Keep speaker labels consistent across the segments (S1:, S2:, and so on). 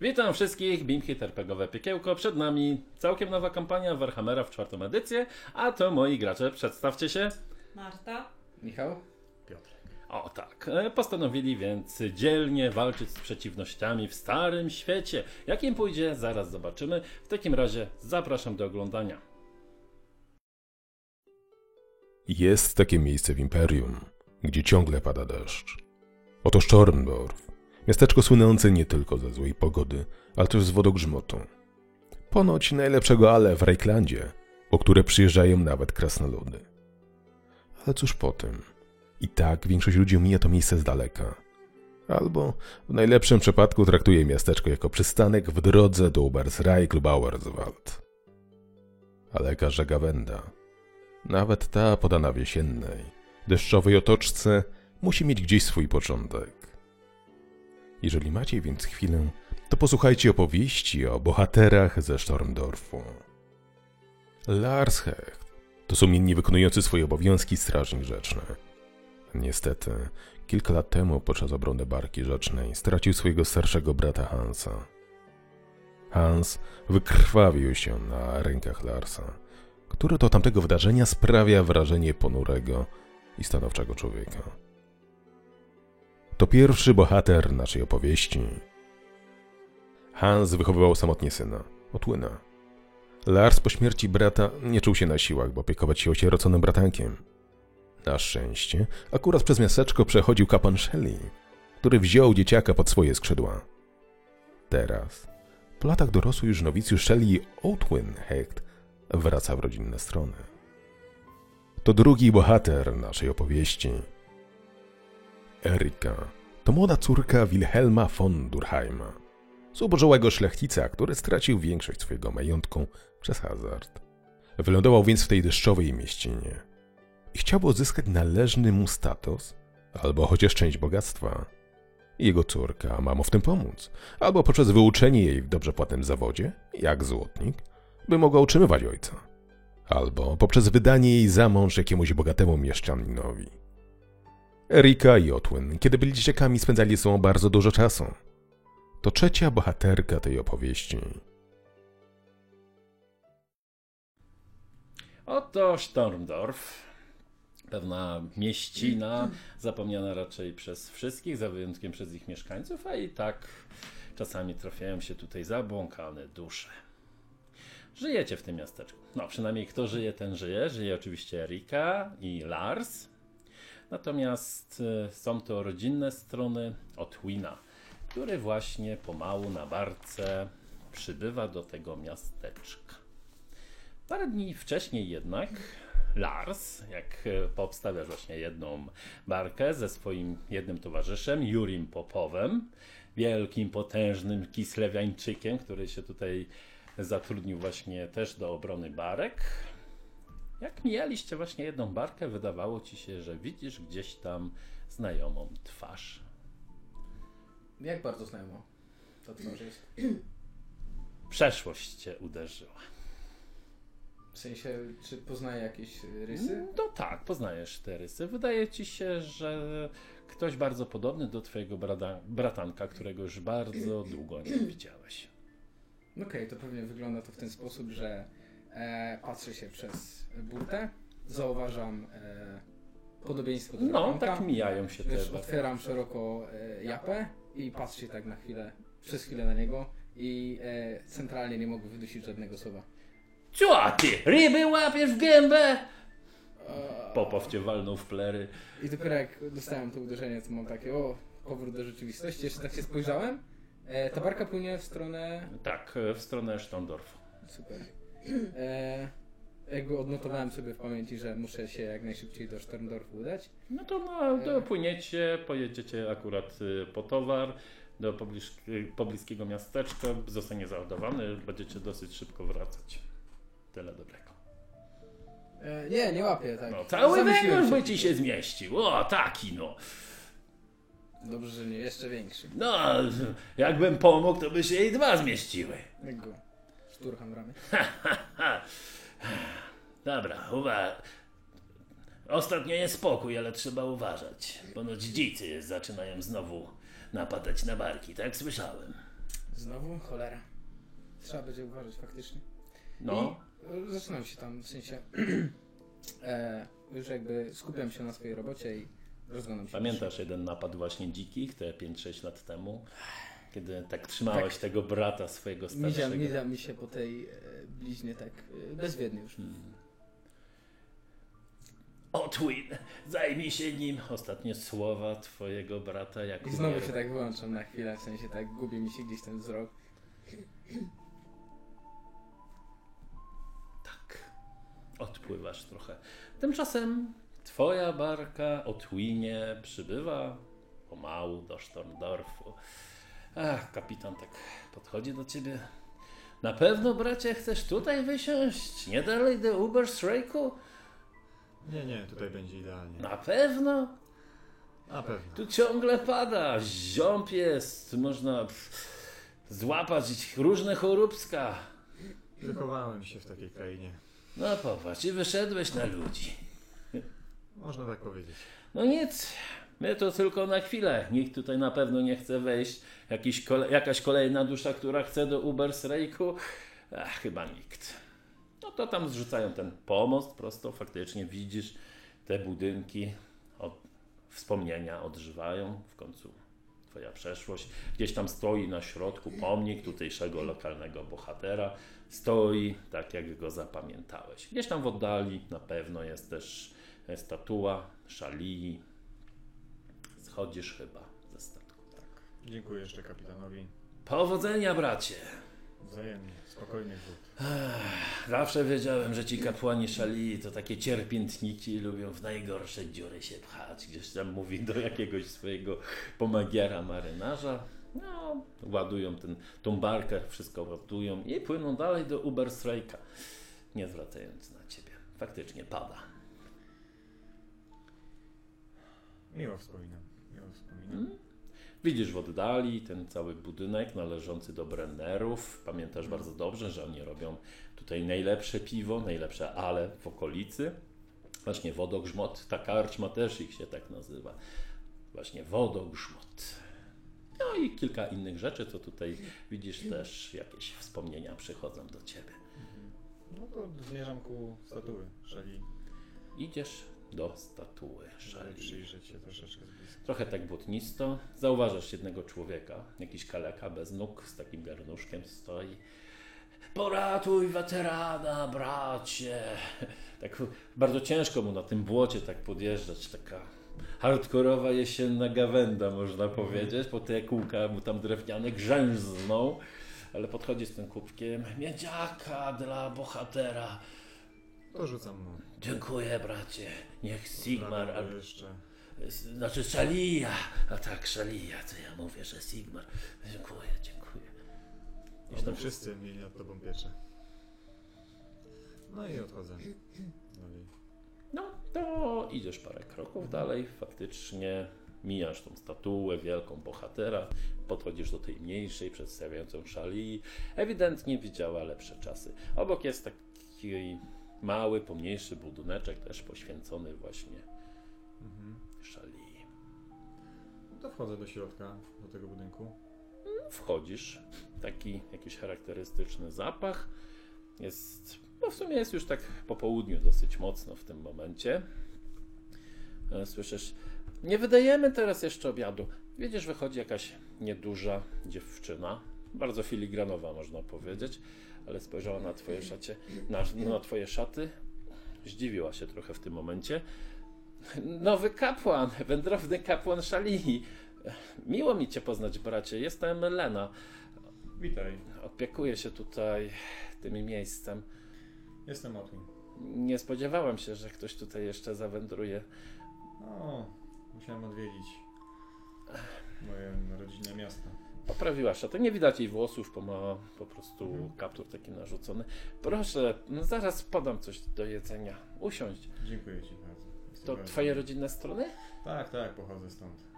S1: Witam wszystkich, Beamhit RPGowe Piekiełko. Przed nami całkiem nowa kampania Warhammera w czwartą edycję, a to moi gracze, przedstawcie się.
S2: Marta?
S3: Michał?
S1: O tak, e, postanowili więc dzielnie walczyć z przeciwnościami w starym świecie. Jak im pójdzie, zaraz zobaczymy. W takim razie zapraszam do oglądania.
S4: Jest takie miejsce w Imperium, gdzie ciągle pada deszcz. Oto Sztormdorf, miasteczko słynące nie tylko ze złej pogody, ale też z wodogrzmotu. Ponoć najlepszego ale w Rejklandzie, po które przyjeżdżają nawet krasnoludy. Ale cóż po tym? I tak większość ludzi mija to miejsce z daleka. Albo w najlepszym przypadku traktuje miasteczko jako przystanek w drodze do Ubersreich lub Auerswald. Ale każda gawenda nawet ta podana w jesiennej, deszczowej otoczce musi mieć gdzieś swój początek. Jeżeli macie więc chwilę, to posłuchajcie opowieści o bohaterach ze Stormdorfu. Lars Hecht to sumiennie wykonujący swoje obowiązki strażnik rzeczny. Niestety, kilka lat temu podczas obrony barki rzecznej stracił swojego starszego brata Hansa. Hans wykrwawił się na rękach Larsa który to tamtego wydarzenia sprawia wrażenie ponurego i stanowczego człowieka. To pierwszy bohater naszej opowieści. Hans wychowywał samotnie syna, Otłyna. Lars po śmierci brata nie czuł się na siłach, by opiekować się osieroconym bratankiem. Na szczęście, akurat przez miasteczko przechodził kapan Shelley, który wziął dzieciaka pod swoje skrzydła. Teraz, po latach dorosły już nowicjusz Shelley Otwin Hecht wraca w rodzinne strony. To drugi bohater naszej opowieści. Erika to młoda córka Wilhelma von Durheima, zubożałego szlachcica, który stracił większość swojego majątku przez hazard. Wylądował więc w tej deszczowej mieścinie i chciałby odzyskać należny mu status albo chociaż część bogactwa. Jego córka ma mu w tym pomóc, albo poprzez wyuczenie jej w dobrze płatnym zawodzie, jak złotnik, by mogła utrzymywać ojca. Albo poprzez wydanie jej za mąż jakiemuś bogatemu mieszczaninowi. Erika i Otwin, kiedy byli dzieciakami, spędzali ze sobą bardzo dużo czasu. To trzecia bohaterka tej opowieści.
S1: Oto Stormdorf. Pewna mieścina, zapomniana raczej przez wszystkich, za wyjątkiem przez ich mieszkańców, a i tak czasami trafiają się tutaj zabłąkane dusze. Żyjecie w tym miasteczku. No, przynajmniej kto żyje, ten żyje. Żyje oczywiście Erika i Lars. Natomiast y, są to rodzinne strony Otwina, który właśnie pomału na barce przybywa do tego miasteczka. Parę dni wcześniej jednak Lars, jak e, poobstawiasz właśnie jedną barkę ze swoim jednym towarzyszem, Jurim Popowem, wielkim, potężnym kislewiańczykiem, który się tutaj zatrudnił właśnie też do obrony barek. Jak mijaliście właśnie jedną barkę, wydawało ci się, że widzisz gdzieś tam znajomą twarz.
S3: Jak bardzo znajomo? To co może jest?
S1: Przeszłość cię uderzyła.
S3: W sensie, czy poznaje jakieś y, rysy?
S1: No tak, poznajesz te rysy. Wydaje ci się, że ktoś bardzo podobny do twojego brada, bratanka, którego już bardzo długo nie widziałeś. Mm.
S3: Okej, to pewnie wygląda to w ten sposób, że e, patrzę się przez burtę, zauważam e, podobieństwo do
S1: No,
S3: dragonka.
S1: tak mijają się te
S3: Wiesz,
S1: barwy.
S3: otwieram szeroko e, japę i patrzę się tak na chwilę, przez chwilę na niego i e, centralnie nie mogę wydusić żadnego słowa.
S1: Co ty, ryby łapiesz w gębę? Popow cię walnął w plery.
S3: I dopiero jak dostałem to uderzenie, to mam takie, o, powrót do rzeczywistości. Jeszcze tak się spojrzałem, e, ta barka płynie w stronę
S1: Tak, e, w stronę Sztondorfu.
S3: Super. E, jakby odnotowałem sobie w pamięci, że muszę się jak najszybciej do Sztormdorfu udać.
S1: No to no,
S3: E.
S1: dopłyniecie, pojedziecie akurat y, po towar do pobliż, y, pobliskiego miasteczka, zostanie załadowany, będziecie dosyć szybko wracać. Tyle dobrego.
S3: E, nie, nie łapię, tak.
S1: No, cały
S3: Zamyśliłem
S1: węgorz by ci się zmieścił. O, taki no.
S3: Dobrze, że nie, jeszcze większy.
S1: No, jakbym pomógł, to by się i dwa zmieściły.
S3: Jak go szturcham ramy.
S1: Dobra, uwaga. Ostatnio jest spokój, ale trzeba uważać. Ponoć dzicy zaczynają znowu napadać na barki, tak słyszałem.
S3: Znowu? Cholera. Trzeba będzie uważać faktycznie.
S1: No,
S3: I e, zaczynam się tam, w sensie e, już jakby skupiam się na swojej robocie i rozglądam się.
S1: Pamiętasz jeden napad właśnie dzikich, te 5-6 lat temu, kiedy tak trzymałeś tego brata swojego
S3: Mizia,
S1: starszego.
S3: mizia mi się po tej e, bliźnie tak e, bezwiednie już.
S1: Otwin, zajmij się nim. Ostatnie słowa twojego brata jak
S3: I znowu się tak wyłączam na chwilę, w sensie tak gubi mi się gdzieś ten wzrok.
S1: tak. Odpływasz trochę. Tymczasem twoja barka Otwinie przybywa pomału do Sztorndorfu. Ach, kapitan tak podchodzi do ciebie. Na pewno, bracie, chcesz tutaj wysiąść? Nie dalej do Uberstrajku?
S2: Nie, nie, tutaj będzie idealnie.
S1: Na pewno?
S2: Na pewno.
S1: Tu ciągle pada, ziąb jest, można pff, złapać różne choróbska.
S2: Wychowałem się w takiej krainie.
S1: No popatrz, i wyszedłeś na ludzi.
S2: Można tak powiedzieć.
S1: No nic, my to tylko na chwilę. Nikt tutaj na pewno nie chce wejść. Jakiś kole, jakaś kolejna dusza, która chce do Ubersrejku? Ach, chyba nikt. No to tam zrzucają ten pomost prosto, faktycznie widzisz te budynki, o, wspomnienia odżywają, w końcu twoja przeszłość. Gdzieś tam stoi na środku pomnik tutejszego lokalnego bohatera. Stoi tak, jak go zapamiętałeś. Gdzieś tam w oddali na pewno jest też e, statua Szalii. Schodzisz chyba ze statku. Tak.
S2: Dziękuję jeszcze kapitanowi.
S1: Powodzenia, bracie!
S2: Wzajemnie. Spokojnych wód.
S1: Zawsze wiedziałem, że ci kapłani szali to takie cierpiętniki, lubią w najgorsze dziury się pchać. Gdzieś tam mówi do jakiegoś swojego pomagiera marynarza. No, ładują ten, tą barkę, wszystko ładują i płyną dalej do Uberstrajka, nie zwracając na ciebie. Faktycznie pada.
S2: Miło wspominam. Miło wspominam.
S1: Widzisz w oddali ten cały budynek należący do Brennerów. Pamiętasz bardzo dobrze, że oni robią tutaj najlepsze piwo, najlepsze ale w okolicy. Właśnie Wodogrzmot, ta karczma też ich się tak nazywa. Właśnie Wodogrzmot. No i kilka innych rzeczy, co tutaj widzisz też jakieś wspomnienia przychodzą do ciebie.
S2: No to zmierzam ku statuły szali.
S1: Idziesz do statuły Szali.
S2: Przyjrzeć się troszeczkę z bliska.
S1: Trochę tak błotnisto. Zauważasz jednego człowieka, jakiś kaleka bez nóg, z takim garnuszkiem stoi. Poratuj weterana, bracie! Tak bardzo ciężko mu na tym błocie tak podjeżdżać, taka hardkorowa jesienna gawenda, można powiedzieć, bo te kółka mu tam drewniane grzęzną, ale podchodzi z tym kubkiem miedziaka dla bohatera.
S2: To rzucam mu.
S1: Dziękuję, bracie. Niech Sigmar...
S2: Dlatego jeszcze.
S1: Znaczy Szalia, a tak, Szalia, co ja mówię, że Sigmar. Dziękuję, dziękuję. Gdzieś
S2: Oby
S1: tam
S2: No wszyscy mieli nad tobą pieczę. No i odchodzę. Dalej.
S1: No, to idziesz parę kroków dalej, faktycznie mijasz tą statuę wielką bohatera, podchodzisz do tej mniejszej, przedstawiającą szali. Ewidentnie widziała lepsze czasy. Obok jest taki mały, pomniejszy budyneczek, też poświęcony właśnie szali.
S2: No to wchodzę do środka, do tego budynku.
S1: wchodzisz, taki jakiś charakterystyczny zapach. Jest, no w sumie jest już tak po południu dosyć mocno w tym momencie. E, Słyszysz, nie wydajemy teraz jeszcze obiadu. Widzisz, wychodzi jakaś nieduża dziewczyna, bardzo filigranowa można powiedzieć, ale spojrzała na twoje szacie, na, na twoje szaty. Zdziwiła się trochę w tym momencie. Nowy kapłan, wędrowny kapłan Szalii. Miło mi Cię poznać, bracie. Jestem Lena.
S2: Witaj.
S1: Opiekuję się tutaj tym miejscem.
S2: Jestem Otwin.
S1: Nie spodziewałem się, że ktoś tutaj jeszcze zawędruje.
S2: No, musiałem odwiedzić moje rodzinne miasto.
S1: Poprawiła szaty. Nie widać jej włosów, bo ma po prostu kaptur taki narzucony. Proszę, no zaraz podam coś do jedzenia. Usiądź.
S2: Dziękuję Ci bardzo. Jestem
S1: To
S2: bardzo-
S1: Twoje rodzinne strony?
S2: Tak, tak, pochodzę stąd.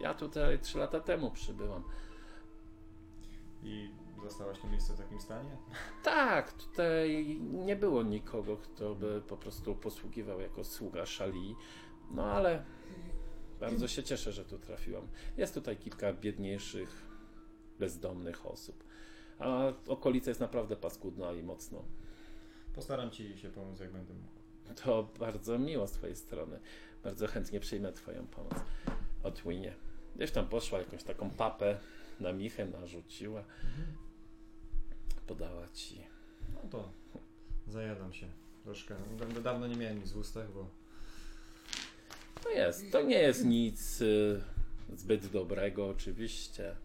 S1: Ja tutaj trzy lata temu przybyłam.
S2: I zastałaś to miejsce w takim stanie?
S1: Tak, tutaj nie było nikogo, kto by po prostu posługiwał jako sługa szali. No ale bardzo się cieszę, że tu trafiłam. Jest tutaj kilka biedniejszych bezdomnych osób. A okolica jest naprawdę paskudna i mocno.
S2: Postaram ci się pomóc, jak będę mógł.
S1: To bardzo miło z Twojej strony. Bardzo chętnie przyjmę Twoją pomoc. Otwinie. Gdzieś tam poszła, jakąś taką papę na michę narzuciła. Podała ci.
S2: No to zajadam się troszkę. No, Dawno nie miałem nic w ustach, bo
S1: To jest, to nie jest nic y, zbyt dobrego, oczywiście.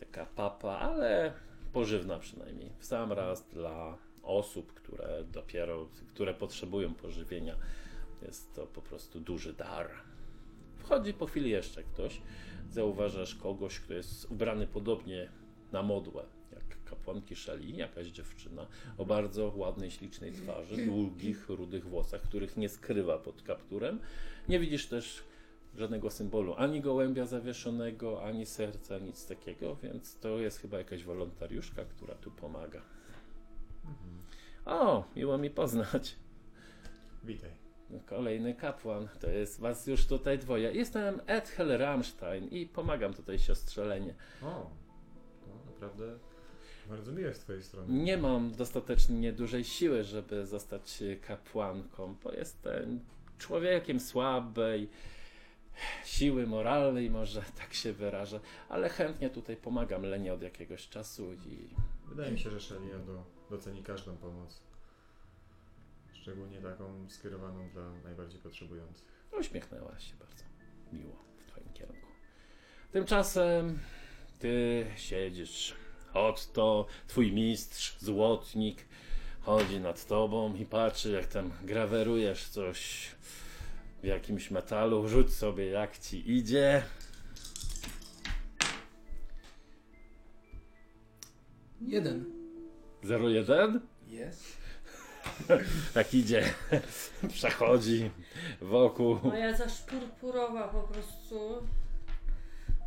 S1: Taka papa, ale pożywna przynajmniej. W sam raz dla osób, które dopiero, które potrzebują pożywienia. Jest to po prostu duży dar. Wchodzi po chwili jeszcze ktoś. Zauważasz kogoś, kto jest ubrany podobnie na modłę, jak kapłanki Szeli, jakaś dziewczyna o bardzo ładnej, ślicznej twarzy, długich, rudych włosach, których nie skrywa pod kapturem. Nie widzisz też żadnego symbolu, ani gołębia zawieszonego, ani serca, nic takiego, więc to jest chyba jakaś wolontariuszka, która tu pomaga. O, miło mi poznać.
S2: witaj.
S1: Kolejny kapłan, to jest was już tutaj dwoje. Jestem Ethel Rammstein i pomagam tutaj siostrzelenie.
S2: O, to naprawdę bardzo miłe z twojej strony.
S1: Nie mam dostatecznie dużej siły, żeby zostać kapłanką, bo jestem człowiekiem słabej siły moralnej, może tak się wyrażę, ale chętnie tutaj pomagam Lenie od jakiegoś czasu i
S2: Wydaje mi się, że Shelia do, doceni każdą pomoc. Szczególnie taką skierowaną dla najbardziej potrzebujących.
S1: uśmiechnęła się bardzo miło w twoim kierunku. Tymczasem ty siedzisz. Otto, twój mistrz, złotnik, chodzi nad tobą i patrzy, jak tam grawerujesz coś w jakimś metalu. Rzuć sobie, jak ci idzie.
S3: Jeden.
S1: 01?
S3: Jest.
S1: Tak idzie, przechodzi wokół.
S5: Moja zaś purpurowa po prostu.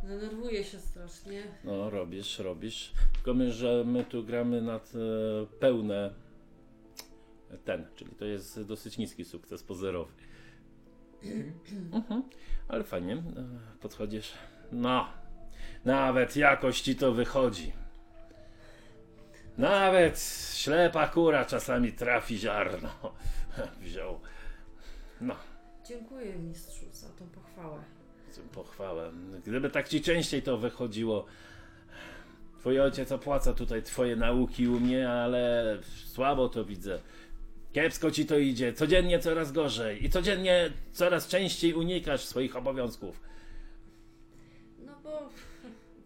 S5: Denerwuje się strasznie.
S1: No, robisz, robisz. Tylko my, że my tu gramy nad e, pełne ten, czyli to jest dosyć niski sukces pozerowy. Mhm. Ale fajnie, e, podchodzisz. No, nawet jakoś ci to wychodzi. Nawet ślepa kura czasami trafi ziarno. Wziął. No,
S5: Dziękuję mistrzu za tą pochwałę.
S1: Tę pochwałę. Gdyby tak ci częściej to wychodziło. Twój ojciec opłaca tutaj twoje nauki u mnie, ale słabo to widzę. Kiepsko ci to idzie, codziennie coraz gorzej i codziennie coraz częściej unikasz swoich obowiązków.
S5: No bo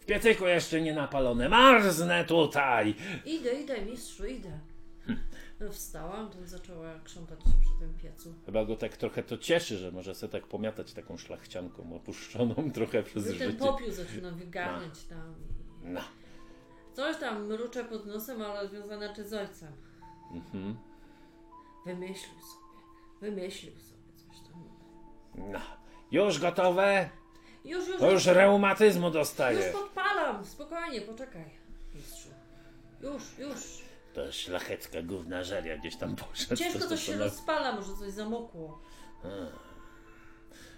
S1: W piecyku jeszcze nie napalone, marznę tutaj!
S5: idę, idę mistrzu, idę. No wstałam, ten zaczęła krzątać się przy tym piecu.
S1: Chyba go tak trochę to cieszy, że może sobie tak pomiatać taką szlachcianką opuszczoną trochę przez
S5: No i ten
S1: życie.
S5: popiół
S1: Tak.
S5: zaczyna wygarnąć tam. i-
S1: No.
S5: Coś tam mruczę pod nosem, ale związane czy z ojcem.
S1: Mhm.
S5: Wymyślił sobie, wymyślił sobie coś tam.
S1: No. Już gotowe?
S5: Już, już,
S1: To już reumatyzmu dostaję.
S5: już podpalam, spokojnie, poczekaj mistrzu. Już, już.
S1: To szlachecka gówna żeria gdzieś tam poszedł.
S5: Ciężko
S1: to
S5: coś się
S1: na-
S5: rozpala, może coś zamokło.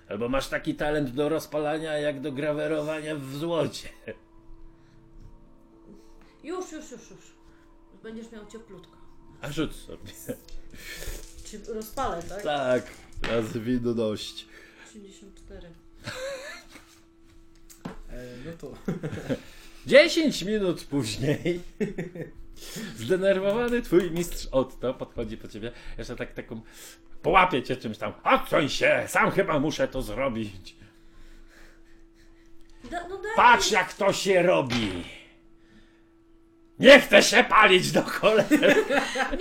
S1: Albo masz taki talent do rozpalania, jak do grawerowania w złocie.
S5: Już, już, już, już. Będziesz miał cieplutko.
S1: A rzuć sobie.
S5: Czy rozpalę, tak?
S1: Tak, raz widodość.
S5: 84.
S3: E, no to
S1: 10 minut później zdenerwowany twój mistrz Otto podchodzi po ciebie, jeszcze tak taką połapie cię czymś tam. Odsuń się, sam chyba muszę to zrobić.
S5: Da, no daj!
S1: Patrz jak to się robi. Nie chcę się palić do cholery.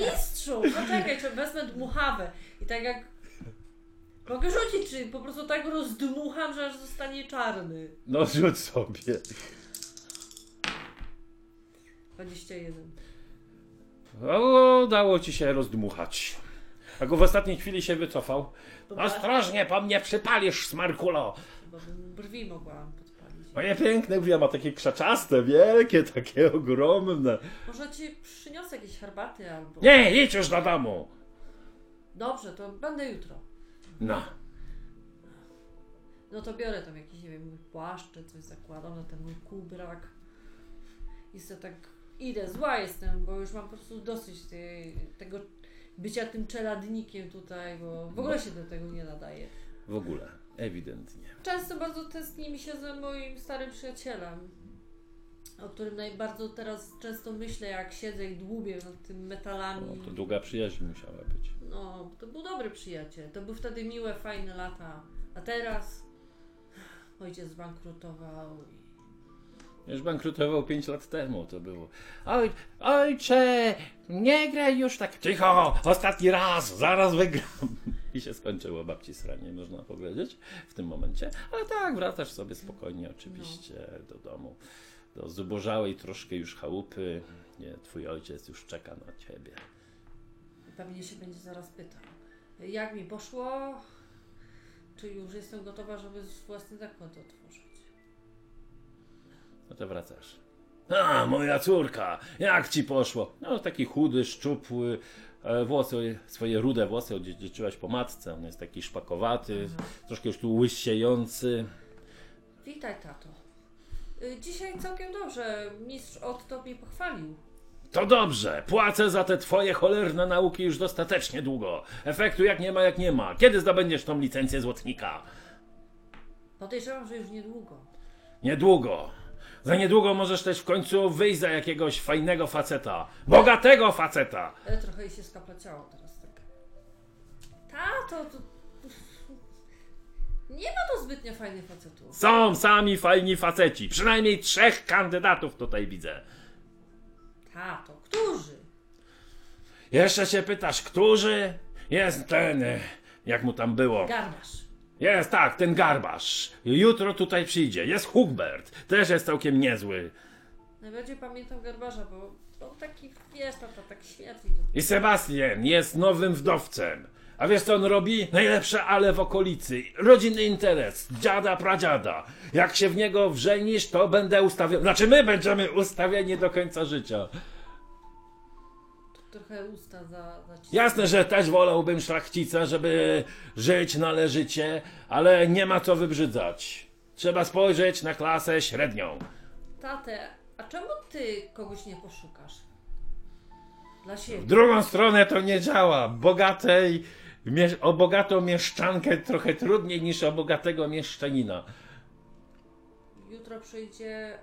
S5: Mistrzu! Poczekaj, czy wezmę dmuchawę. I tak jak... Mogę rzucić, czy po prostu tak rozdmucham, że aż zostanie czarny.
S1: No rzuć sobie.
S5: 21.
S1: O, udało ci się rozdmuchać. A go w ostatniej chwili się wycofał. Ostrożnie, po mnie przypalisz, smarkulo!
S5: Chyba bym brwi mogłam podpalić.
S1: Moje piękne brwi, a ma takie krzaczaste, wielkie, takie ogromne.
S5: Może ci przyniosę jakieś herbaty albo...
S1: Nie, idź już do domu!
S5: Dobrze, to będę jutro.
S1: No,
S5: No to biorę tam jakiś, nie wiem, mój płaszcz czy coś zakładam na ten mój kubrak. I sobie tak idę, zła jestem, bo już mam po prostu dosyć tej, tego bycia tym czeladnikiem tutaj, bo w ogóle się do tego nie nadaje.
S1: W ogóle, ewidentnie.
S5: Często bardzo tęskni mi się za moim starym przyjacielem, o którym najbardziej teraz często myślę, jak siedzę i dłubię nad tym metalami.
S1: No, to długa przyjaźń musiała być.
S5: No, to był dobry przyjaciel. To były wtedy miłe, fajne lata. A teraz ojciec zbankrutował.
S1: Już bankrutował 5 lat temu, to było. Oj, ojcze, nie graj już tak cicho, ostatni raz, zaraz wygram. I się skończyło babci sranie, można powiedzieć, w tym momencie. Ale tak, wracasz sobie spokojnie oczywiście do domu, do zubożałej troszkę już chałupy. Nie, twój ojciec już czeka na ciebie.
S5: I Pewnie się będzie zaraz pytał, jak mi poszło? Czy już jestem gotowa, żeby własny zakład otworzyć?
S1: No to wracasz. A, moja córka, jak ci poszło? No, taki chudy, szczupły, e, włosy, swoje rude włosy odziedziczyłaś po matce. On jest taki szpakowaty, troszkę już tu łysiejący.
S5: Witaj, tato. Y, Dzisiaj całkiem dobrze. Mistrz Otto mnie pochwalił.
S1: To dobrze, płacę za te twoje cholerne nauki już dostatecznie długo. Efektu jak nie ma, jak nie ma. Kiedy zdobędziesz tą licencję złotnika?
S5: Podejrzewam, że już niedługo.
S1: Niedługo. Za niedługo możesz też w końcu wyjść za jakiegoś fajnego faceta. Bogatego faceta!
S5: Ale E, trochę jej się skaplaciało teraz tak. Tato, to... Nie ma to zbytnio fajnych facetów.
S1: Są sami fajni faceci. Przynajmniej trzech kandydatów tutaj widzę.
S5: Tato, którzy?
S1: Jeszcze się pytasz, którzy? Jest ten, e, jak mu tam było.
S5: Garmasz.
S1: Jest tak, ten garbarz. Jutro tutaj przyjdzie. Jest Hugbert. Też jest całkiem niezły.
S5: Najbardziej pamiętam garbarza, bo on taki, wiesz, tata, tak świetli.
S1: I Sebastian jest nowym wdowcem. A wiesz co on robi? Najlepsze ale w okolicy. Rodzinny interes. Dziada, pradziada. Jak się w niego wrzenisz, to będę ustawiony. Znaczy my będziemy ustawieni do końca życia.
S5: Trochę usta za, za
S1: Jasne, że też wolałbym szlachcica, żeby żyć należycie, ale nie ma co wybrzydzać. Trzeba spojrzeć na klasę średnią.
S5: Tatę, a czemu ty kogoś nie poszukasz? Dla
S1: W
S5: siebie.
S1: drugą stronę to nie działa. Bogatej, mie- o bogatą mieszczankę trochę trudniej niż o bogatego mieszczanina.
S5: Jutro przyjdzie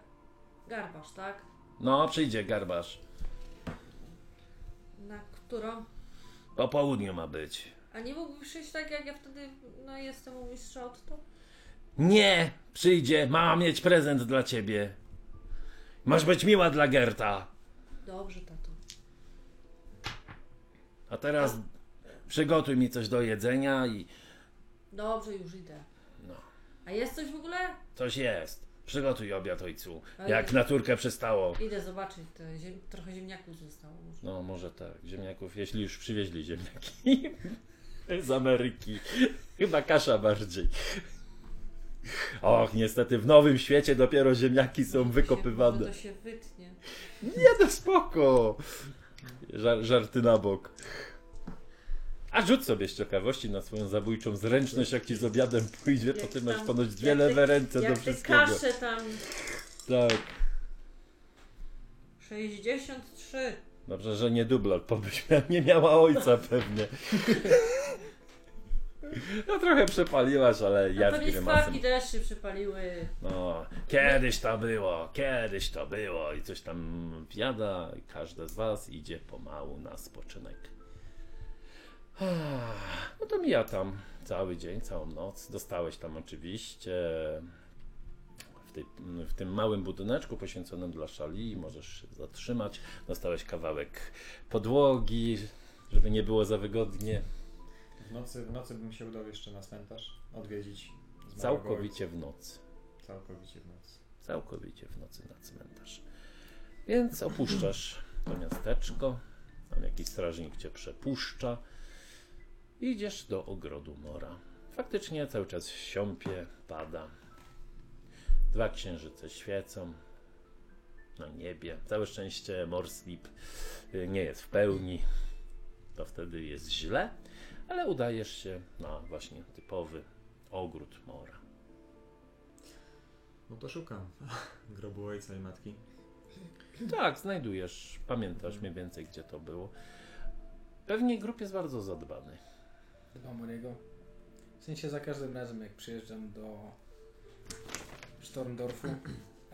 S5: garbarz, tak?
S1: No, przyjdzie garbarz.
S5: Na którą?
S1: Po południu ma być.
S5: A nie mógłby przyjść tak, jak ja wtedy no, jestem u mistrza Otto?
S1: Nie, przyjdzie. Mam mieć prezent dla ciebie. Masz być miła dla Gerta.
S5: Dobrze, tato.
S1: A teraz przygotuj mi coś do jedzenia i
S5: Dobrze, już idę.
S1: No.
S5: A jest coś w ogóle?
S1: Coś jest. Przygotuj obiad, ojcu.
S5: Ale-
S1: Jak naturkę przystało.
S5: Idę zobaczyć, te ziem... trochę ziemniaków zostało może.
S1: No, może tak. Ziemniaków, jeśli już przywieźli ziemniaki. Z Ameryki. Chyba kasza bardziej. Och, niestety w nowym świecie dopiero ziemniaki są
S5: Się,
S1: wykopywane.
S5: to się wytnie.
S1: Nie, no spoko. Żar, żarty na bok. A rzuć sobie z ciekawości na swoją zabójczą zręczność, jak ci z obiadem pójdzie, to
S5: Jak
S1: ty masz
S5: tam-
S1: ponoć dwie
S5: jak te-
S1: lewe ręce do
S5: jak te
S1: wszystkiego.
S5: kasze tam.
S1: Tak.
S5: 63.
S1: Dobrze, że nie dublar, bo byś mia- nie miała ojca pewnie. No trochę przepaliłaś, ale
S5: Ja
S1: ja
S5: A
S1: z
S5: pewnie
S1: grymasem.
S5: skwarki też się przypaliły.
S1: No, kiedyś to było, kiedyś to było i coś tam wiada i każdy z was idzie pomału na spoczynek. Ah, No to mija tam cały dzień, całą noc. Dostałeś tam oczywiście w, tej, w tym małym budyneczku poświęconym dla szali. Możesz się zatrzymać. Dostałeś kawałek podłogi, żeby nie było za wygodnie.
S2: W nocy, w nocy bym się udał jeszcze na cmentarz odwiedzić. z małego
S1: Całkowicie w nocy.
S2: ojca. Całkowicie w nocy.
S1: całkowicie w nocy na cmentarz. Więc opuszczasz to miasteczko, tam jakiś strażnik cię przepuszcza i idziesz do ogrodu mora. Faktycznie cały czas siąpie, pada. Dwa księżyce świecą na niebie. Całe szczęście Morslip y, nie jest w pełni. To wtedy jest źle, ale udajesz się na właśnie typowy ogród mora.
S2: No to szukam grobu ojca i matki.
S1: Tak, znajdujesz. Pamiętasz mniej więcej, gdzie to było. Pewnie grup jest bardzo zadbany.
S3: Dbam o niego. W sensie za każdym razem, jak przyjeżdżam do Stormdorfu.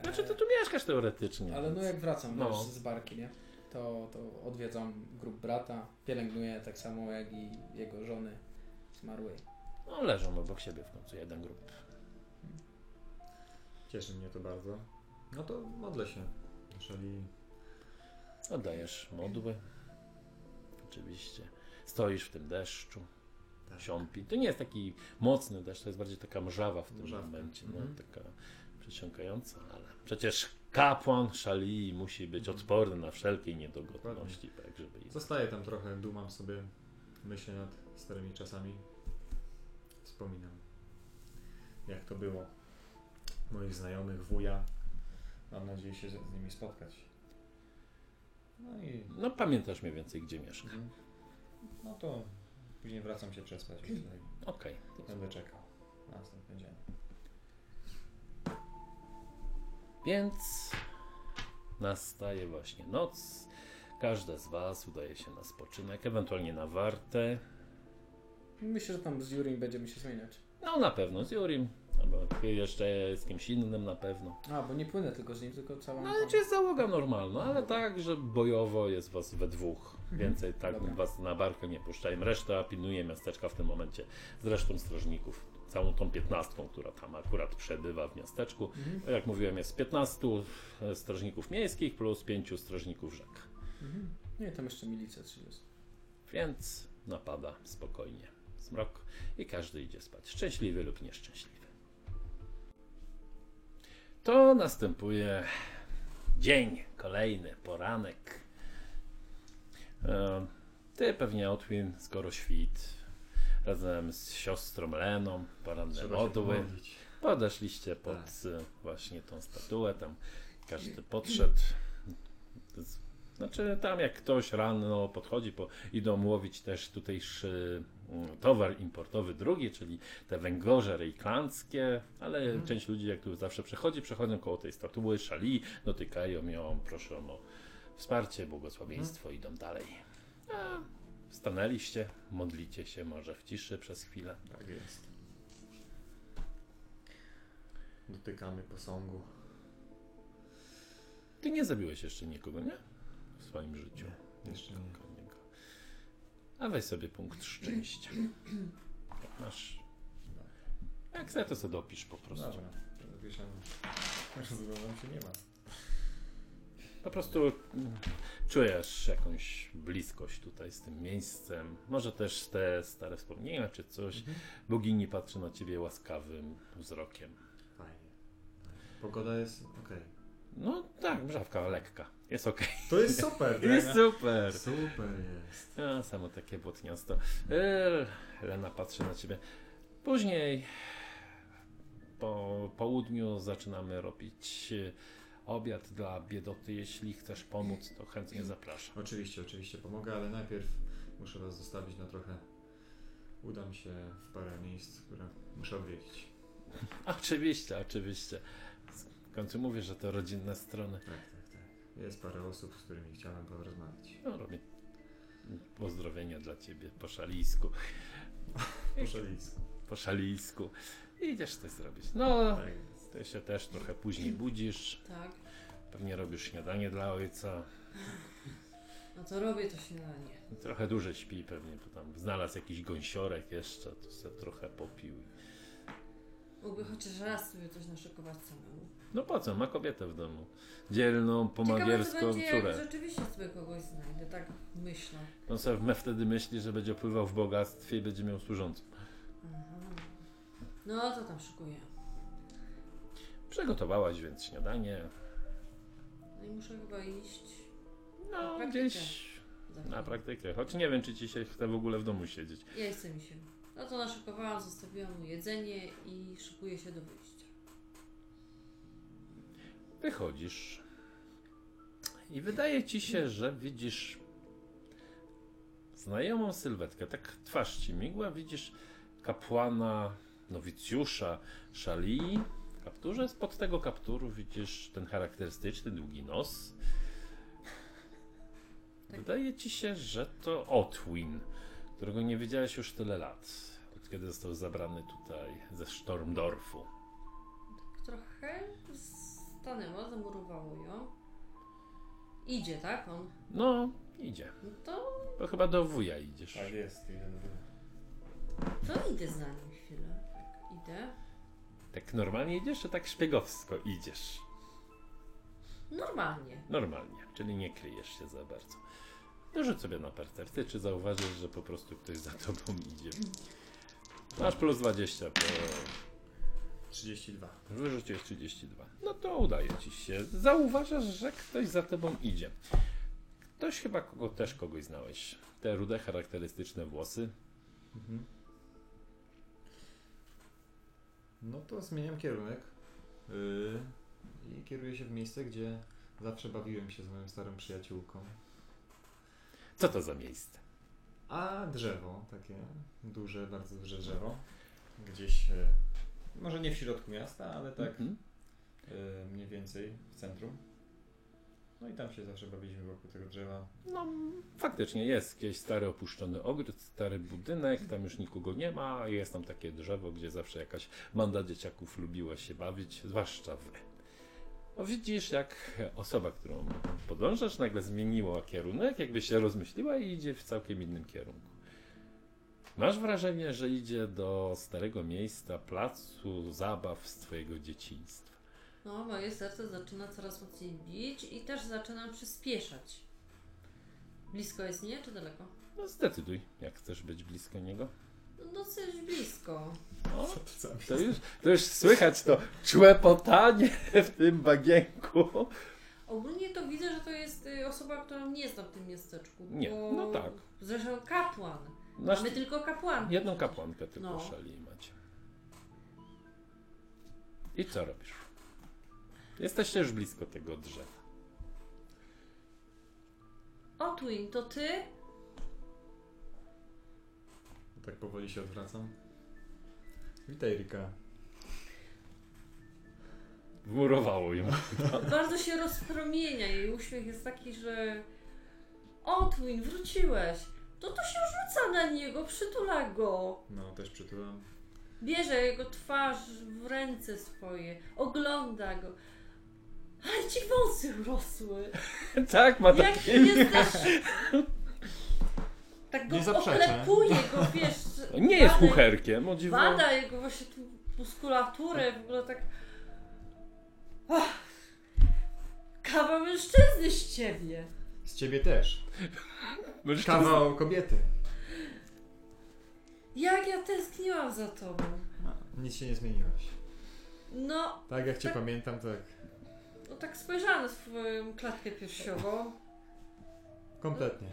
S1: Znaczy,
S3: e,
S1: ty tu mieszkasz teoretycznie.
S3: Ale no
S1: więc-
S3: jak wracam
S1: No.
S3: wiesz, z barki, nie? To, to odwiedzam grup brata, pielęgnuję tak samo jak i jego żony zmarłej.
S1: No leżą obok siebie w końcu, jeden grup.
S2: Cieszy mnie to bardzo. No to modlę się. Jeżeli
S1: Oddajesz No, modły. Oczywiście. Stoisz w tym deszczu.
S2: Tak.
S1: Siąpi. To nie jest taki mocny deszcz, to jest bardziej taka mrzawa w tym
S2: Mrzawka.
S1: momencie. No,
S2: Mhm.
S1: Taka przeciągająca, ale przecież kapłan szali musi być odporny na wszelkie niedogodności, tak żeby...
S2: zostaję tam trochę, dumam sobie, myślę nad starymi czasami. Wspominam, jak to było. Moich znajomych, wuja. Mam nadzieję się z z nimi spotkać. No i
S1: No pamiętasz mniej więcej, gdzie mieszka.
S2: no to później wracam się przespać. Tutaj.
S1: Okej.
S2: Będę czekał na następny dzień.
S1: Więc nastaje właśnie noc. Każda z Was udaje się na spoczynek, ewentualnie na wartę.
S3: Myślę, że tam z Jurim będziemy się zmieniać.
S1: No na pewno z Jurim, albo jeszcze z kimś innym na pewno.
S3: A, bo nie płynę tylko z nim, tylko całą...
S1: No ale czy jest załoga normalna, ale tak, że bojowo jest Was we dwóch. Więcej tak
S3: Dobra.
S1: Was na barkę nie puszczają. Reszta pilnuje miasteczka w tym momencie. Zresztą strażników. Całą tą piętnastką, która tam akurat przebywa w miasteczku.
S3: Mhm.
S1: Jak mówiłem, jest 15 strażników miejskich plus 5 strażników rzek.
S3: Mhm. Nie, tam jeszcze milicja 30.
S1: Więc napada spokojnie zmrok i każdy idzie spać, szczęśliwy lub nieszczęśliwy. To następuje dzień kolejny, poranek. E, Ty pewnie Otwin, skoro świt, razem z siostrą Leną, poranne modły.
S2: pomodlić.
S1: Podeszliście pod
S2: Tak.
S1: y, właśnie tą statuę, tam każdy podszedł. Z- Znaczy tam jak ktoś rano podchodzi, po, idą łowić też tutejszy mm, towar importowy drugi, czyli te węgorze rejklandzkie, ale część ludzi jak tu zawsze przechodzi, przechodzą koło tej statuły, szali, dotykają ją, proszą o wsparcie, błogosławieństwo, idą dalej. A, stanęliście, modlicie się może w ciszy przez chwilę.
S2: Tak jest. Dotykamy posągu.
S1: Ty nie zabiłeś jeszcze nikogo, nie? W swoim życiu.
S2: Jeszcze nie.
S1: Nikogo. A weź sobie punkt szczęścia. Jak Masz. Jak chcesz, to sobie dopisz po prostu.
S2: Dobra, zawieszamy. Rozglądam się, nie ma.
S1: Po prostu mm, czujesz jakąś bliskość tutaj z tym miejscem. Może też te stare wspomnienia czy coś.
S2: Mhm.
S1: Bogini patrzy na ciebie łaskawym wzrokiem.
S2: Fajnie. Pogoda jest okej.
S1: No tak, brzawka lekka. Jest okej.
S2: To jest super,
S1: Jest super.
S2: Super jest.
S1: A, samo takie błotniasto. Eee, Lena patrzy na ciebie. Później po południu zaczynamy robić e, obiad dla biedoty. Jeśli chcesz pomóc, to chętnie zapraszam.
S2: Oczywiście, oczywiście pomogę, ale najpierw muszę was zostawić na trochę. Udam się w parę miejsc, które muszę odwiedzić.
S1: Oczywiście, oczywiście. W końcu mówię, że to rodzinne strony.
S2: Tak, tak, tak. Jest parę osób, z którymi chciałem porozmawiać.
S1: No, robię pozdrowienia dla ciebie po szalijsku.
S2: Proszę list.
S1: Po szalijsku. Idziesz coś zrobić. No,
S2: Tak jest.
S1: ty się też trochę później budzisz.
S5: Tak.
S1: Pewnie robisz śniadanie dla ojca.
S5: No to robię to śniadanie.
S1: Trochę dłużej śpi pewnie, bo tam znalazł jakiś gąsiorek jeszcze, to se trochę popił.
S5: Mógłby chociaż raz sobie coś naszykować samemu.
S1: No po co, ma kobietę w domu. Dzielną,
S5: Ciekawe co
S1: pomagierską
S5: będzie, jak
S1: córę.
S5: rzeczywiście sobie kogoś znajdę, tak myślę.
S1: On sobie me wtedy myśli, że będzie opływał w bogactwie i będzie miał służącą.
S5: Aha. No to tam szykuję.
S1: Przygotowałaś więc śniadanie.
S5: No i muszę chyba iść. Na
S1: No,
S5: praktykę.
S1: gdzieś
S5: za
S1: na
S5: chwilę.
S1: praktykę. Choć nie wiem, czy ci się chce w ogóle w domu siedzieć.
S5: Ja chcę mi się. No to naszykowałam, zostawiłam mu jedzenie i szykuję się do wyjścia.
S1: Wychodzisz. I wydaje ci się, że widzisz znajomą sylwetkę. Tak twarz ci migła. Widzisz kapłana, nowicjusza Szalii w kapturze. Spod tego kapturu widzisz ten charakterystyczny długi nos. Wydaje ci się, że to Otwin, którego nie widziałeś już tyle lat, od kiedy został zabrany tutaj ze Sztormdorfu.
S5: Trochę stanęła, zamurowało ją. Idzie, tak? On.
S1: No, idzie.
S5: No to,
S1: Bo chyba do wuja idziesz.
S2: Tak jest, idę do góry.
S5: to idę za nim chwilę. Tak, idę.
S1: Tak normalnie idziesz, czy tak szpiegowsko idziesz?
S5: Normalnie.
S1: Normalnie, czyli nie kryjesz się za bardzo. No rzuć sobie na percepcję, czy zauważysz, że po prostu ktoś za tobą idzie. Masz plus 20, bo
S2: 32.
S1: wyrzuciłeś 32. No to udaje ci się. Zauważasz, że ktoś za tobą idzie. Ktoś chyba kogo, też kogoś znałeś. Te rude, charakterystyczne włosy.
S2: Mhm. No to zmieniam kierunek yy, i kieruję się w miejsce, gdzie zawsze bawiłem się z moją starą przyjaciółką.
S1: Co to za miejsce?
S2: A drzewo, takie duże, bardzo duże drzewo, gdzieś, e, może nie w środku miasta, ale tak
S1: Mhm.
S2: e, mniej więcej w centrum. No i tam się zawsze bawiliśmy wokół tego drzewa.
S1: No, faktycznie jest jakiś stary opuszczony ogród, stary budynek, tam już nikogo nie ma, jest tam takie drzewo, gdzie zawsze jakaś banda dzieciaków lubiła się bawić, zwłaszcza wy. No, widzisz, jak osoba, którą podążasz, nagle zmieniła kierunek, jakby się rozmyśliła i idzie w całkiem innym kierunku. Masz wrażenie, że idzie do starego miejsca, placu zabaw z twojego dzieciństwa.
S5: No, moje serce zaczyna coraz mocniej bić i też zaczynam przyspieszać. Blisko jest mnie, czy daleko?
S1: No zdecyduj, jak chcesz być blisko niego.
S5: No, dosyć blisko.
S1: No, To już, to już słychać to człepotanie w tym bagienku.
S5: Ogólnie to widzę, że to jest y, osoba, którą nie znam w tym miasteczku.
S1: Nie,
S5: bo-
S1: no tak.
S5: Zresztą kapłan.
S1: Masz
S5: Mamy tylko kapłan.
S1: No, jedną kapłankę tylko
S5: No.
S1: szali macie. I co robisz? Jesteście już blisko tego drzewa.
S5: Otwin, to ty?
S2: Tak powoli się odwracam. Witaj Rika.
S1: Wmurowało ją.
S5: Bardzo się rozpromienia. Jej uśmiech jest taki, że... Otwin, wróciłeś. To to się rzuca na niego, przytula go.
S2: No, też przytulam.
S5: Bierze jego twarz w ręce swoje, ogląda go. Ale ci wąsy urosły!
S1: tak, ma
S5: Jak ty
S1: takie...
S5: jesteś... Tak go
S2: Nie zaprzeczę.
S5: oklepuje go, wiesz...
S1: To Nie jest
S5: bada-
S1: kucherkiem, o dziwo.
S5: Bada jego właśnie tu muskulaturę, w ogóle tak... Ach, kawa mężczyzny z ciebie!
S2: Z ciebie też.
S1: Mężczyzna-
S2: Kawał kobiety.
S5: Jak ja tęskniłam za tobą!
S2: Nic się nie zmieniłaś.
S5: No,
S2: Tak jak cię
S5: Tak.
S2: pamiętam, tak.
S5: no tak spojrzałam na swoją klatkę piersiową.
S2: Kompletnie.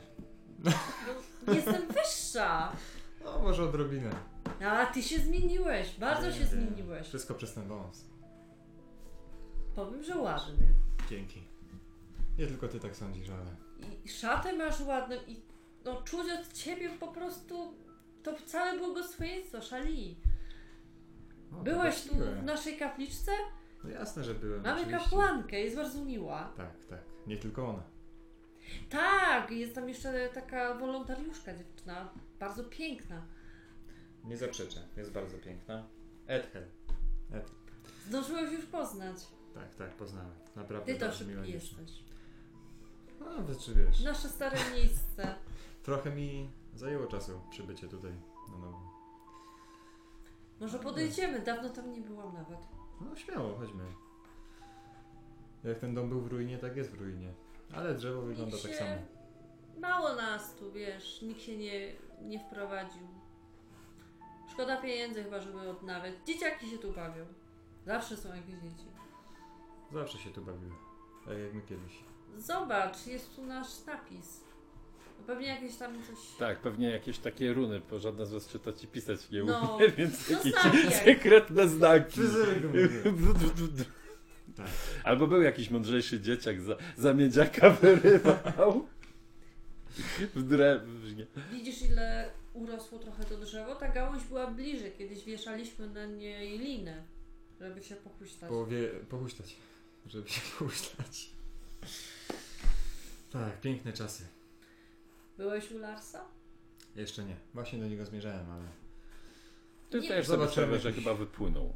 S5: No, jestem wyższa!
S2: No, może odrobinę.
S5: No, A ty się zmieniłeś, bardzo się
S2: Wiem, wiem.
S5: zmieniłeś.
S2: Wszystko przez ten wąs.
S5: Powiem, że ładny.
S2: Dzięki. Nie tylko ty tak sądzisz, ale...
S5: I szatę masz ładną i no, czuć od ciebie po prostu to całe błogosławieństwo, szali.
S2: No, to
S5: Byłeś tu
S2: właściwe.
S5: w naszej kapliczce?
S2: No jasne, że byłem.
S5: Mamy
S2: oczywiście.
S5: kapłankę, jest bardzo miła.
S2: Tak, tak. Nie tylko ona.
S5: Tak, jest tam jeszcze taka wolontariuszka dziewczyna, bardzo piękna.
S2: Nie zaprzeczę. Jest bardzo piękna. Edhel.
S5: Zdążyłeś już poznać.
S2: Tak, tak, poznałem. Naprawdę
S5: Ty to
S2: bardzo miła
S5: szybki
S2: dziewczyna.
S5: jesteś.
S2: No, to czy wiesz.
S5: Nasze stare miejsce.
S2: Trochę mi zajęło czasu przybycie tutaj na nowo.
S5: Może podejdziemy, dawno tam nie byłam nawet.
S2: No śmiało, chodźmy. Jak ten dom był w ruinie, tak jest w ruinie. Ale drzewo wygląda tak
S5: się-
S2: samo.
S5: Mało nas tu, wiesz, nikt się nie, nie wprowadził. Szkoda pieniędzy chyba, żeby odnawiać. Dzieciaki się tu bawią. Zawsze są jakieś dzieci.
S2: Zawsze się tu bawiły. Tak jak my kiedyś.
S5: Zobacz, jest tu nasz napis. No Pewnie jakieś tam coś...
S1: Tak, pewnie jakieś takie runy, bo żadna z was czytać i pisać nie
S5: No.
S1: umie, więc
S5: No
S1: jakieś
S5: znaki.
S1: sekretne znaki.
S2: Przyzywy mówię. Tak.
S1: Albo był jakiś mądrzejszy dzieciak, za, za miedziaka wyrywał. W drewnie.
S5: Widzisz, ile urosło trochę to drzewo? Ta gałąź była bliżej. Kiedyś wieszaliśmy na niej linę, żeby się pochuśtać.
S2: Powie... pohuśtać. Żeby się pohuśtać. Tak, piękne czasy.
S5: Byłeś u Larsa?
S2: Jeszcze nie. Właśnie do niego zmierzałem, ale
S1: Ty
S5: Nie,
S1: też
S2: zobaczymy
S1: zobaczymy, że
S2: jakiś-
S1: chyba wypłynął.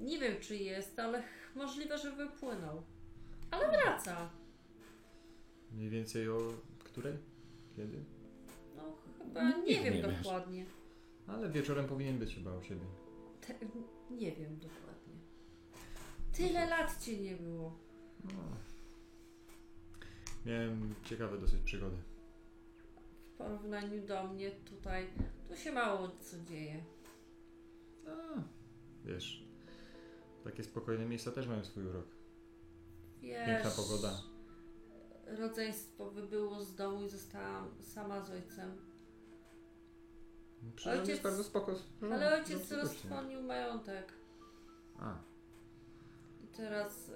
S5: Nie wiem, czy jest, ale ch- możliwe, że wypłynął. Ale wraca.
S2: mniej więcej o której? Kiedy?
S5: No, chyba nie,
S1: Nikt
S5: wiem
S1: nie wie.
S5: dokładnie.
S2: Ale wieczorem powinien być chyba u siebie.
S5: Te, nie wiem dokładnie. Tyle lat cię nie było.
S2: No. Miałem ciekawe dosyć przygody.
S5: W porównaniu do mnie tutaj, tu się mało co dzieje.
S2: A, wiesz, takie spokojne miejsca też mają swój urok.
S5: Wiesz,
S2: Piękna pogoda.
S5: Rodzeństwo wybyło z domu i zostałam sama z ojcem.
S2: Przyroda
S5: Ojciec-
S2: jest bardzo spoko.
S5: Ale ojciec
S2: dobrze gościem.
S5: roztrwonił majątek.
S2: A,
S5: I teraz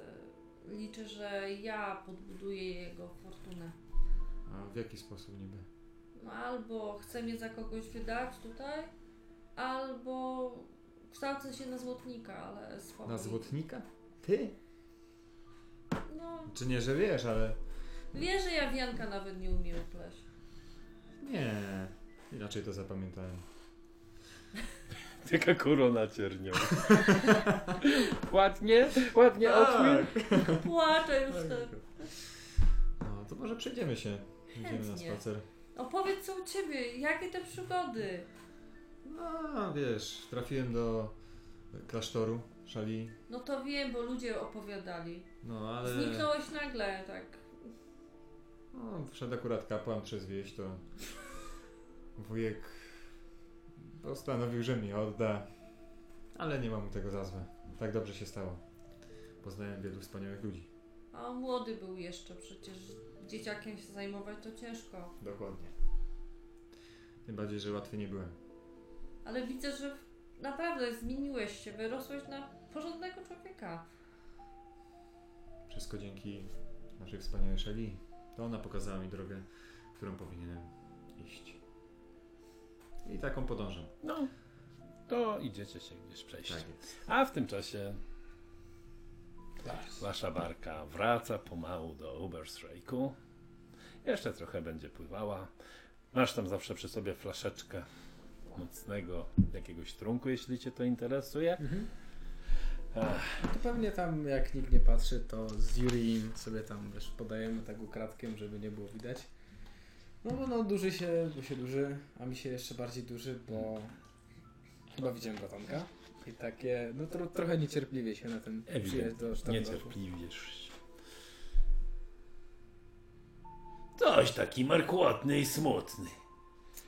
S5: e, liczę, że ja podbuduję jego fortunę.
S2: a w jaki sposób niby?
S5: No albo chcę mnie za kogoś wydać tutaj, albo kształcę się na złotnika, ale słabo.
S2: Na złotnika? Ty?
S5: No,
S2: Czy nie, że wiesz, ale...
S5: wie, że ja wianka nawet nie umiem pleść.
S2: Nie, inaczej to zapamiętałem.
S1: Tylko korona ciernią. ładnie, ładnie
S3: Tak.
S1: odmień.
S5: Płaczę już tak.
S2: No, to może przejdziemy się. Idziemy na
S5: Chętnie.
S2: spacer.
S5: Opowiedz co u ciebie, jakie te przygody?
S2: No, wiesz, trafiłem do klasztoru szali.
S5: No to wiem, bo ludzie opowiadali.
S2: No, ale...
S5: Zniknąłeś nagle, tak.
S2: No, wszedł akurat kapłan przez wieś, to wujek postanowił, że mi odda, ale nie mam mu tego za złe. Tak dobrze się stało. Poznałem wielu wspaniałych ludzi.
S5: A on młody był jeszcze, przecież dzieciakiem się zajmować to ciężko.
S2: Dokładnie. Tym bardziej, że łatwy nie byłem.
S5: Ale widzę, że naprawdę zmieniłeś się, wyrosłeś na porządnego człowieka.
S2: Wszystko dzięki naszej wspaniałej Szeli. To ona pokazała mi drogę, którą powinienem iść. I taką podążam.
S1: No, to idziecie się gdzieś przejść.
S2: Tak jest.
S1: A w tym czasie
S3: Tak.
S1: wasza barka wraca pomału do Uberstrajku. Jeszcze trochę będzie pływała. Masz tam zawsze przy sobie flaszeczkę mocnego jakiegoś trunku, jeśli cię to interesuje. Ach,
S6: Mhm. To pewnie tam, jak nikt nie patrzy, to z Jurim sobie tam wiesz, podajemy tak ukradkiem, żeby nie było widać. No bo no, duży się, bo się duży, a mi się jeszcze bardziej duży, bo chyba widziałem gatonka. I takie, no to trochę niecierpliwie się na ten
S1: Ewidentnie.
S6: przyjazd do sztandaru.
S1: niecierpliwisz. Coś taki markłotny i smutny.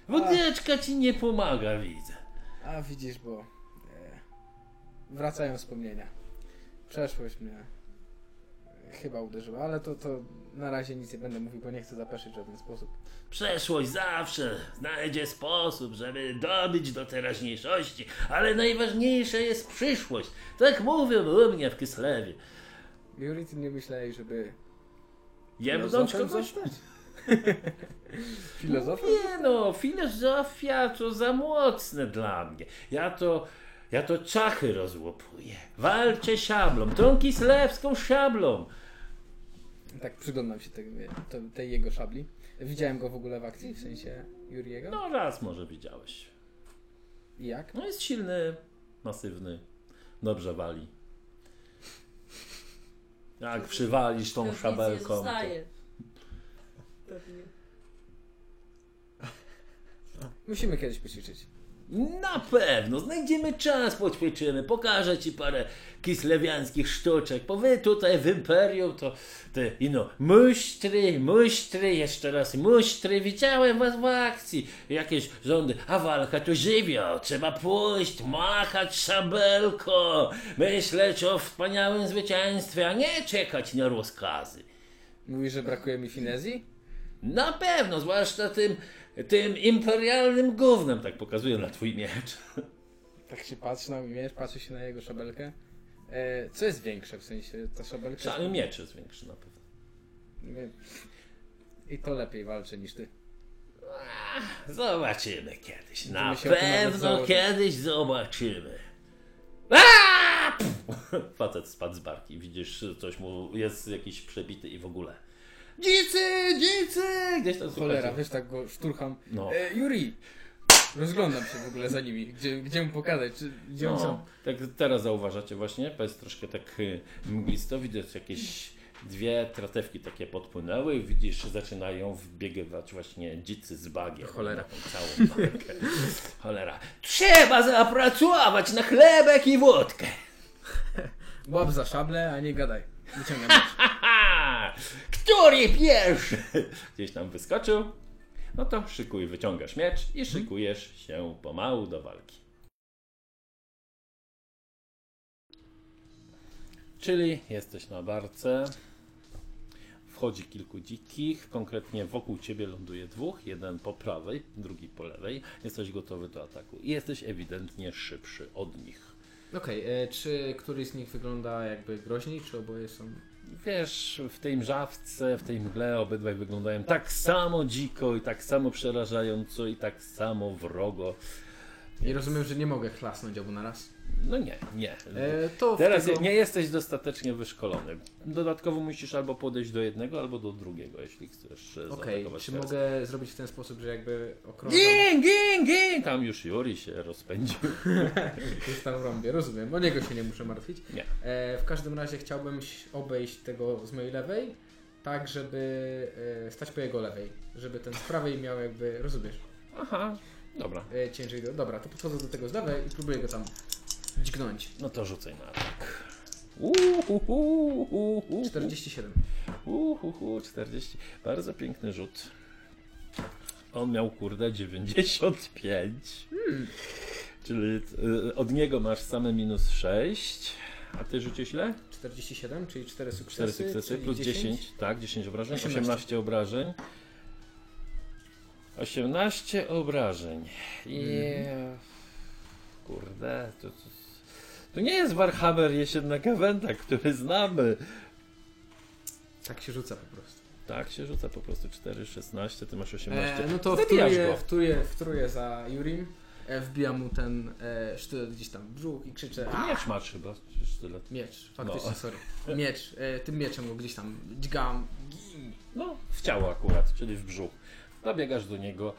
S1: Wódeczka ci nie pomaga, widzę.
S6: A widzisz, bo e, wracają wspomnienia. Przeszłość mnie e, chyba uderzyła, ale to, to na razie nic nie będę mówił, bo nie chcę zapeszyć w żaden sposób.
S1: Przeszłość zawsze znajdzie sposób, żeby dobić do teraźniejszości, ale najważniejsza jest przyszłość. Tak mówią u mnie w Kislewie.
S6: Juri, ty nie myślałeś, żeby No,
S1: Jemnąć
S6: Filozofem
S1: kogoś?
S6: zostać? Filozofem?
S1: Nie no, filozofia to za mocne dla mnie. Ja to, ja to czachy rozłopuję. Walczę szablą, tą kislewską szablą.
S6: Tak przyglądam się tej, te- tej jego szabli. Widziałem go w ogóle w akcji, w sensie Juriego.
S1: No raz może widziałeś.
S6: I jak?
S1: No jest silny, masywny, dobrze wali. Jak przywalisz tą
S5: Pewnie nic nie
S1: szabelką. to-
S5: zostaje. Pewnie.
S6: Musimy kiedyś poćwiczyć.
S1: Na pewno, znajdziemy czas, poćwiczymy, pokażę ci parę kislewiańskich sztuczek, bo wy tutaj w Imperium to te, ino, musztry, musztry, jeszcze raz musztry, widziałem was w akcji, jakieś rządy, a walka to żywioł, trzeba pójść, machać szabelką, myśleć o wspaniałym zwycięstwie, a nie czekać na rozkazy.
S6: Mówisz, że brakuje mi finezji?
S1: Na pewno, zwłaszcza tym, tym imperialnym gównem, tak pokazuję na twój miecz.
S6: Tak się patrzy na mnie, patrzy się na jego szabelkę. E, co jest większe, w sensie ta szabelka?
S1: Cały miecz jest większy na pewno.
S6: Nie. I to lepiej walczy niż ty.
S1: Zobaczymy kiedyś. Na
S6: Będziemy się o tym nawet
S1: pewno
S6: założyć.
S1: kiedyś zobaczymy. Aaa! Pff! Facet spadł z barki. Widzisz, coś mu jest jakiś przebity i w ogóle.
S3: Dzicy, dzicy! Gdzieś tam Cholera,
S1: słuchajcie.
S3: wiesz, tak go szturcham.
S1: No.
S3: E, Juri! Rozglądam się w ogóle za nimi. Gdzie, gdzie mu pokazać? Czy, gdzie on sam?
S1: No, tak teraz zauważacie właśnie, to jest troszkę tak y, mglisto, widać jakieś dwie tratewki takie podpłynęły i widzisz, zaczynają wbiegywać właśnie dzicy z bagiem.
S3: Cholera.
S1: Na tą Całą bakę. Cholera. Trzeba zapracować na chlebek i wódkę.
S3: Łap za szablę, a nie gadaj. Wyciągam miecz.
S1: Aha! Który pierwszy? Gdzieś tam wyskoczył. No to szykuj, wyciągasz miecz i szykujesz się pomału do walki. Czyli jesteś na barce. Wchodzi kilku dzikich, konkretnie wokół ciebie ląduje dwóch, jeden po prawej, drugi po lewej. Jesteś gotowy do ataku i jesteś ewidentnie szybszy od nich.
S6: Okej, e, czy któryś z nich wygląda jakby groźniej, czy oboje są...
S1: Wiesz, w tej mrzawce, w tej mgle obydwaj wyglądają tak samo dziko i tak samo przerażająco i tak samo wrogo.
S6: I rozumiem, że nie mogę chlasnąć obu na raz.
S1: No nie, nie.
S6: E, to w
S1: Teraz
S6: tego...
S1: nie jesteś dostatecznie wyszkolony. Dodatkowo musisz albo podejść do jednego, albo do drugiego, jeśli chcesz e,
S6: Okej,
S1: zaatakować
S6: czy
S1: teraz.
S6: mogę zrobić w ten sposób, że jakby okrążam...
S1: Gin, gin, gin! Tam już Juri się rozpędził.
S6: Jest tam w rąbie, rozumiem. O niego się nie muszę martwić.
S1: Nie.
S6: E, w każdym razie chciałbym ś- obejść tego z mojej lewej, tak żeby e, stać po jego lewej. Żeby ten z prawej miał jakby, rozumiesz,
S1: Aha, dobra.
S6: e, ciężej do... Dobra, to podchodzę do tego z lewej i próbuję go tam dźgnąć.
S1: No to rzucaj na atak. Uhuhu, uhuhu,
S6: 47.
S1: Uhuhu, 40. Bardzo piękny rzut. On miał, kurde, 95.
S6: Hmm.
S1: Czyli y, od niego masz same minus 6. A ty rzuciłeś ile?
S6: 47, czyli 4 sukcesy.
S1: 4 sukcesy
S6: czyli
S1: plus 10. Tak, 10 obrażeń. 18,
S6: 18.
S1: obrażeń. 18 obrażeń. I...
S6: Hmm.
S1: Mhm. Kurde, to, to, to nie jest Warhammer jesienna kawęda, który znamy.
S6: Tak się rzuca po prostu.
S1: Tak się rzuca po prostu 4, 16, ty masz 18.
S6: E, no to
S1: Zabijasz
S6: wtruję,
S1: go.
S6: wtruję, wtruję za Jurim, e, wbijam mu ten e, sztylet gdzieś tam w brzuch i krzyczę "A!"
S1: Miecz masz chyba, czy sztylet.
S6: Miecz,
S1: No.
S6: faktycznie, sorry. Miecz, e, tym mieczem go gdzieś tam dźgam. Gin.
S1: No, w ciało akurat, czyli w brzuch. Zabiegasz do niego.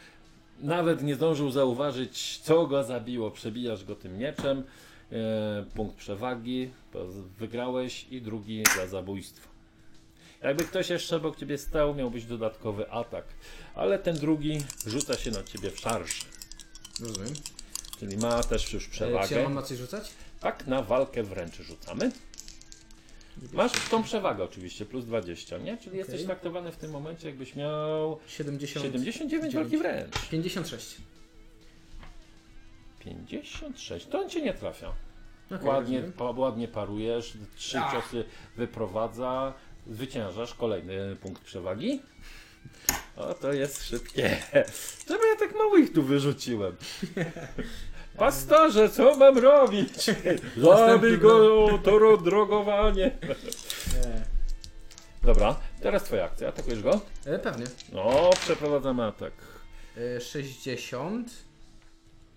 S1: Nawet nie zdążył zauważyć, co go zabiło. Przebijasz go tym mieczem. E, punkt przewagi. bo z- Wygrałeś i drugi za zabójstwo. Jakby ktoś jeszcze obok ciebie stał, miałbyś dodatkowy atak. Ale ten drugi rzuca się na ciebie w szarży.
S6: Rozumiem.
S1: Czyli ma też już
S6: E, czy ja mam
S1: przewagę.
S6: na coś rzucać?
S1: Tak, na walkę wręcz rzucamy. Masz tą przewagę oczywiście, plus 20, nie? Czyli jesteś traktowany w tym momencie, jakbyś miał
S6: 70.
S1: 79 walki wręcz.
S6: 56.
S1: 56. To on cię nie trafia.
S6: Okej,
S1: Ładnie,
S6: rozumiem.
S1: pa, ładnie parujesz, trzy ciosy wyprowadza, zwyciężasz kolejny punkt przewagi. O, to jest szybkie. Czemu ja tak mało ich tu wyrzuciłem? Pastorze, co mam robić? Zabij go, toro drogowanie.
S3: Nie.
S1: Dobra, teraz twoja akcja. Atakujesz go?
S6: E, pewnie.
S1: No, przeprowadzamy atak.
S6: E, 60.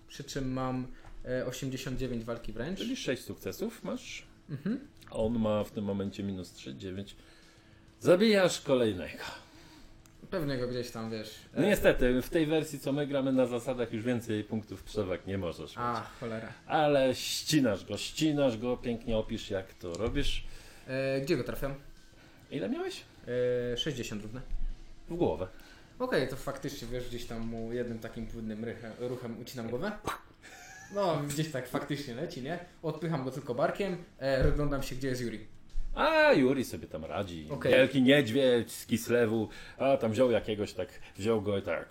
S6: Przy czym mam e, 89 walki wręcz.
S1: Czyli 6 sukcesów masz.
S6: Mhm.
S1: A on ma w tym momencie minus 3, 9. Zabijasz kolejnego.
S6: Pewnie go gdzieś tam wiesz.
S1: No niestety, w tej wersji co my gramy na zasadach już więcej punktów przewag nie możesz
S6: A,
S1: mieć.
S6: cholera.
S1: Ale ścinasz go, ścinasz go, pięknie opisz jak to robisz.
S6: E, gdzie go trafiam?
S1: Ile miałeś?
S6: E, 60 równe.
S1: W głowę.
S6: Okej, to faktycznie wiesz, gdzieś tam mu jednym takim płynnym rychem, ruchem ucinam głowę. No, gdzieś tak faktycznie leci, nie? Odpycham go tylko barkiem, e, rozglądam się, gdzie jest Yuri.
S1: A Juri sobie tam radzi.
S6: Okej.
S1: Wielki niedźwiedź z Kislewu, a tam wziął jakiegoś tak, wziął go i tak.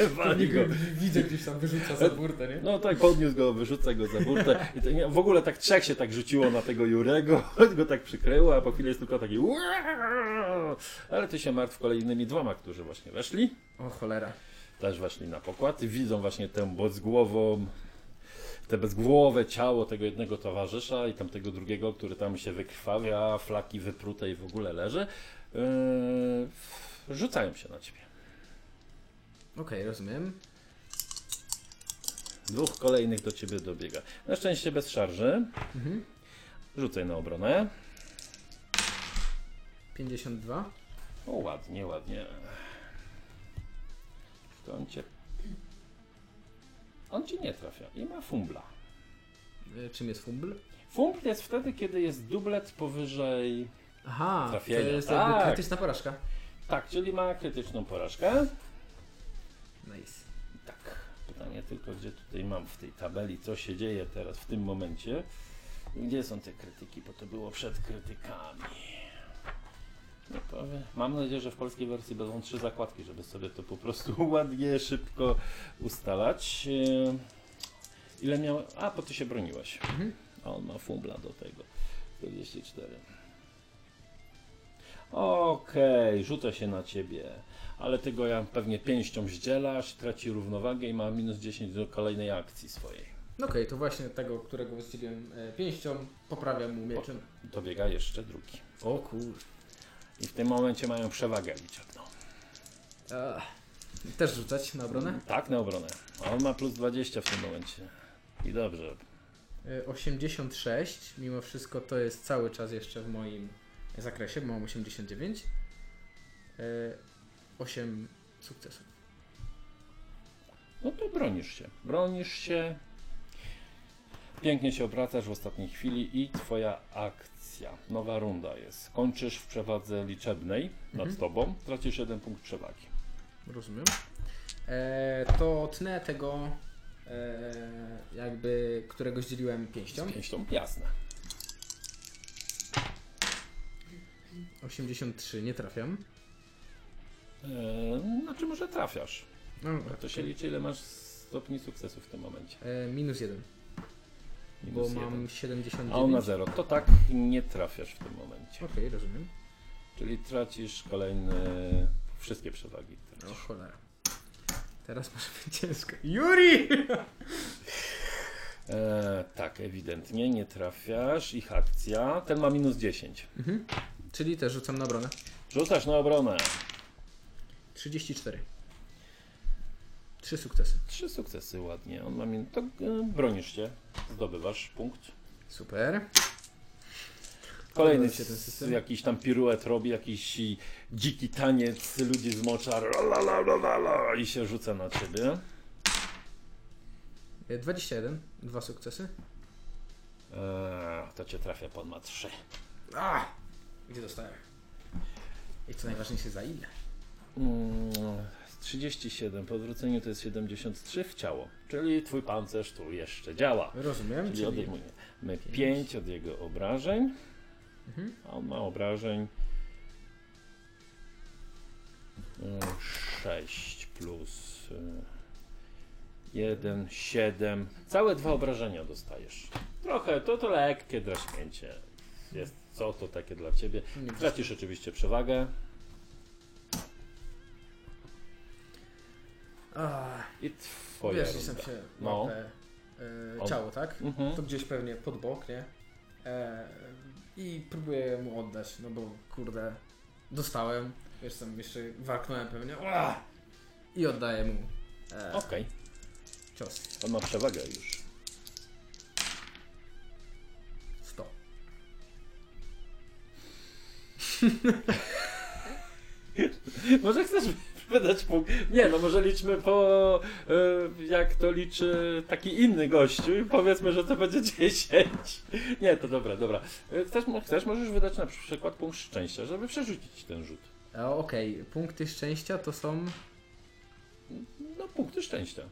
S1: Wali go.
S6: Widzę gdzieś tam wyrzuca za burtę, nie?
S1: No tak, podniósł go, wyrzuca go za burtę. I to, nie, w ogóle tak trzech się tak rzuciło na tego Jurego, go tak przykryło, a po chwili jest tylko taki "Uaaaa". Ale ty się martw kolejnymi dwoma, którzy właśnie weszli.
S6: O cholera.
S1: Też weszli na pokład i widzą właśnie tę bezgłową, te bezgłowe ciało tego jednego towarzysza i tamtego drugiego, który tam się wykrwawia, flaki wyprute i w ogóle leży. Yy, rzucają się na ciebie.
S6: Okej, rozumiem.
S1: Dwóch kolejnych do ciebie dobiega. Na szczęście bez szarży. Rzucaj na obronę.
S6: 52.
S1: O, ładnie, ładnie. To on cię... On ci nie trafia i ma fumbla.
S6: E, Czym jest fumble?
S1: Fumbl jest wtedy, kiedy jest dublet powyżej...
S6: Aha,
S1: Trafienia,
S6: to jest jakby
S1: tak.
S6: krytyczna porażka.
S1: Tak, czyli ma krytyczną porażkę.
S6: Nice.
S1: Tak. Pytanie tylko, gdzie tutaj mam w tej tabeli, co się dzieje teraz w tym momencie. Gdzie są te krytyki, bo to było przed krytykami. No powiem. Mam nadzieję, że w polskiej wersji będą trzy zakładki, żeby sobie to po prostu ładnie, szybko ustalać. Eee, Ile miał... A, bo ty się broniłeś.
S6: Mhm.
S1: A on ma fumbla do tego. 44. Okej, rzucę się na ciebie. Ale ty go ja pewnie pięścią zdzielasz, traci równowagę i ma minus 10 do kolejnej akcji swojej.
S6: No okej, to właśnie tego, którego zdzieliłem e, pięścią, poprawiam mu mieczem.
S1: Dobiega jeszcze drugi.
S6: O kur...
S1: I w tym momencie mają przewagę liczebną.
S6: Ach. E, Też rzucać na obronę?
S1: Tak, na obronę. A on ma plus 20 w tym momencie. I dobrze.
S6: E, 86, mimo wszystko to jest cały czas jeszcze w moim zakresie, bo mam 89. 8 sukcesów.
S1: No to bronisz się. Bronisz się. Pięknie się obracasz w ostatniej chwili i twoja akcja. Nowa runda jest. Kończysz w przewadze liczebnej nad
S6: Mhm.
S1: tobą. Tracisz jeden punkt przewagi.
S6: Rozumiem. E, to tnę tego, e, jakby, którego zdzieliłem pięścią.
S1: Z pięścią? Jasne.
S6: 83, nie trafiam.
S1: Eee, znaczy może trafiasz.
S6: No,
S1: A to się liczy ile masz stopni sukcesu w tym momencie.
S6: e, minus 1, bo
S1: Minus
S6: mam
S1: jeden.
S6: 79.
S1: A on ma 0. To tak nie trafiasz w tym momencie.
S6: Okej, rozumiem.
S1: Czyli tracisz kolejne wszystkie przewagi.
S6: O
S1: Tracisz.
S6: cholera. Teraz może być ciężko. Juri!
S1: Eee, tak, ewidentnie nie trafiasz. Ich akcja. Ten ma minus 10.
S6: Mhm. Czyli też rzucam na obronę.
S1: Rzucasz na obronę.
S6: 34. Trzy sukcesy.
S1: Trzy sukcesy ładnie. On ma min... To e, bronisz się. Zdobywasz punkt.
S6: Super.
S1: Kolejny
S6: Podoba mi się ten
S1: s-
S6: system.
S1: jakiś tam piruet robi, jakiś i, dziki taniec ludzi z mocza ra, la, la, la, la, la, i się rzuca na ciebie.
S6: E, 21. Dwa sukcesy.
S1: Eee, to cię trafia, pan ma trzy.
S6: A! Gdzie dostałem? I co najważniejsze, za ile?
S1: Mm, 37, po odwróceniu to jest 73 w ciało, czyli twój pancerz tu jeszcze działa.
S6: Rozumiem,
S1: Czyli
S6: czyli...
S1: odejmujemy 5 od jego obrażeń,
S6: Mhm.
S1: a on ma obrażeń 6 e, plus e, 1, 7. Całe dwa obrażenia dostajesz. Trochę, to to lekkie draśnięcie. Jest co to takie dla ciebie.
S6: Nie wiem.
S1: Tracisz oczywiście przewagę.
S6: A,
S1: I twoja
S6: Wiesz,
S1: runda.
S6: jestem się
S1: No.
S6: no. łapę e,
S1: On-
S6: ciało, tak?
S1: Mhm.
S6: To gdzieś pewnie pod bok, nie? E, I próbuję mu oddać, no bo kurde, dostałem. Wiesz, tam jeszcze warknąłem pewnie. Ua! I oddaję mu e,
S1: Okej,
S6: cios.
S1: on ma przewagę już.
S6: 100.
S1: może chcesz wydać punkt? Nie, no może liczmy po, y, jak to liczy taki inny gościu i powiedzmy, że to będzie 10. Nie, to dobra, dobra. Y, Chcesz, mo- chcesz możesz wydać na przykład punkt szczęścia, żeby przerzucić ten rzut.
S6: E, Okej, punkty szczęścia to są.
S1: No, punkty szczęścia.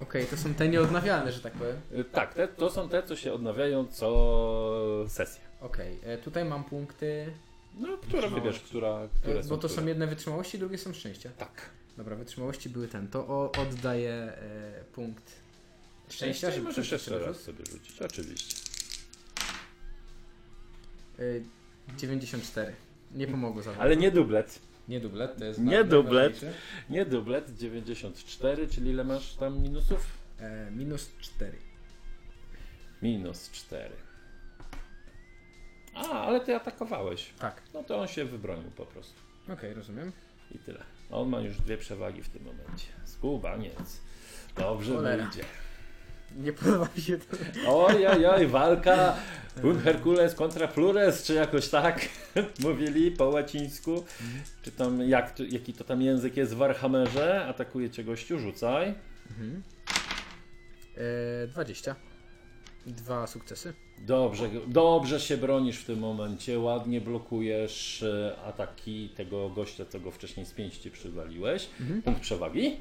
S6: Okej, to są te nieodnawialne, że tak powiem.
S1: Y, Tak, te, to są te, co się odnawiają co sesję.
S6: Okej, e, tutaj mam punkty.
S1: No, która wybierz, która,
S6: e,
S1: które są
S6: bo to
S1: które.
S6: są jedne wytrzymałości, drugie są szczęścia.
S1: Tak.
S6: Dobra, wytrzymałości były ten. To o, oddaję e, punkt szczęścia,
S1: Szczęście
S6: żeby
S1: możesz
S6: przerzucić
S1: jeszcze raz
S6: rzut.
S1: sobie rzucić, oczywiście.
S6: E, 94. Nie pomogło za
S1: Ale nie dublet.
S6: Nie dublet, to jest.
S1: Nie
S6: bardzo
S1: dublet.
S6: ważniejsze.
S1: Nie dublet, 94, czyli ile masz tam minusów?
S6: E, minus 4.
S1: Minus 4. A, ale ty atakowałeś.
S6: Tak.
S1: No to on się wybronił po prostu.
S6: Okej, rozumiem.
S1: I tyle. A On ma już dwie przewagi w tym momencie. Skubaniec. Dobrze mu
S6: Cholera.
S1: idzie.
S6: Nie podoba mi się to.
S1: Ojojoj, walka Un Hercules kontra Flores, czy jakoś tak mówili po łacińsku. Czy tam, jak, to- jaki to tam język jest w Warhammerze? Atakuje cię gościu, rzucaj.
S6: E, 20. Dwa sukcesy.
S1: Dobrze, dobrze się bronisz w tym momencie, ładnie blokujesz e, ataki tego gościa, co go wcześniej z pięści przywaliłeś. Punkt przewagi.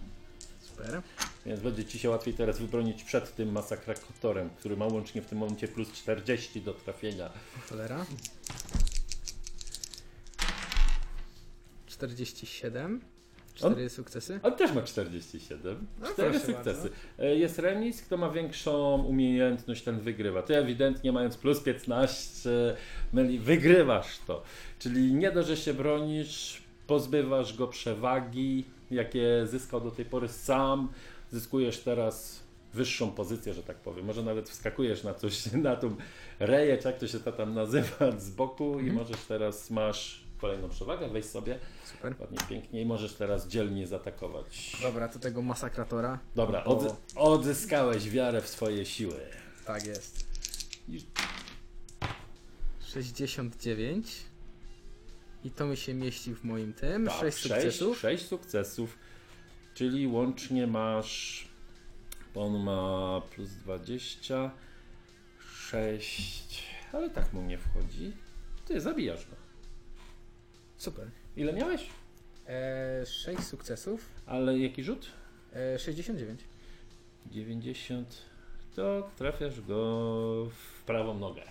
S6: Super.
S1: Więc będzie ci się łatwiej teraz wybronić przed tym masakratorem, który ma łącznie w tym momencie plus 40 do trafienia.
S6: Cholera. 47. Cztery sukcesy. No,
S1: On też ma 47. Cztery
S6: proszę
S1: sukcesy. E, Jest remis, kto ma większą umiejętność, ten wygrywa. Ty ewidentnie mając plus 15, myli, wygrywasz to. Czyli nie dość, że się bronisz, pozbywasz go przewagi, jakie zyskał do tej pory sam, zyskujesz teraz wyższą pozycję, że tak powiem. Może nawet wskakujesz na coś, na tą reję, czy jak to się to tam nazywa, z boku
S6: Mhm.
S1: i możesz teraz, masz kolejną przewagę, weź sobie.
S6: Super.
S1: Ładnie, pięknie i możesz teraz dzielnie zaatakować.
S6: Dobra, to tego masakratora.
S1: Dobra, odzy- odzyskałeś wiarę w swoje siły.
S6: Tak jest. 69. I to mi się mieści w moim tym.
S1: Tak,
S6: 6 sukcesów.
S1: sześć sukcesów, czyli łącznie masz. On ma plus 20, 6, ale tak mu nie wchodzi. Ty zabijasz go.
S6: Super.
S1: Ile miałeś?
S6: E, 6 sukcesów.
S1: Ale jaki rzut?
S6: E, 69.
S1: 90. To trafiasz go w prawą nogę.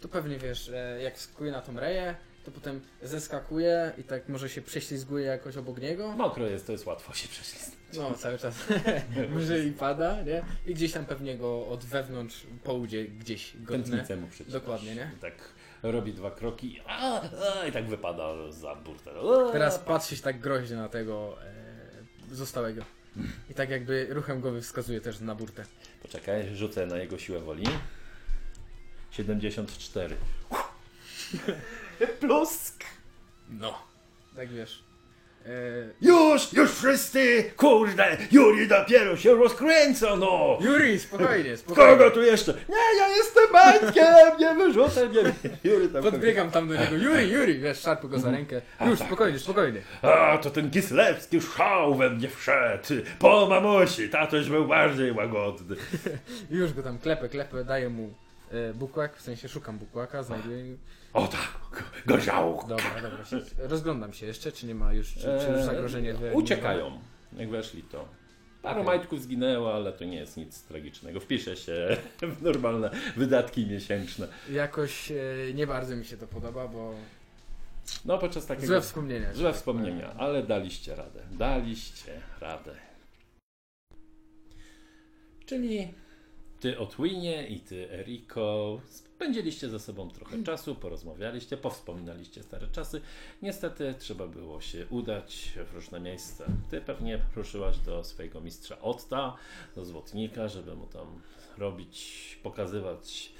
S6: To pewnie wiesz, e, jak skakuje na tą reję, to potem zeskakuje i tak może się prześlizguje jakoś obok niego.
S1: Mokro jest, to jest łatwo się prześlizgnąć.
S6: No, cały czas. Może i pada, nie? I gdzieś tam pewnie go od wewnątrz po udzie gdzieś godne.
S1: Tętnicę mu przecież.
S6: Dokładnie, nie?
S1: I tak robi dwa kroki a, a, i tak wypada za burtę. A.
S6: Teraz patrzysz tak groźnie na tego e, zostałego. I tak jakby ruchem głowy wskazuje też na burtę.
S1: Poczekaj, rzucę na jego siłę woli. 74. Plusk!
S6: No. Tak wiesz. E,
S1: Już, już wszyscy! Kurde, Juri dopiero się rozkręca, no!
S6: Juri, spokojnie, spokojnie.
S1: Kogo tu jeszcze? Nie, ja jestem Maćkiem, nie wyrzucę mnie. Juri tam
S6: Podbiegam tam do niego. Juri, Juri, wiesz, szarpię go za rękę. Już, spokojnie, spokojnie.
S1: A, to ten Gislewski szał we mnie wszedł. Po mamusi, tatoś był bardziej łagodny.
S6: Już go tam klepę, klepę, daję mu e, bukłak, w sensie szukam bukłaka, znajduję.
S1: O tak, gorzało.
S6: Dobra, dobra. Się, rozglądam się jeszcze, czy nie ma już, czy, czy już zagrożenie.
S1: Eee, Uciekają, jak weszli to. Paru majtków zginęło, ale to nie jest nic tragicznego. Wpisze się w normalne wydatki miesięczne.
S6: Jakoś e, nie bardzo mi się to podoba, bo
S1: No podczas takiego...
S6: złe wspomnienia.
S1: złe wspomnienia, ale daliście radę. Daliście radę. Czyli ty Otwinie i ty Eriko spędziliście ze sobą trochę czasu, porozmawialiście, powspominaliście stare czasy. Niestety trzeba było się udać w różne miejsca. Ty pewnie ruszyłaś do swojego mistrza Otta, do złotnika, żeby mu tam robić, pokazywać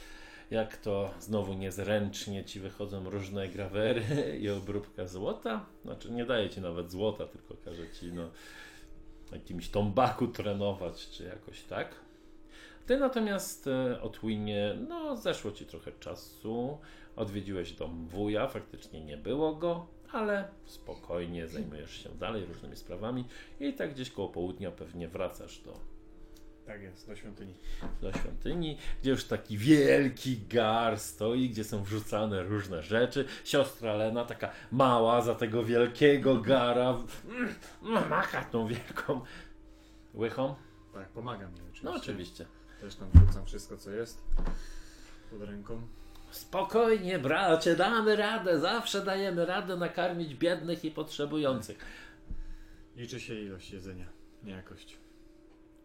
S1: jak to znowu niezręcznie ci wychodzą różne grawery i obróbka złota. Znaczy nie daje ci nawet złota, tylko każe ci no, na jakimś tombaku trenować, czy jakoś tak. Ty natomiast e, o Twinie, no zeszło ci trochę czasu, odwiedziłeś dom wuja, faktycznie nie było go, ale spokojnie zajmujesz się dalej różnymi sprawami i tak gdzieś koło południa pewnie wracasz do
S2: Tak jest, do świątyni.
S1: do świątyni, gdzie już taki wielki gar stoi, gdzie są wrzucane różne rzeczy. Siostra Lena, taka mała, za tego wielkiego gara, w- mm, mm, macha tą wielką łychą.
S2: Tak, pomagam mi oczywiście.
S1: No oczywiście.
S2: Też tam wrzucam wszystko, co jest pod ręką.
S1: Spokojnie, bracie, damy radę, zawsze dajemy radę nakarmić biednych i potrzebujących.
S2: Liczy się ilość jedzenia, nie jakość.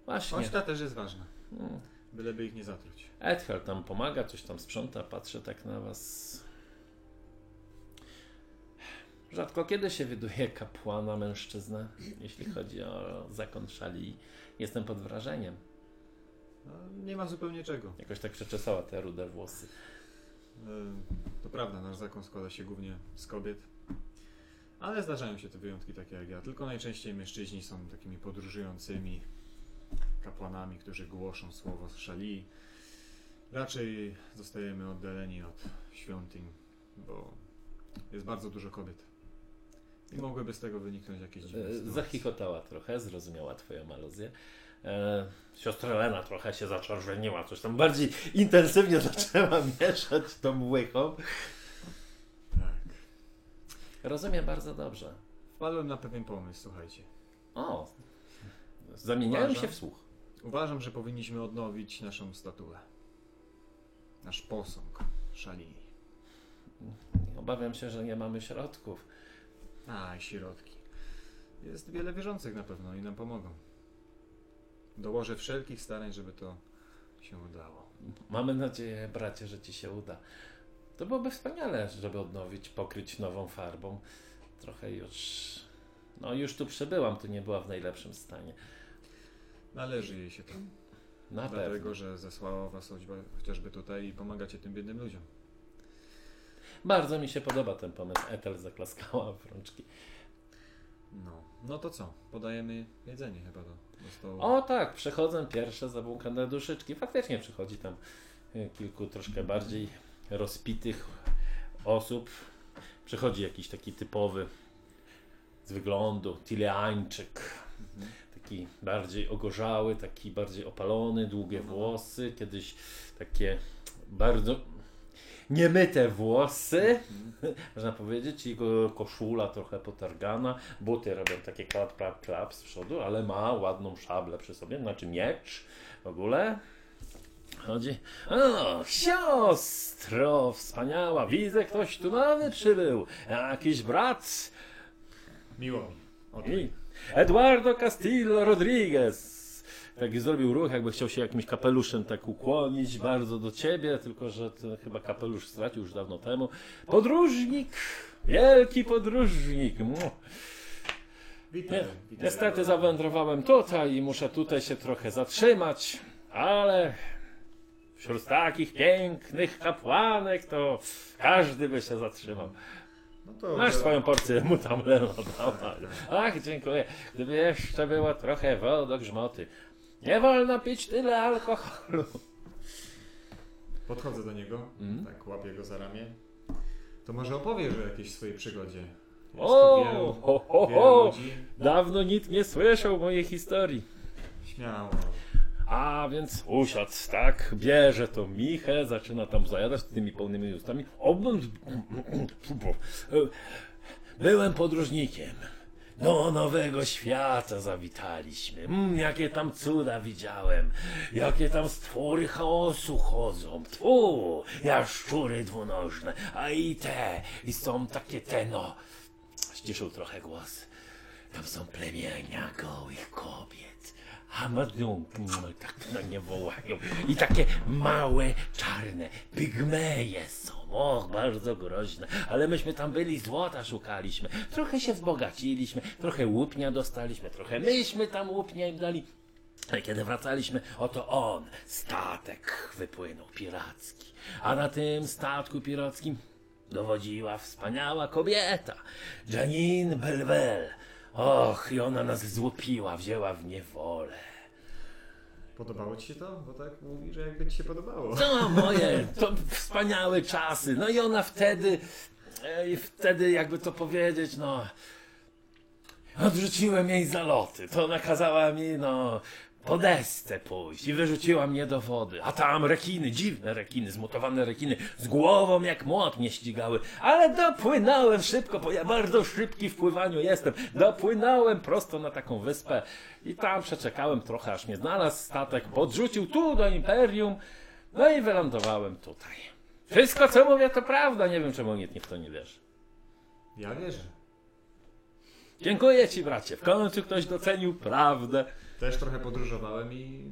S1: Właśnie.
S2: Poczta też jest ważna.
S1: Mm.
S2: Byleby ich nie zatruć.
S1: Edhel tam pomaga, coś tam sprząta, patrzę tak na was. Rzadko kiedy się wyduje kapłana mężczyznę, jeśli chodzi o zakon szali. Jestem pod wrażeniem.
S2: No, nie ma zupełnie czego.
S1: Jakoś tak przeczesała te rude włosy.
S2: Y, To prawda, nasz zakon składa się głównie z kobiet. Ale zdarzają się te wyjątki takie jak ja. Tylko najczęściej mężczyźni są takimi podróżującymi, kapłanami, którzy głoszą słowo z szali. Raczej zostajemy oddaleni od świątyń, bo jest bardzo dużo kobiet. I mogłyby z tego wyniknąć jakieś dziwne
S1: E,
S2: sytuacje.
S1: Zachichotała trochę, zrozumiała twoją aluzję. E, siostra Lena trochę się zaczerwieniła, coś tam bardziej intensywnie zaczęła mieszać tą łychą.
S2: Tak.
S1: Rozumiem bardzo dobrze.
S2: Wpadłem na pewien pomysł, słuchajcie.
S1: O, zamieniałem
S2: Uważam.
S1: się w słuch.
S2: Uważam, że powinniśmy odnowić naszą statuę. Nasz posąg szali.
S1: Obawiam się, że nie mamy środków.
S2: A, i środki. Jest wiele wierzących na pewno i nam pomogą. Dołożę wszelkich starań, żeby to się udało.
S1: Mamy nadzieję, bracie, że ci się uda. To byłoby wspaniale, żeby odnowić, pokryć nową farbą. Trochę już. No, już tu przybyłam, tu nie była w najlepszym stanie.
S2: Należy jej się to.
S1: Na pewno.
S2: Dlatego, że zesłała was choćby- chociażby tutaj i pomagacie tym biednym ludziom.
S1: Bardzo mi się podoba ten pomysł. Etel zaklaskała w rączki.
S2: No. No to co? Podajemy jedzenie chyba do, do stołu.
S1: O tak, przechodzą pierwsze zabłąkane duszyczki. Faktycznie przychodzi tam e, kilku troszkę bardziej rozpitych osób. Przychodzi jakiś taki typowy z wyglądu Tileańczyk. Taki bardziej ogorzały, taki bardziej opalony, długie włosy, kiedyś takie bardzo niemyte włosy, można powiedzieć. Jego koszula trochę potargana, buty robią takie klap, klap, klap z przodu, ale ma ładną szablę przy sobie, znaczy miecz w ogóle. Chodzi. O, siostro, wspaniała, widzę, ktoś tu nowy przybył. Jakiś brat.
S2: Miło mi. O,
S1: I Eduardo Castillo Rodriguez. Tak zrobił ruch, jakby chciał się jakimś kapeluszem tak ukłonić bardzo do ciebie, tylko że to chyba kapelusz stracił już dawno temu. Podróżnik! Wielki podróżnik! Mu.
S2: witaj.
S1: Nie,
S2: witaj.
S1: niestety zawędrowałem tutaj i muszę tutaj się trochę zatrzymać, ale wśród takich pięknych kapłanek to każdy by się zatrzymał.
S2: No to
S1: Masz swoją porcję, mu tam Leno dała. Ach, dziękuję. Gdyby jeszcze było trochę wodogrzmoty. Nie wolno pić tyle alkoholu.
S2: Podchodzę do niego,
S1: Mm.
S2: tak łapię go za ramię. To może opowiesz o jakiejś swojej przygodzie. Jest
S1: O,
S2: tu wielu,
S1: ho, ho,
S2: wielu
S1: ho.
S2: ludzi.
S1: Dawno nikt nie słyszał mojej historii.
S2: Śmiało.
S1: A więc usiadł, tak, bierze tą michę, zaczyna tam zajadać tymi pełnymi ustami. Obym... Byłem podróżnikiem. Do nowego świata zawitaliśmy. Mm, jakie tam cuda widziałem. Jakie tam stwory chaosu chodzą. Tu, jaszczury dwunożne. A i te, i są takie te, no. Ściszył trochę głos. Tam są plemienia gołych kobiet. Hamadung, tak na nie wołają. I takie małe, czarne, pigmeje są. Och, bardzo groźne. Ale myśmy tam byli, złota szukaliśmy. Trochę się wzbogaciliśmy, trochę łupnia dostaliśmy, trochę myśmy tam łupnia im dali. Ale Tak, kiedy wracaliśmy, oto on, statek wypłynął piracki. A na tym statku pirackim dowodziła wspaniała kobieta, Janine Belbel. Och, i ona nas złupiła, wzięła w niewolę.
S2: Podobało ci się to? Bo tak mówi, że jakby ci się podobało.
S1: To No, moje, to wspaniałe czasy. No i ona wtedy, e, i wtedy jakby to powiedzieć, no... Odrzuciłem jej zaloty. To nakazała mi, no, po desce pójść i wyrzuciła mnie do wody. A tam rekiny, dziwne rekiny, zmutowane rekiny, z głową jak młot mnie ścigały. Ale dopłynąłem szybko, bo ja bardzo szybki w pływaniu jestem. Dopłynąłem prosto na taką wyspę i tam przeczekałem trochę, aż mnie znalazł statek, podrzucił tu do imperium, no i wylądowałem tutaj. Wszystko, co mówię, to prawda. Nie wiem, czemu nikt w to nie wierzy.
S2: Ja wierzę.
S1: Dziękuję ci, bracie. W końcu ktoś docenił prawdę.
S2: Też trochę podróżowałem i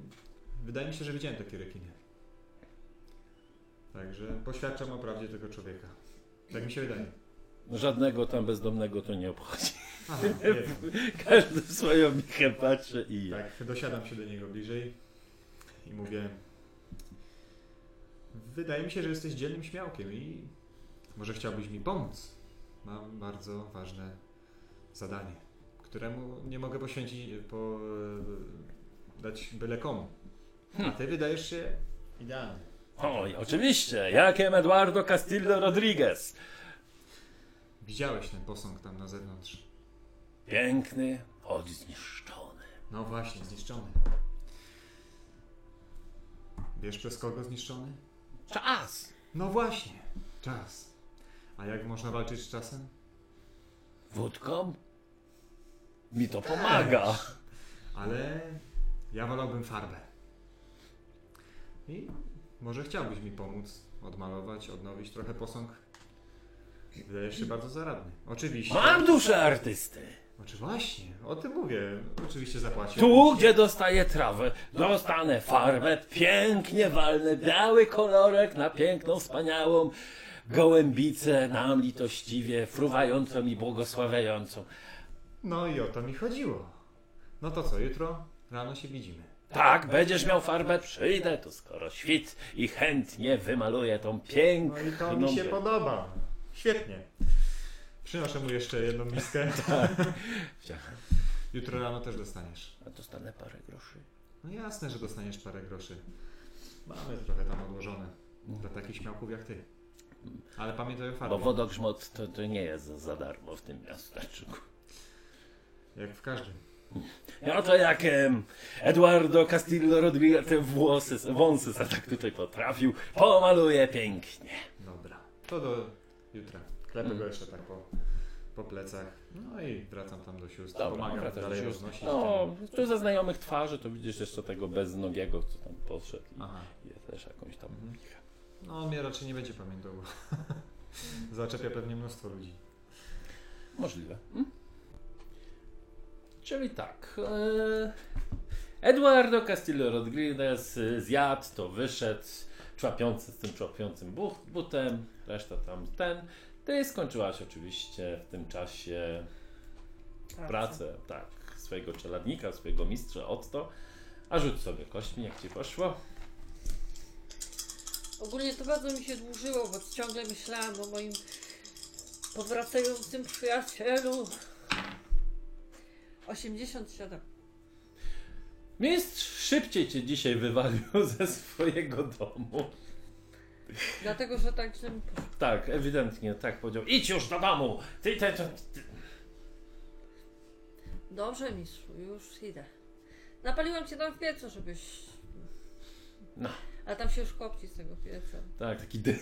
S2: wydaje mi się, że widziałem takie rekiny. Także poświadczam o prawdzie tego człowieka. Tak mi się wydaje.
S1: Żadnego tam bezdomnego to nie obchodzi.
S2: A, nie.
S1: Każdy w swoją michę patrzy i je.
S2: Tak, dosiadam się do niego bliżej i mówię. Wydaje mi się, że jesteś dzielnym śmiałkiem i może chciałbyś mi pomóc. Mam bardzo ważne zadanie, któremu nie mogę poświęcić, po, dać byle komu. A ty wydajesz się idealny.
S1: Oj, oczywiście, jakiem Eduardo Castillo Rodriguez.
S2: Widziałeś ten posąg tam na zewnątrz.
S1: Piękny, choć zniszczony.
S2: No właśnie, zniszczony. Wiesz przez kogo zniszczony?
S1: Czas!
S2: No właśnie, czas. A jak można walczyć z czasem?
S1: Wódką? Mi to pomaga.
S2: Ale ja wolałbym farbę. I może chciałbyś mi pomóc odmalować, odnowić trochę posąg. Wydajesz się bardzo zaradny. Oczywiście.
S1: Mam duszę artysty.
S2: Oczy właśnie, o tym mówię. Oczywiście zapłacię.
S1: Tu, gdzie dostaję trawę, dostanę farbę, pięknie walnę, biały kolorek na piękną, wspaniałą gołębicę, nam litościwie, fruwającą i błogosławiającą.
S2: No i o to mi chodziło. No to co, jutro rano się widzimy.
S1: Tak, będziesz miał farbę, przyjdę tu skoro świt i chętnie wymaluję tą piękną...
S2: No i to mi się podoba. Świetnie. Przynoszę mu jeszcze jedną miskę.
S1: Tak.
S2: Jutro rano też dostaniesz.
S1: A dostanę parę groszy.
S2: No jasne, że dostaniesz parę groszy. Mamy trochę tam odłożone. Dla takich śmiałków jak ty. Ale pamiętaj o
S1: No. Bo
S2: farbie.
S1: wodogrzmot to, to nie jest za- za darmo w tym miasteczku.
S2: Jak w każdym.
S1: No to jak em, Eduardo Castillo Rodriguez te włosy, wąsy se tak tutaj potrafił, pomaluje pięknie.
S2: Dobra. To do jutra. Klepę
S1: Mm.
S2: go jeszcze tak po, po plecach. No i wracam tam do sióstr. Pomagam dalej roznosić.
S1: No, tu ze znajomych twarzy to widzisz jeszcze tego beznogiego, co tam poszedł
S2: ten- Aha.
S1: i jest też jakąś tam...
S2: No on mnie raczej nie będzie pamiętał. bo Zaczepia pewnie mnóstwo ludzi.
S1: Możliwe. Hmm? Czyli tak. E... Eduardo Castillo Rodriguez y, zjadł, to wyszedł, człapiący z tym człapiącym buch- butem, reszta tam ten. Ty skończyłaś oczywiście w tym czasie pracę, tak, swojego czeladnika, swojego mistrza Otto. A rzuć sobie kośćmi, jak ci poszło.
S5: Ogólnie to bardzo mi się dłużyło, bo ciągle myślałam o moim powracającym przyjacielu. 87.
S1: Mistrz szybciej cię dzisiaj wywalił ze swojego domu.
S5: Dlatego, że tak źle mi poszło.
S1: Tak, ewidentnie, tak powiedział. Idź już do domu! Ty, ty, ty, ty.
S5: Dobrze, mistrzu, już idę. Napaliłam cię tam w piecu, żebyś...
S1: No.
S5: A tam się już kopci z tego pieca.
S1: Tak, taki dym.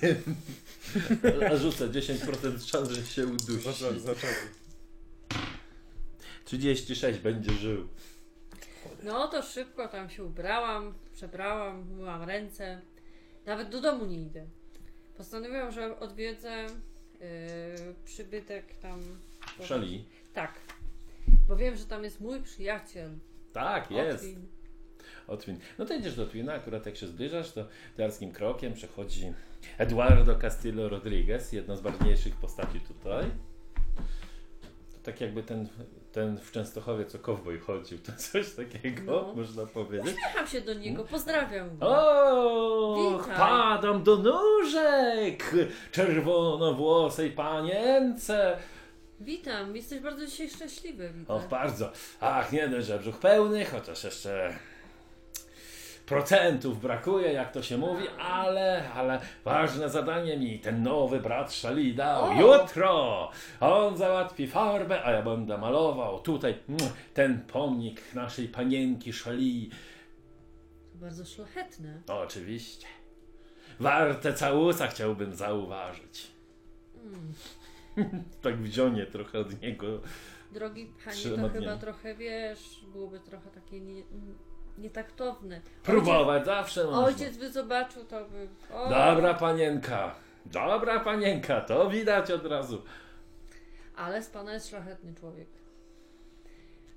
S1: A rzucę 10% szans, że się udusi.
S2: zaczepia.
S1: 36 będzie żył.
S5: No to szybko tam się ubrałam, przebrałam, myłam ręce. Nawet do domu nie idę. Postanowiłam, że odwiedzę yy, przybytek tam...
S1: Szali.
S5: Tak. Bo wiem, że tam jest mój przyjaciel.
S1: Tak, jest.
S5: Otwin.
S1: O Twin. No to idziesz do Twina, akurat jak się zbliżasz, to darskim krokiem przechodzi Eduardo Castillo Rodriguez, jedna z ważniejszych postaci tutaj. To tak jakby ten, ten w Częstochowie, co kowboj chodził, to coś takiego,
S5: No.
S1: można powiedzieć.
S5: Jecham się do niego,
S1: Mm.
S5: pozdrawiam go.
S1: O,
S5: Witaj.
S1: padam do nóżek czerwonowłosej panience.
S5: Witam, jesteś bardzo dzisiaj szczęśliwy. widzę.
S1: O, bardzo. Ach, nie dość, że brzuch pełny, chociaż jeszcze procentów brakuje, jak to się mówi, ale, ale ważne zadanie mi ten nowy brat Szali dał.
S5: O!
S1: Jutro on załatwi farbę, a ja będę malował tutaj mm, ten pomnik naszej panienki Szali.
S5: To bardzo szlachetne.
S1: Oczywiście. Warte całusa chciałbym zauważyć.
S5: Mm.
S1: Tak wzionie trochę od niego.
S5: Drogi panie,
S1: Trzymam
S5: to chyba
S1: dnie.
S5: trochę wiesz, byłoby trochę takie nie, n- nietaktowne.
S1: Próbować zawsze
S5: Ojciec,
S1: można.
S5: ojciec by zobaczył, to by. O,
S1: Dobra panienka. Dobra panienka, to widać od razu.
S5: Ale z pana jest szlachetny człowiek.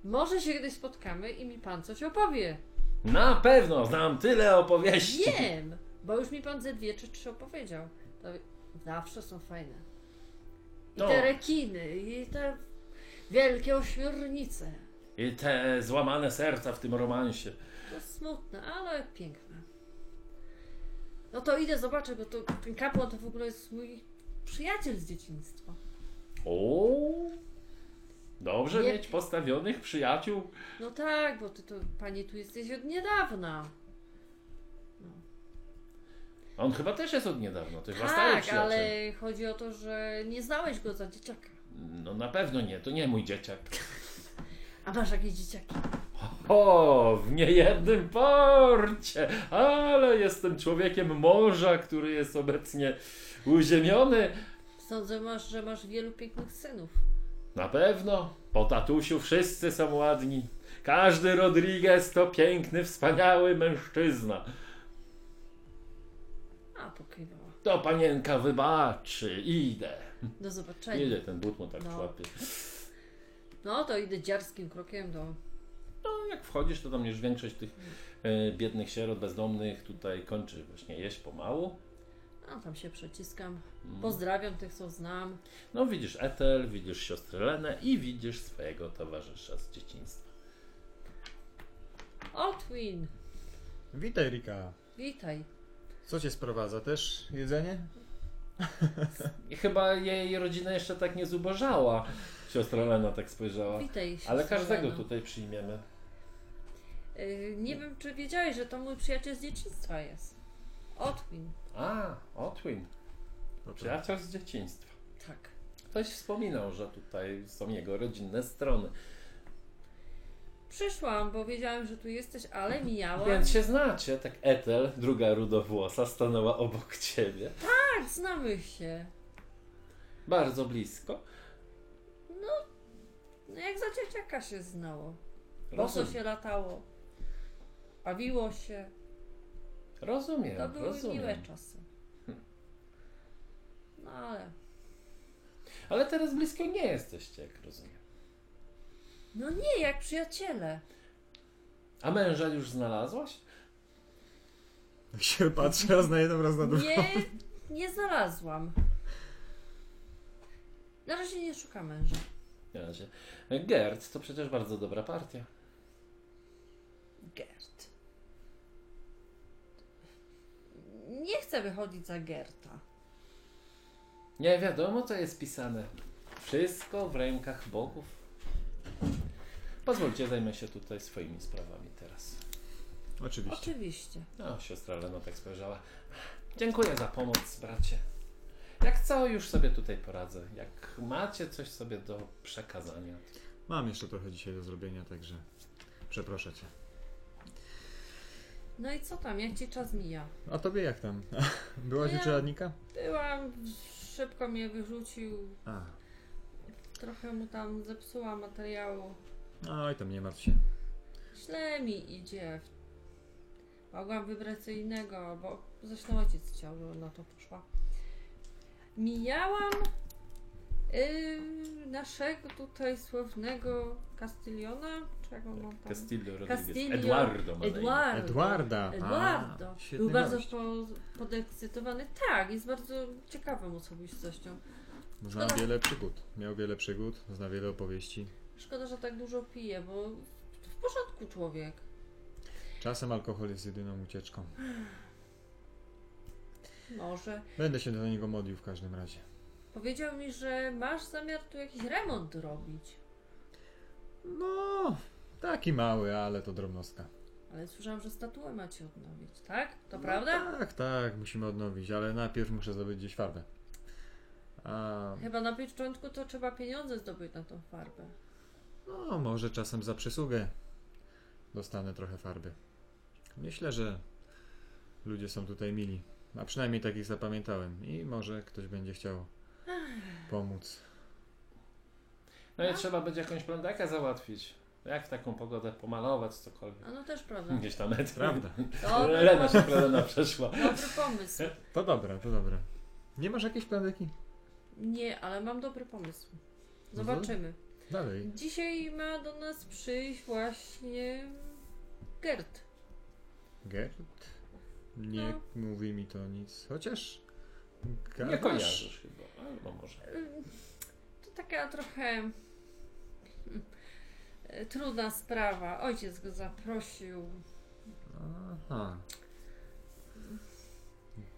S5: Może się kiedyś spotkamy i mi pan coś opowie.
S1: Na pewno znam tyle opowieści.
S5: Wiem, bo już mi pan ze dwie czy trzy opowiedział. To zawsze są fajne. I
S1: No.
S5: te rekiny, i te wielkie ośmiornice.
S1: I te złamane serca w tym romansie.
S5: To smutne, ale piękne. No to idę, zobaczę, bo to, ten kapłan to w ogóle jest mój przyjaciel z dzieciństwa.
S1: O. Dobrze
S5: Nie.
S1: mieć postawionych przyjaciół.
S5: No tak, bo ty to, pani tu jesteś od niedawna.
S1: A on chyba też jest od niedawna, to jest wasz stary
S5: tak,
S1: przyjaciel.
S5: ale chodzi o to, że nie znałeś go za dzieciaka.
S1: No na pewno nie, to nie mój dzieciak.
S5: A masz jakieś dzieciaki?
S1: O, w niejednym porcie, ale jestem człowiekiem morza, który jest obecnie uziemiony.
S5: Sądzę, masz, że masz wielu pięknych synów.
S1: Na pewno, po tatusiu wszyscy są ładni. Każdy Rodriguez to piękny, wspaniały mężczyzna.
S5: A, pokiwała.
S1: To panienka wybaczy, idę.
S5: Do zobaczenia.
S1: Idę, ten but mu tak
S5: No.
S1: łapie.
S5: No to idę dziarskim krokiem do...
S1: No, jak wchodzisz, to tam już większość tych e, biednych sierot, bezdomnych tutaj kończy właśnie jeść pomału.
S5: A, tam się przeciskam.
S1: Mm.
S5: Pozdrawiam tych, co znam.
S1: No widzisz Etel, widzisz siostrę Lenę i widzisz swojego towarzysza z dzieciństwa.
S5: O, Twin!
S2: Witaj, Rika.
S5: Witaj.
S2: Co cię sprowadza? Też jedzenie?
S1: I chyba jej rodzina jeszcze tak nie zubożała. Siostra Lena tak spojrzała.
S5: Witaj.
S1: Ale
S5: siostro
S1: każdego
S5: Leno.
S1: tutaj przyjmiemy.
S5: Y, nie wiem, czy wiedziałeś, że to mój przyjaciel z dzieciństwa jest. Otwin.
S1: A, Otwin,
S2: No to
S1: przyjaciel z dzieciństwa.
S5: Tak.
S1: Ktoś wspominał, że tutaj są jego rodzinne strony,
S5: Przyszłam, bo wiedziałam, że tu jesteś, ale mijałam.
S1: więc się znacie. Tak Etel, druga rudowłosa, stanęła obok ciebie.
S5: Tak, znamy się.
S1: Bardzo blisko.
S5: No jak za dzieciaka się znało. Boso
S1: Rozum,
S5: się latało. Bawiło się.
S1: rozumiem,
S5: To były miłe
S1: rozumiem.
S5: czasy. No ale...
S1: Ale teraz blisko nie jesteście, jak rozumiem.
S5: No nie, jak przyjaciele.
S1: A męża już znalazłaś?
S2: Jak się patrzy raz na jedną, raz na drugą.
S5: Nie, nie znalazłam. Na razie nie szukam męża.
S1: Na razie. Gerd to przecież bardzo dobra partia.
S5: Gert. Nie chcę wychodzić za Gerta.
S1: Nie wiadomo, co jest pisane. Wszystko w rękach bogów. Pozwólcie, zajmę się tutaj swoimi sprawami teraz.
S2: Oczywiście.
S5: Oczywiście.
S1: No, siostra Lena tak spojrzała. Dziękuję za pomoc, bracie. Jak co, już sobie tutaj poradzę. Jak macie coś sobie do przekazania.
S2: Mam jeszcze trochę dzisiaj do zrobienia, także przeproszę cię.
S5: No i co tam, jak ci czas mija?
S2: A tobie jak tam? Byłaś
S5: Ja-
S2: u czeladnika?
S5: Byłam, szybko mnie wyrzucił,
S2: A,
S5: trochę mu tam zepsuła materiału.
S2: oj tam nie martw się.
S5: Źle mi idzie. Mogłam wybrać co innego, bo zresztą ojciec chciał, żebym na to poszła. Mijałam yy, naszego tutaj sławnego Castillona, czego mam tam?
S1: Castillo Rodriguez.
S5: Castillo.
S1: Eduardo ma na imię.
S5: Eduardo.
S2: Eduarda! A,
S5: Eduardo.
S2: świetny
S5: Był bardzo
S2: gość.
S5: po, podekscytowany. Tak, jest bardzo ciekawą osobistością.
S2: Zna wiele przygód. Miał wiele przygód, zna wiele opowieści.
S5: Szkoda, że tak dużo pije, bo w- w porządku człowiek.
S2: Czasem alkohol jest jedyną ucieczką.
S5: Może.
S2: Będę się do niego modlił w każdym razie.
S5: Powiedział mi, że masz zamiar tu jakiś remont robić.
S2: No, taki mały, ale to drobnostka.
S5: Ale słyszałam, że statuę macie odnowić, tak? To prawda?
S2: No, tak, tak, musimy odnowić, ale najpierw muszę zdobyć gdzieś farbę. A,
S5: Chyba na początku to trzeba pieniądze zdobyć na tą farbę.
S2: no, może czasem za przysługę dostanę trochę farby. Myślę, że ludzie są tutaj mili. A przynajmniej takich zapamiętałem. I może ktoś będzie chciał pomóc.
S1: No i trzeba będzie jakąś plandakę załatwić. Jak w taką pogodę pomalować cokolwiek.
S5: A no też prawda.
S1: Gdzieś tam Etel.
S2: Prawda.
S5: Dobry,
S1: Lena się
S5: pomysł.
S1: Lena przeszła.
S5: dobry pomysł.
S2: To dobra, to dobra. Nie masz jakiejś plandyki?
S5: Nie, ale mam dobry pomysł.
S2: Mhm.
S5: Zobaczymy.
S2: Dalej.
S5: Dzisiaj ma do nas przyjść właśnie Gert.
S2: Gerd? Nie mówi mi to nic. Chociaż.
S1: Nie
S2: gadasz?
S1: kojarzysz chyba, albo może.
S5: Ym, To taka trochę mm, y, trudna sprawa. Ojciec go zaprosił.
S2: Aha.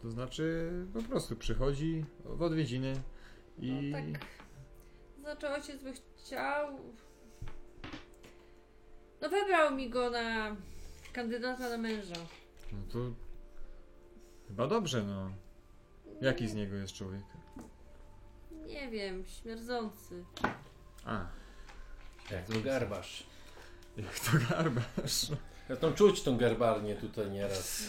S2: To znaczy, po prostu przychodzi w odwiedziny i.
S5: No tak. Znaczy ojciec by chciał... No wybrał mi go na kandydata na męża.
S2: No to chyba dobrze, no. Jaki z niego jest człowiek?
S5: Nie wiem, śmierdzący.
S2: A,
S1: Jak to No, garbasz.
S2: jak to garbasz.
S1: Zresztą czuć tą garbarnię tutaj nieraz.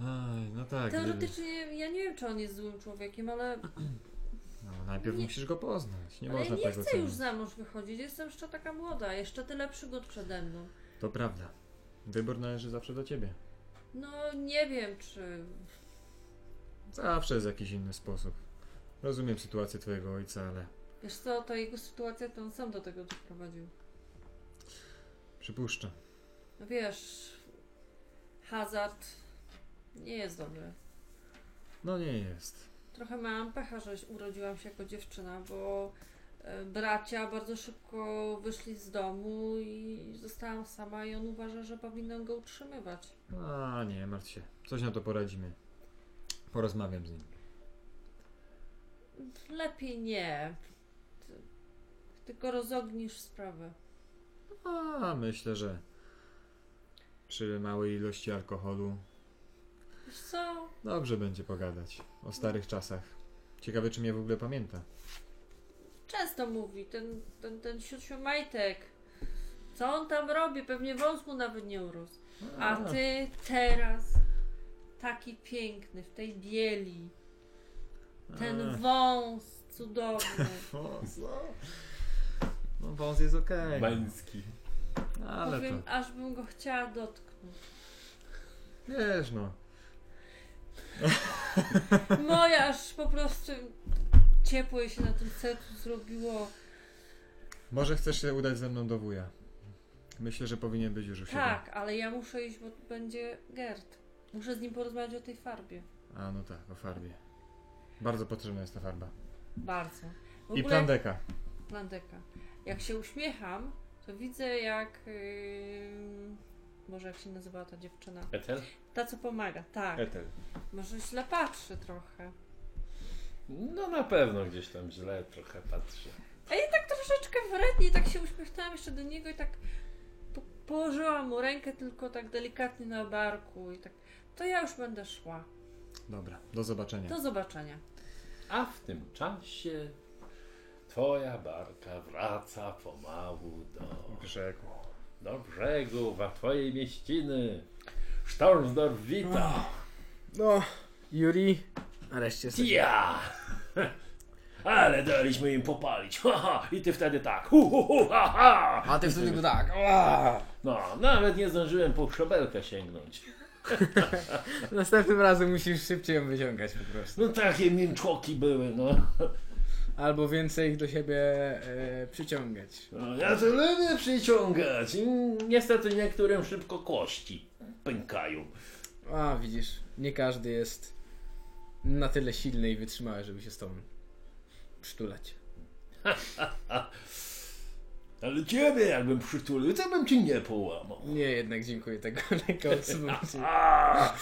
S5: No.
S2: Aj, no tak. gdyby-
S5: Teoretycznie ja nie wiem, czy on jest złym człowiekiem, ale,
S2: No, najpierw
S5: Nie-
S2: musisz go poznać. Nie
S5: ale
S2: można
S5: nie
S2: tego
S5: chcę już
S2: cenić.
S5: za mąż wychodzić. Jestem jeszcze taka młoda, jeszcze tyle przygód przede mną.
S2: To prawda. Wybór należy zawsze do ciebie.
S5: No nie wiem, czy.
S2: Zawsze jest jakiś inny sposób. Rozumiem sytuację twojego ojca, ale
S5: Wiesz co, ta jego sytuacja to on sam do tego doprowadził.
S2: przypuszczam.
S5: No wiesz, hazard nie jest dobry.
S2: No nie jest.
S5: Trochę mam pecha, że urodziłam się jako dziewczyna, bo e, bracia bardzo szybko wyszli z domu i zostałam sama i on uważa, że powinnam go utrzymywać.
S2: A nie, martw się. Coś na to poradzimy. Porozmawiam z nim.
S5: Lepiej nie. Ty- Tylko rozognisz sprawę.
S2: A myślę, że przy małej ilości alkoholu
S5: Wiesz co?
S2: dobrze będzie pogadać o starych czasach. Ciekawe, czy mnie w ogóle pamięta.
S5: Często mówi ten, ten, ten siódmy majtek. Co on tam robi? Pewnie wąs mu nawet nie urósł. A
S2: No.
S5: ty teraz taki piękny, w tej bieli. Ten wąs cudowny.
S2: wąs. No wąs jest okej.
S1: Bański.
S2: Ale to...
S5: Powiem, aż bym go chciała dotknąć.
S2: Wiesz no.
S5: Moja aż po prostu ciepło jej się na tym sercu zrobiło.
S2: Może chcesz się udać ze mną do wuja. Myślę, że powinien być już u siebie.
S5: Tak, ale ja muszę iść, bo będzie Gerd. Muszę z nim porozmawiać o tej farbie.
S2: A no tak, o farbie. Bardzo potrzebna jest ta farba.
S5: Bardzo. W
S2: I
S5: ogóle
S2: plandeka.
S5: plandeka. Jak się uśmiecham, to widzę jak. ym, Boże, jak się nazywała ta dziewczyna?
S1: Etel?
S5: Ta, co pomaga, tak.
S1: Etel.
S5: Może źle patrzy trochę.
S1: No na pewno gdzieś tam źle trochę patrzy.
S5: Tak troszeczkę wrednie, tak się uśmiechnęłam jeszcze do niego i tak po położyłam mu rękę tylko tak delikatnie na barku i tak. To ja już będę szła.
S2: Dobra, do zobaczenia.
S5: Do zobaczenia.
S1: A w tym czasie twoja barka wraca pomału do,
S2: Brzegu.
S1: do brzegu, a twojej mieściny. Stormsdorf wita.
S6: No, Yuri, nareszcie sobie.
S1: Ja! Ale daliśmy im popalić. Ha, ha. I ty wtedy tak. Hu, hu, hu, ha, ha.
S6: A ty wtedy go tak. Ua!
S1: No, nawet nie zdążyłem po szabelkę sięgnąć.
S6: Następnym razem musisz szybciej ją wyciągać po prostu.
S1: No takie mięczoki były, no.
S6: Albo więcej ich do siebie e, przyciągać.
S1: No, Ja to lubię przyciągać. Mm, Niestety niektórym szybko kości pękają.
S6: A, widzisz, nie każdy jest na tyle silny i wytrzymały, żeby się z tobą przytulać.
S1: Ale ciebie jakbym przytulił, to bym ci nie połamał.
S6: Nie, jednak dziękuję, tego lekko odsunąć.
S1: A,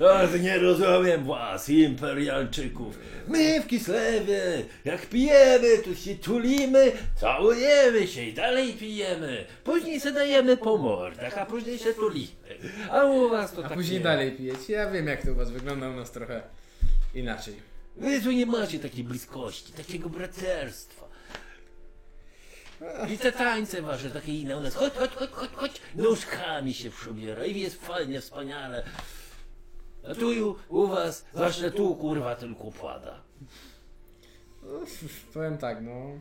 S1: a, że nie rozumiem was, imperialczyków. My w Kislewie, jak pijemy, to się tulimy, całujemy się i dalej pijemy. Później se dajemy po mordach, a później się tulimy. A u was to
S6: A
S1: tak
S6: później
S1: nie.
S6: dalej pijecie. Ja wiem, jak to u was wygląda, u nas trochę inaczej.
S1: Wy No tu nie macie takiej bliskości, takiego braterstwa. I te tańce wasze takie inne u nas. Chodź, chodź, chodź, chodź, chodź. Nóżkami się przybiera i jest fajnie, wspaniale. A tu ju- u was wasze tu kurwa tylko pada.
S6: Uff, Powiem tak, no.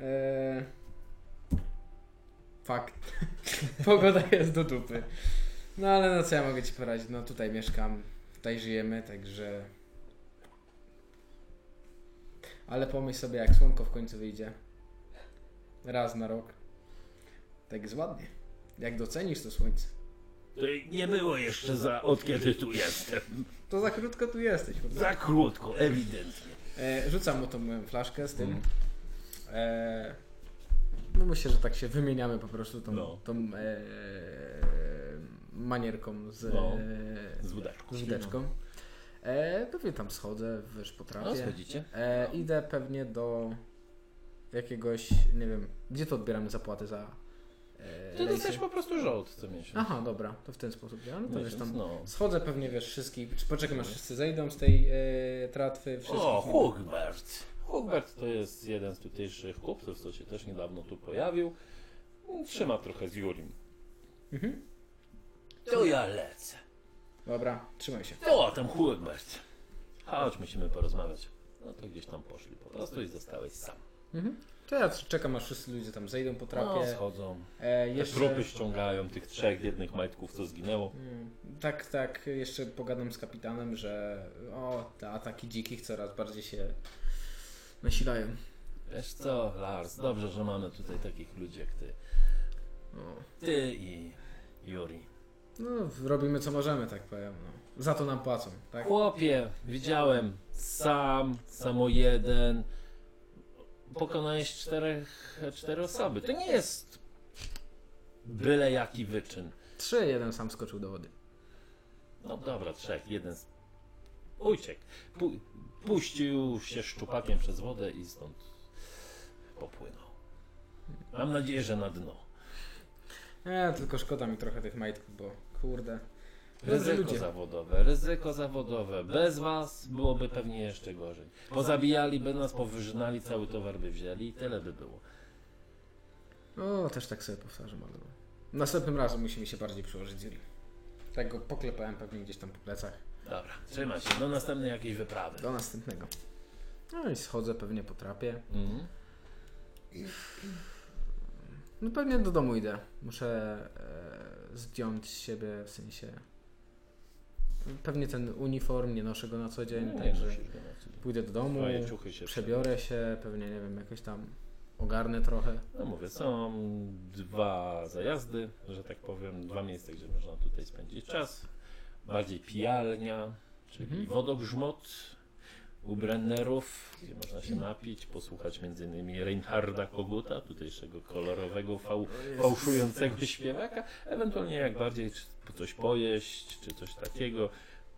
S6: Eee, Fakt. Pogoda jest do dupy. No ale no co ja mogę ci poradzić? No tutaj mieszkam, tutaj żyjemy, także. Ale pomyśl sobie, jak słonko w końcu wyjdzie. Raz na rok. Tak jest ładnie. Jak docenisz to słońce.
S1: Ej, Nie było jeszcze za od kiedy tu jestem.
S6: To za krótko tu jesteś. Bo...
S1: Za krótko, ewidentnie.
S6: E, rzucam mu tą moją flaszkę z
S1: Mhm.
S6: tym. E, no myślę, że tak się wymieniamy po prostu tą,
S1: No.
S6: tą e, manierką z,
S1: No.
S6: e,
S1: Z wódeczką.
S6: z wódeczką. E, pewnie tam schodzę, wiesz,
S1: No,
S6: potrafię.
S1: schodzicie.
S6: E, idę pewnie do jakiegoś, nie wiem, gdzie to odbieramy zapłaty za... E,
S1: Ty
S6: rejsy?
S1: dostajesz po prostu żołd co miesiąc.
S6: Aha, dobra, to w ten sposób. Ja, no to wiesz,
S1: miesiąc,
S6: tam
S1: no.
S6: Schodzę pewnie, wiesz, wszystkich, czy poczekam aż wszyscy zejdą z tej e, tratwy, wszystkich.
S1: O, Hugbert. Hugbert to jest jeden z tutejszych kupców, co się też niedawno tu pojawił. Trzyma trochę z Jurim.
S6: Mhm.
S1: To ja lecę.
S6: Dobra, trzymaj się.
S1: To tam Hugbert. Chodź, musimy porozmawiać. No to gdzieś tam poszli po prostu i zostałeś sam.
S6: Mhm. To ja czekam aż wszyscy ludzie tam zejdą po
S1: No,
S6: trapie.
S1: schodzą.
S6: E,
S1: Te
S6: jeszcze...
S1: Trupy ściągają tych trzech biednych majtków, co zginęło.
S6: Mm, Tak, tak, jeszcze pogadam z kapitanem, że o, te ataki dzikich coraz bardziej się nasilają.
S1: Wiesz co, Lars, dobrze, że mamy tutaj takich ludzi jak ty.
S6: No,
S1: Ty i Juri.
S6: no robimy co możemy, tak powiem. No. Za to nam płacą, tak?
S1: Chłopie, widziałem sam, samo jeden. Pokonałeś czterech, cztery osoby. To nie jest byle jaki wyczyn.
S6: Trzy, jeden sam skoczył do wody.
S1: No dobra, trzech, jeden z... uciekł. Pu- puścił się szczupakiem przez wodę i stąd popłynął. Mam nadzieję, że na dno.
S6: E, tylko szkoda mi trochę tych majtków, bo kurde. Drodzy
S1: Ryzyko
S6: ludzie.
S1: zawodowe, ryzyko zawodowe. Bez was byłoby pewnie jeszcze gorzej. Pozabijaliby nas, powyżynali, cały towar by wzięli i tyle by było.
S6: O, też tak sobie powtarzam, ale no. Następnym razem musimy się bardziej przyłożyć Ziri. Tak go poklepałem pewnie gdzieś tam po plecach.
S1: Dobra, trzymaj się, do następnej jakiejś wyprawy.
S6: Do następnego. No i schodzę pewnie po trapie.
S1: Mhm.
S6: No pewnie do domu idę. Muszę e, zdjąć z siebie, w sensie... Pewnie ten uniform, nie noszę go na co dzień,
S1: No, nie
S6: także
S1: musisz go nosić.
S6: pójdę do domu,
S1: Twoje ciuchy się
S6: przebiorę się, pewnie, nie wiem, jakoś tam ogarnę trochę.
S1: No mówię, są dwa zajazdy, że tak powiem, dwa miejsca, gdzie można tutaj spędzić czas. Bardziej pijalnia, czyli
S6: Mhm.
S1: wodogrzmot u Brennerów, gdzie można się napić, posłuchać m.in. Reinharda Koguta, tutejszego kolorowego fał, fałszującego śpiewaka, ewentualnie jak bardziej czy- coś pojeść, czy coś takiego,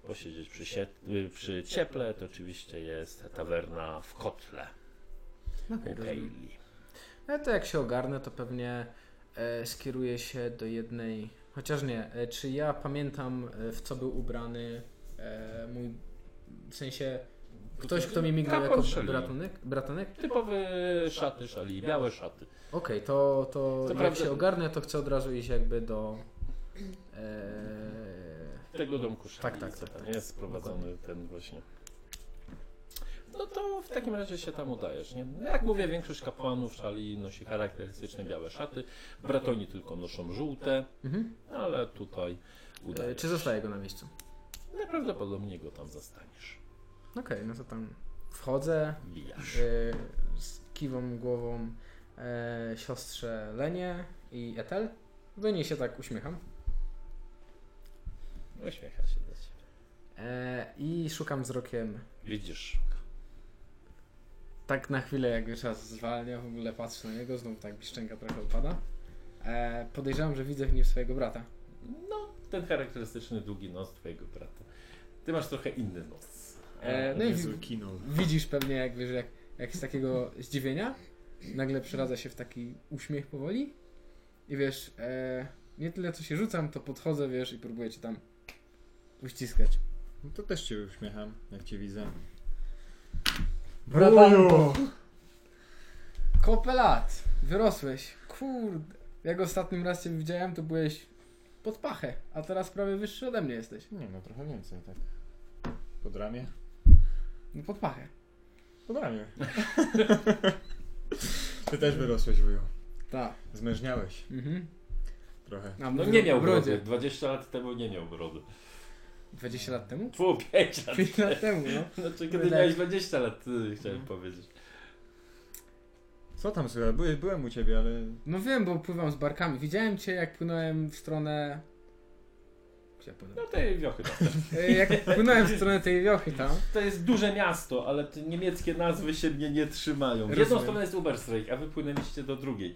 S1: posiedzieć przy, sie- y, przy cieple, to oczywiście jest tawerna w kotle
S6: No,
S1: u
S6: rozumiem.
S1: Gaili.
S6: No to jak się ogarnę, to pewnie e, skieruję się do jednej. Chociaż nie, e, czy ja pamiętam, e, w co był ubrany e, mój. W sensie. Ktoś, kto mi mignął
S1: Kapłan
S6: jako
S1: Szeli.
S6: bratunek? Bratunek?
S1: Typowe szaty szali, białe szaty.
S6: Okej, to, to
S1: To
S6: jak
S1: prawda.
S6: się ogarnę, to chcę od razu iść jakby do. E,
S1: Tego domku szali,
S6: Tak, tak,
S1: co
S6: tak,
S1: tam
S6: tak.
S1: jest sprowadzony ten właśnie. No to w takim razie się tam udajesz, nie? No Jak mówię, większość kapłanów szali nosi charakterystyczne białe szaty, bratoni tylko noszą żółte,
S6: mhm.
S1: ale tutaj
S6: e,
S1: udajesz.
S6: czy zostaje go na miejscu?
S1: Najprawdopodobniej go tam zastaniesz.
S6: Okej, no to tam wchodzę.
S1: Bijasz.
S6: e, z kiwą głową e, siostrze Lenie i Etel. Do niej się tak uśmiecham.
S1: No Uśmiecha się do ciebie.
S6: E, I szukam wzrokiem.
S1: Widzisz,
S6: Tak na chwilę jakby czas zwalnia, w ogóle patrzę na niego, znowu tak piszczenka trochę upada. E, podejrzewam, że widzę w nim swojego brata.
S1: no, ten charakterystyczny długi nos twojego brata. Ty masz trochę inny nos.
S6: E, no i
S2: Niezły
S6: wi-
S2: kinol.
S6: widzisz pewnie jak, wiesz, jak, jak z takiego zdziwienia nagle przeradza się w taki uśmiech powoli. I wiesz, e, nie tyle co się rzucam, to podchodzę, wiesz, i próbuję cię tam uściskać.
S2: No to też cię uśmiecham, jak cię widzę.
S6: Bratanko! Kopę lat! Wyrosłeś. Kurde. Jak ostatnim raz cię widziałem, to byłeś pod pachę, a teraz prawie wyższy ode mnie jesteś.
S2: Nie no, trochę więcej, tak. Pod ramię?
S6: No pod pachę.
S2: Pod ramię. Ty też wyrosłeś, wuju.
S6: Tak.
S2: Zmężniałeś
S6: Mhm.
S2: trochę.
S6: A
S1: No
S6: mój
S1: nie miał
S6: brodzie.
S1: brody. 20 lat temu nie miał brody.
S6: 20 lat temu?
S1: Tfu, 5 lat.
S6: 5 lat temu, no.
S1: Znaczy,
S6: Wydaje-
S1: kiedy miałeś 20 lat, y, chciałem powiedzieć.
S2: Co tam słychać? Byłem, byłem u ciebie, ale...
S6: No wiem, bo pływam z barkami. Widziałem cię, jak płynąłem w stronę... Gdzie ja
S1: No
S6: płynąłem?
S1: tej wiochy tam.
S6: E, Jak płynąłem w stronę tej wiochy tam.
S1: To jest duże miasto, ale te niemieckie nazwy się mnie nie trzymają. W jedną
S6: Rozumiem.
S1: stronę jest Uberstreich, a wy płynęliście do drugiej.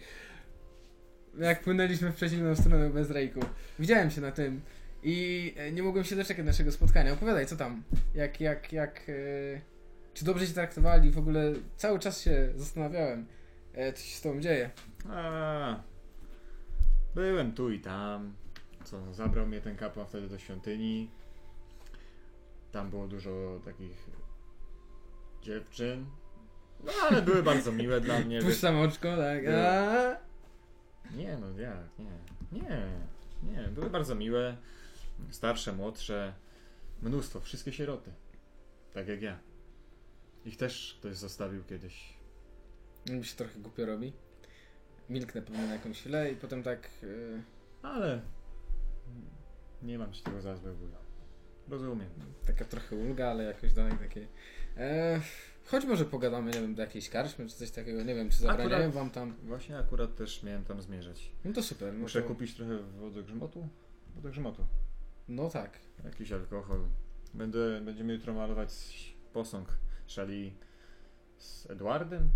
S6: Jak płynęliśmy w przeciwną stronę bez rejku. Widziałem się na tym. I e, nie mogłem się doczekać naszego spotkania. Opowiadaj, co tam? Jak, jak, jak... E, czy dobrze cię traktowali? W ogóle cały czas się zastanawiałem, e, co się z tobą dzieje.
S2: A, byłem tu i tam. Co, zabrał mnie ten kapłan wtedy do świątyni. Tam było dużo takich dziewczyn. No ale były bardzo miłe dla mnie. wiesz.
S6: Puszczam oczko, tak? A,
S2: Nie, no jak, nie. Nie, nie. Były bardzo miłe. Starsze, młodsze. Mnóstwo, wszystkie sieroty. Tak jak ja. Ich też ktoś zostawił kiedyś.
S6: mi się trochę głupio robi. Milknę pewnie na jakąś chwilę i potem tak... E,
S2: Ale nie mam się tego za złe wuja. Rozumiem.
S6: Taka trochę ulga, ale jakoś dalej takie. E, choć może pogadamy, nie wiem, do jakiejś karczmy czy coś takiego, nie wiem, czy zabraniają
S2: Akurat-
S6: wam tam.
S2: Właśnie akurat też miałem tam zmierzać.
S6: No to super, no,
S2: Muszę
S6: to,
S2: kupić trochę wodogrzmotu. Wodogrzmotu.
S6: no tak.
S2: Jakiś alkohol. Będę, będziemy jutro malować posąg szali z Edwardem?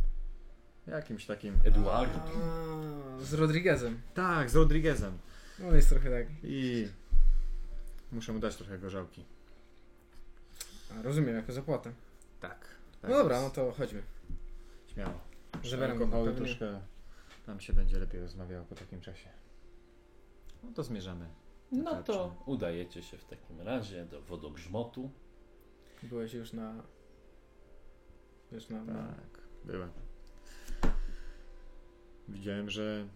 S2: Jakimś takim.
S1: Eduard.
S6: A, z Rodriguezem.
S2: Tak, z Rodriguezem.
S6: No jest trochę tak.
S2: I muszę mu dać trochę gorzałki.
S6: A, rozumiem, jako zapłatę.
S2: Tak. tak
S6: No dobra, no
S2: jest.
S6: to chodźmy.
S2: Śmiało.
S6: Zabieram go
S2: Alkoholu
S6: pewnie.
S2: troszkę. Tam się będzie lepiej rozmawiało po takim czasie. No to zmierzamy.
S1: No
S2: Tarczy.
S1: to udajecie się w takim razie do wodogrzmotu.
S6: Byłeś już na. Wiesz, na. na...
S2: Tak, byłem. Widziałem, że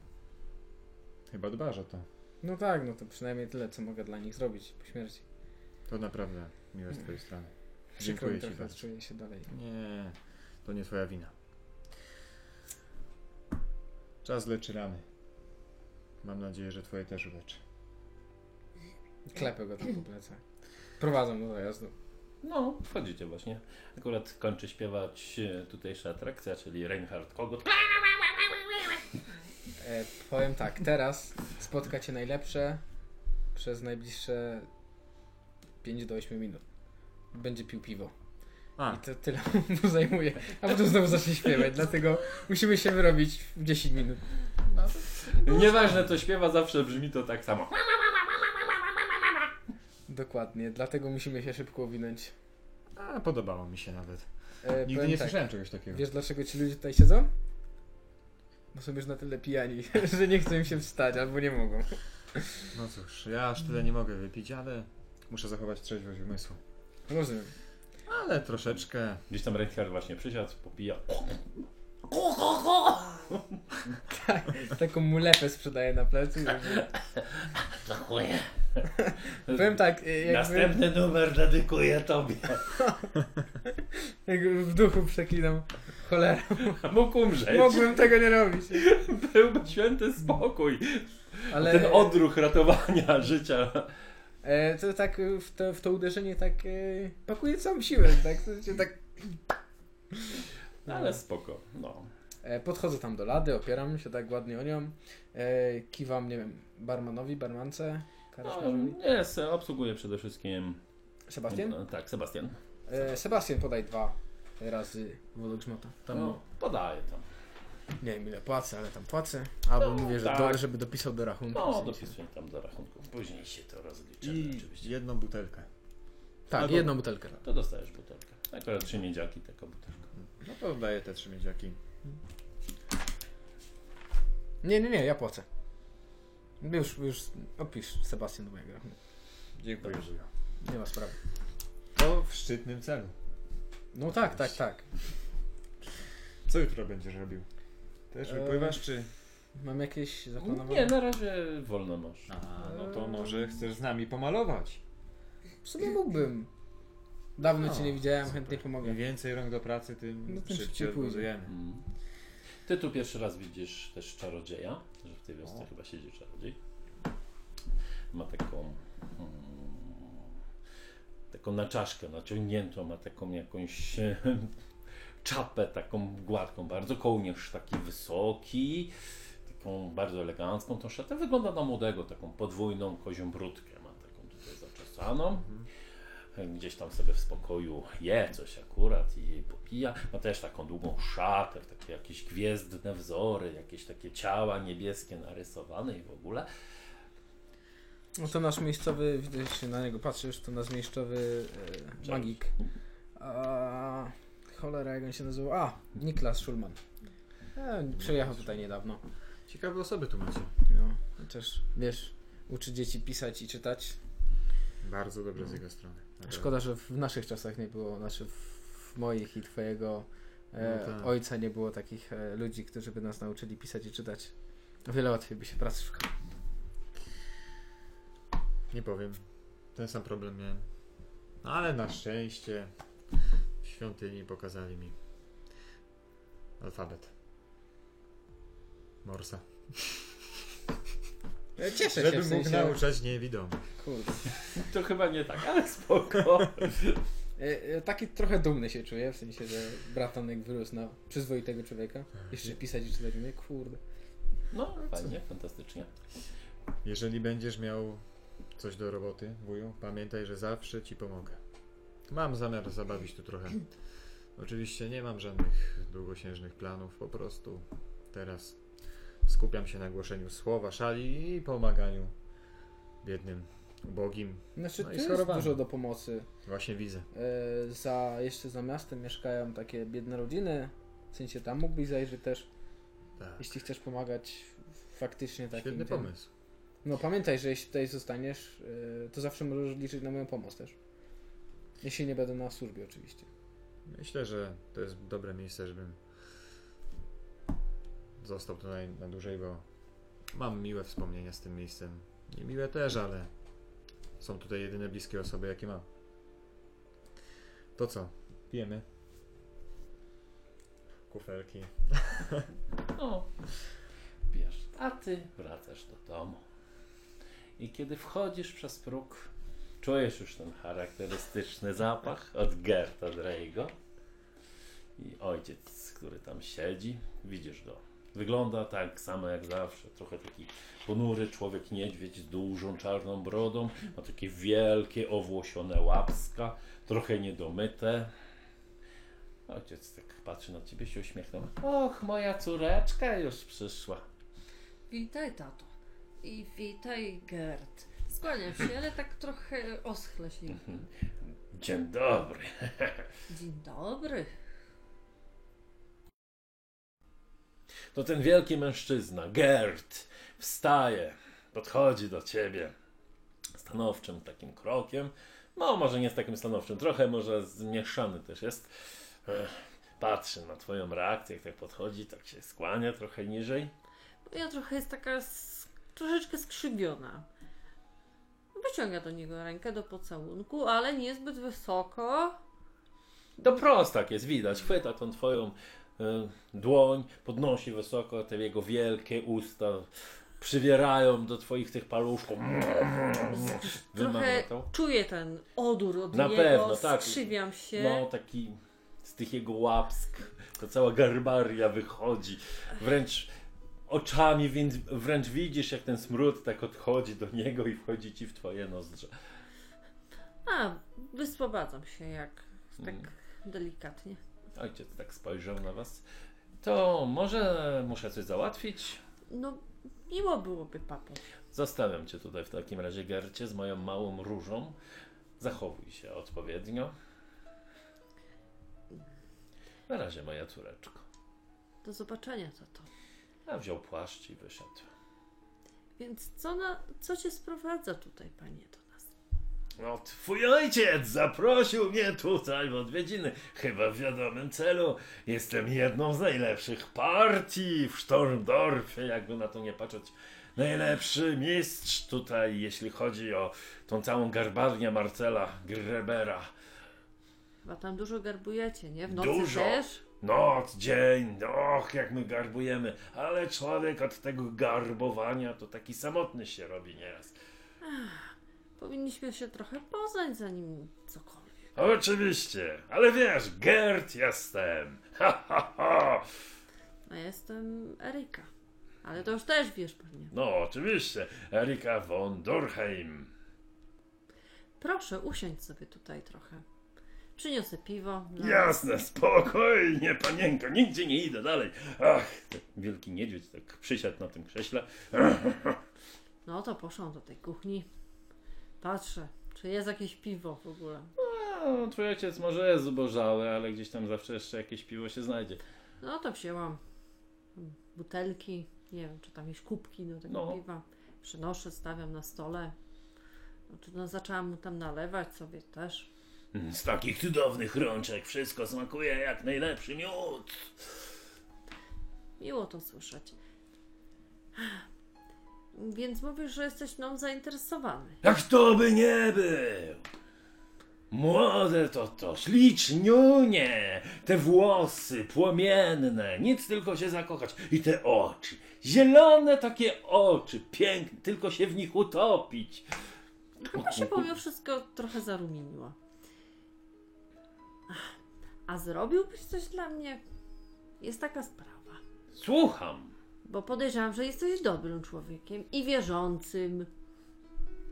S2: chyba dbasz o to.
S6: No tak, no to przynajmniej tyle, co mogę dla nich zrobić po śmierci.
S2: To naprawdę miłe z twojej strony.
S6: Przykro mi
S2: Dziękuję ci
S6: trochę,
S2: bardzo.
S6: czuję się dalej.
S2: Nie, to nie twoja wina. Czas leczy rany. Mam nadzieję, że twoje też uleczy.
S6: Klepę go tam po plecach. Prowadzą do dojazdu.
S1: No, wchodzicie właśnie. Akurat kończy śpiewać e, tutejsza atrakcja, czyli Reinhard Kogut.
S6: E, powiem tak, teraz spotka cię najlepsze przez najbliższe 5 do 8 minut. Będzie pił piwo.
S2: A.
S6: I to tyle mu zajmuje. A potem znowu zacznie śpiewać, dlatego musimy się wyrobić w 10 minut.
S1: Nieważne, to śpiewa, zawsze brzmi to tak samo.
S6: Dokładnie, dlatego musimy się szybko owinąć.
S2: A, podobało mi się nawet.
S6: E,
S2: Nigdy
S6: powiem
S2: nie
S6: tak,
S2: słyszałem czegoś takiego.
S6: Wiesz dlaczego ci ludzie tutaj siedzą? Bo są już na tyle pijani, że nie chcą im się wstać albo nie mogą.
S2: No cóż, ja aż tyle nie mogę wypić, ale muszę zachować trzeźwość umysłu.
S6: Rozumiem.
S2: Ale troszeczkę.
S1: Gdzieś tam Reinhard właśnie przysiadł, popija.
S6: Taką mulepę sprzedaje na plecu. Żeby...
S1: Dziękuję.
S6: Powiem tak, e, jakby...
S1: Następny numer dedykuję tobie.
S6: Jak w duchu przeklinam. Cholera,
S1: Mógł umrzeć.
S6: mogłem tego nie robić.
S1: Byłby święty spokój.
S6: Ale
S1: Ten odruch ratowania życia.
S6: e, to tak e, w to, w to uderzenie tak e, pakuje całą siłę, tak? W sensie tak
S1: Ale spoko. No.
S6: e, podchodzę tam do lady, opieram się tak ładnie o nią, e, kiwam, nie wiem, barmanowi, barmance,
S1: no
S6: karaczmarzowi.
S1: nie, se- obsługuję przede wszystkim.
S6: Sebastian?
S1: No, Tak, Sebastian.
S6: E, Sebastian, podaj dwa razy wodogrzmota. Tam,
S1: No, podaję tam.
S6: nie wiem ile płacę, ale tam płacę. Albo
S1: No,
S6: mówię, że
S1: tak.
S6: dole, żeby dopisał do rachunku. w
S1: No,
S6: sensie.
S1: dopisuję tam do rachunku. Później się to rozliczymy
S2: I
S1: oczywiście.
S2: jedną butelkę.
S6: Tak,
S1: Albo-
S6: jedną butelkę.
S1: To dostajesz butelkę. Akurat trzy miedziaki, taka butelka.
S2: No to daję te trzy miedziaki.
S6: Nie, nie, nie, ja płacę. Już, już opisz Sebastian do mojego rachunku.
S2: Dziękuję. wuju.
S6: Nie ma sprawy.
S2: To w szczytnym celu.
S6: No tak, tak, tak.
S2: Co jutro będziesz robił? Też
S6: Eee.
S2: wypływasz, czy...
S6: Mam jakieś zaplanowane?
S1: Nie, no- na razie wolno masz.
S2: A, no to może chcesz z nami pomalować.
S6: W sumie mógłbym. Dawno
S2: No,
S6: cię nie widziałem,
S2: super.
S6: chętnie pomogę.
S2: Im więcej rąk do pracy, tym
S6: No, tym szybciej
S2: szybciej
S6: pójdzie.
S2: odbudujemy.
S1: Mm. Ty tu pierwszy raz widzisz też czarodzieja, że w tej wiosce
S2: O.
S1: chyba siedzi czarodziej. Ma taką. Mm, taką naczaszkę naciągniętą, ma taką jakąś e, czapę taką gładką, bardzo kołnierz taki wysoki, taką bardzo elegancką tą szatę. Wygląda na młodego, taką podwójną kozią brudkę ma taką tutaj zaczesaną. Gdzieś tam sobie w spokoju je coś akurat i popija. Ma też taką długą szatę, takie jakieś gwiezdne wzory, jakieś takie ciała niebieskie narysowane i w ogóle.
S6: No to nasz miejscowy, widać się na niego patrzysz, to nasz miejscowy e, magik. A, cholera, jak on się nazywał? A, Niklas Schulman. E, przyjechał tutaj niedawno.
S2: Ciekawe osoby tu macie.
S6: No, chociaż wiesz, uczy dzieci pisać i czytać.
S2: Bardzo dobre z jego strony. Naprawdę.
S6: Szkoda, że w naszych czasach nie było, znaczy w w moich i twojego e,
S2: No tak.
S6: ojca nie było takich e, ludzi, którzy by nas nauczyli pisać i czytać. O wiele łatwiej by się pracy szukało.
S2: Nie powiem. Ten sam problem miałem. No, Ale na szczęście w świątyni pokazali mi alfabet. Morsa.
S6: E, Cieszę się
S2: Żeby
S6: w
S2: mógł
S6: sensie.
S2: nauczać niewidomych.
S6: Kurde.
S1: To chyba nie tak, ale spoko.
S6: E, e, Taki trochę dumny się czuję, w sensie, że bratanek wyrósł na przyzwoitego człowieka.
S2: Tak.
S6: Jeszcze pisać i czytać umie, kurde.
S1: No, fajnie, fantastycznie.
S2: Jeżeli będziesz miał coś do roboty, wuju, pamiętaj, że zawsze ci pomogę. Mam zamiar zabawić tu trochę. Oczywiście nie mam żadnych długosiężnych planów, po prostu teraz skupiam się na głoszeniu słowa, szali i pomaganiu biednym, ubogim.
S6: Znaczy,
S2: No
S6: no tu
S2: i
S6: jest
S2: schorowany.
S6: dużo do pomocy.
S2: Właśnie widzę.
S6: E, za, jeszcze za miastem mieszkają takie biedne rodziny, w sensie tam mógłbyś zajrzeć też,
S2: Tak.
S6: jeśli chcesz pomagać faktycznie takim.
S2: Świetny
S6: tym.
S2: pomysł.
S6: No pamiętaj, że jeśli tutaj zostaniesz, e, to zawsze możesz liczyć na moją pomoc też. Jeśli nie będę na służbie oczywiście.
S2: Myślę, że to jest dobre miejsce, żebym został tutaj na dłużej, bo mam miłe wspomnienia z tym miejscem. Nie miłe też, ale są tutaj jedyne bliskie osoby, jakie mam. To co? Pijemy. Kufelki.
S1: No, wiesz, a ty wracasz do domu. I kiedy wchodzisz przez próg, czujesz już ten charakterystyczny zapach od Gerta Drejego. I ojciec, który tam siedzi, widzisz go. Wygląda tak samo jak zawsze, trochę taki ponury człowiek niedźwiedź z dużą czarną brodą, ma takie wielkie owłosione łapska, trochę niedomyte, Ojciec tak patrzy na ciebie, się uśmiechnął. Och, moja córeczka już przyszła.
S5: Witaj, tato. I witaj, Gerd. Skłaniam się, ale tak trochę oschle się.
S1: Mhm. Dzień dobry.
S5: Dzień dobry.
S1: To ten wielki mężczyzna, Gerd, wstaje, podchodzi do ciebie stanowczym takim krokiem. No, może nie z takim stanowczym, trochę może zmieszany też jest. Ech, Patrzy na twoją reakcję, jak tak podchodzi, tak się skłania trochę niżej.
S5: Ja trochę jest taka s- troszeczkę skrzywiona. Wyciąga do niego rękę do pocałunku, ale niezbyt wysoko.
S1: To prostak jest, widać. Chwyta tą twoją e, dłoń, podnosi wysoko te jego wielkie usta, przywierają do twoich tych paluszków. Wymawia
S5: Trochę
S1: to.
S5: czuję ten odór od
S1: Na
S5: niego,
S1: pewno, tak.
S5: skrzywiam się.
S1: No, taki z tych jego łapsk, to cała garbaria wychodzi. Wręcz oczami, więc wręcz widzisz, jak ten smród tak odchodzi do niego i wchodzi ci w twoje nozdrza.
S5: A, wyspobadzam się jak tak
S1: Mm.
S5: delikatnie.
S1: Ojciec tak spojrzał na was. To może muszę coś załatwić?
S5: No, miło byłoby, papo.
S1: Zostawiam cię tutaj w takim razie, Gercie, z moją małą różą. Zachowuj się odpowiednio. Na razie, moja córeczko.
S5: Do zobaczenia, tato.
S1: A wziął płaszcz i wyszedł.
S5: Więc co, na, co cię sprowadza tutaj, panie, do nas?
S1: No, twój ojciec zaprosił mnie tutaj w odwiedziny, chyba w wiadomym celu. Jestem jedną z najlepszych partii w Sztormdorfie, jakby na to nie patrzeć. Najlepszy mistrz tutaj, jeśli chodzi o tą całą garbarnię Marcela Grebera.
S5: Chyba tam dużo garbujecie, nie? W nocy
S1: Dużo.
S5: też?
S1: Noc, dzień, och, jak my garbujemy, ale człowiek od tego garbowania to taki samotny się robi nieraz.
S5: Powinniśmy się trochę poznać, zanim cokolwiek.
S1: Oczywiście, ale wiesz, Gert jestem. Ha, ha, ha.
S5: A ja jestem Eryka. Ale to już też wiesz pewnie.
S1: No, oczywiście, Erika von Dorheim.
S5: Proszę, usiądź sobie tutaj trochę. Przyniosę piwo. dla nas.
S1: Jasne, spokojnie, panienko, nigdzie nie idę dalej. Ach, ten wielki niedźwiedź tak przysiadł na tym krześle.
S5: No to poszłam do tej kuchni. Patrzę, czy jest jakieś piwo w ogóle.
S1: No, twój ojciec może jest zubożały, ale gdzieś tam zawsze jeszcze jakieś piwo się znajdzie.
S5: No to wzięłam butelki, nie wiem, czy tam jakieś kubki do tego
S1: No.
S5: piwa. Przynoszę, stawiam na stole. Znaczy, no, zaczęłam mu tam nalewać sobie też.
S1: Z takich cudownych rączek wszystko smakuje jak najlepszy miód.
S5: Miło to słyszeć. Więc mówisz, że jesteś mną zainteresowany.
S1: Jak to by nie był! Młode to to, śliczniunie! Te włosy płomienne, nic tylko się zakochać. I te oczy, zielone takie oczy, piękne, tylko się w nich utopić.
S5: Chyba się pomimo wszystko trochę zarumieniła. Ach, A zrobiłbyś coś dla mnie? Jest taka sprawa.
S1: Słucham,
S5: Bo podejrzewam, że jesteś dobrym człowiekiem i wierzącym.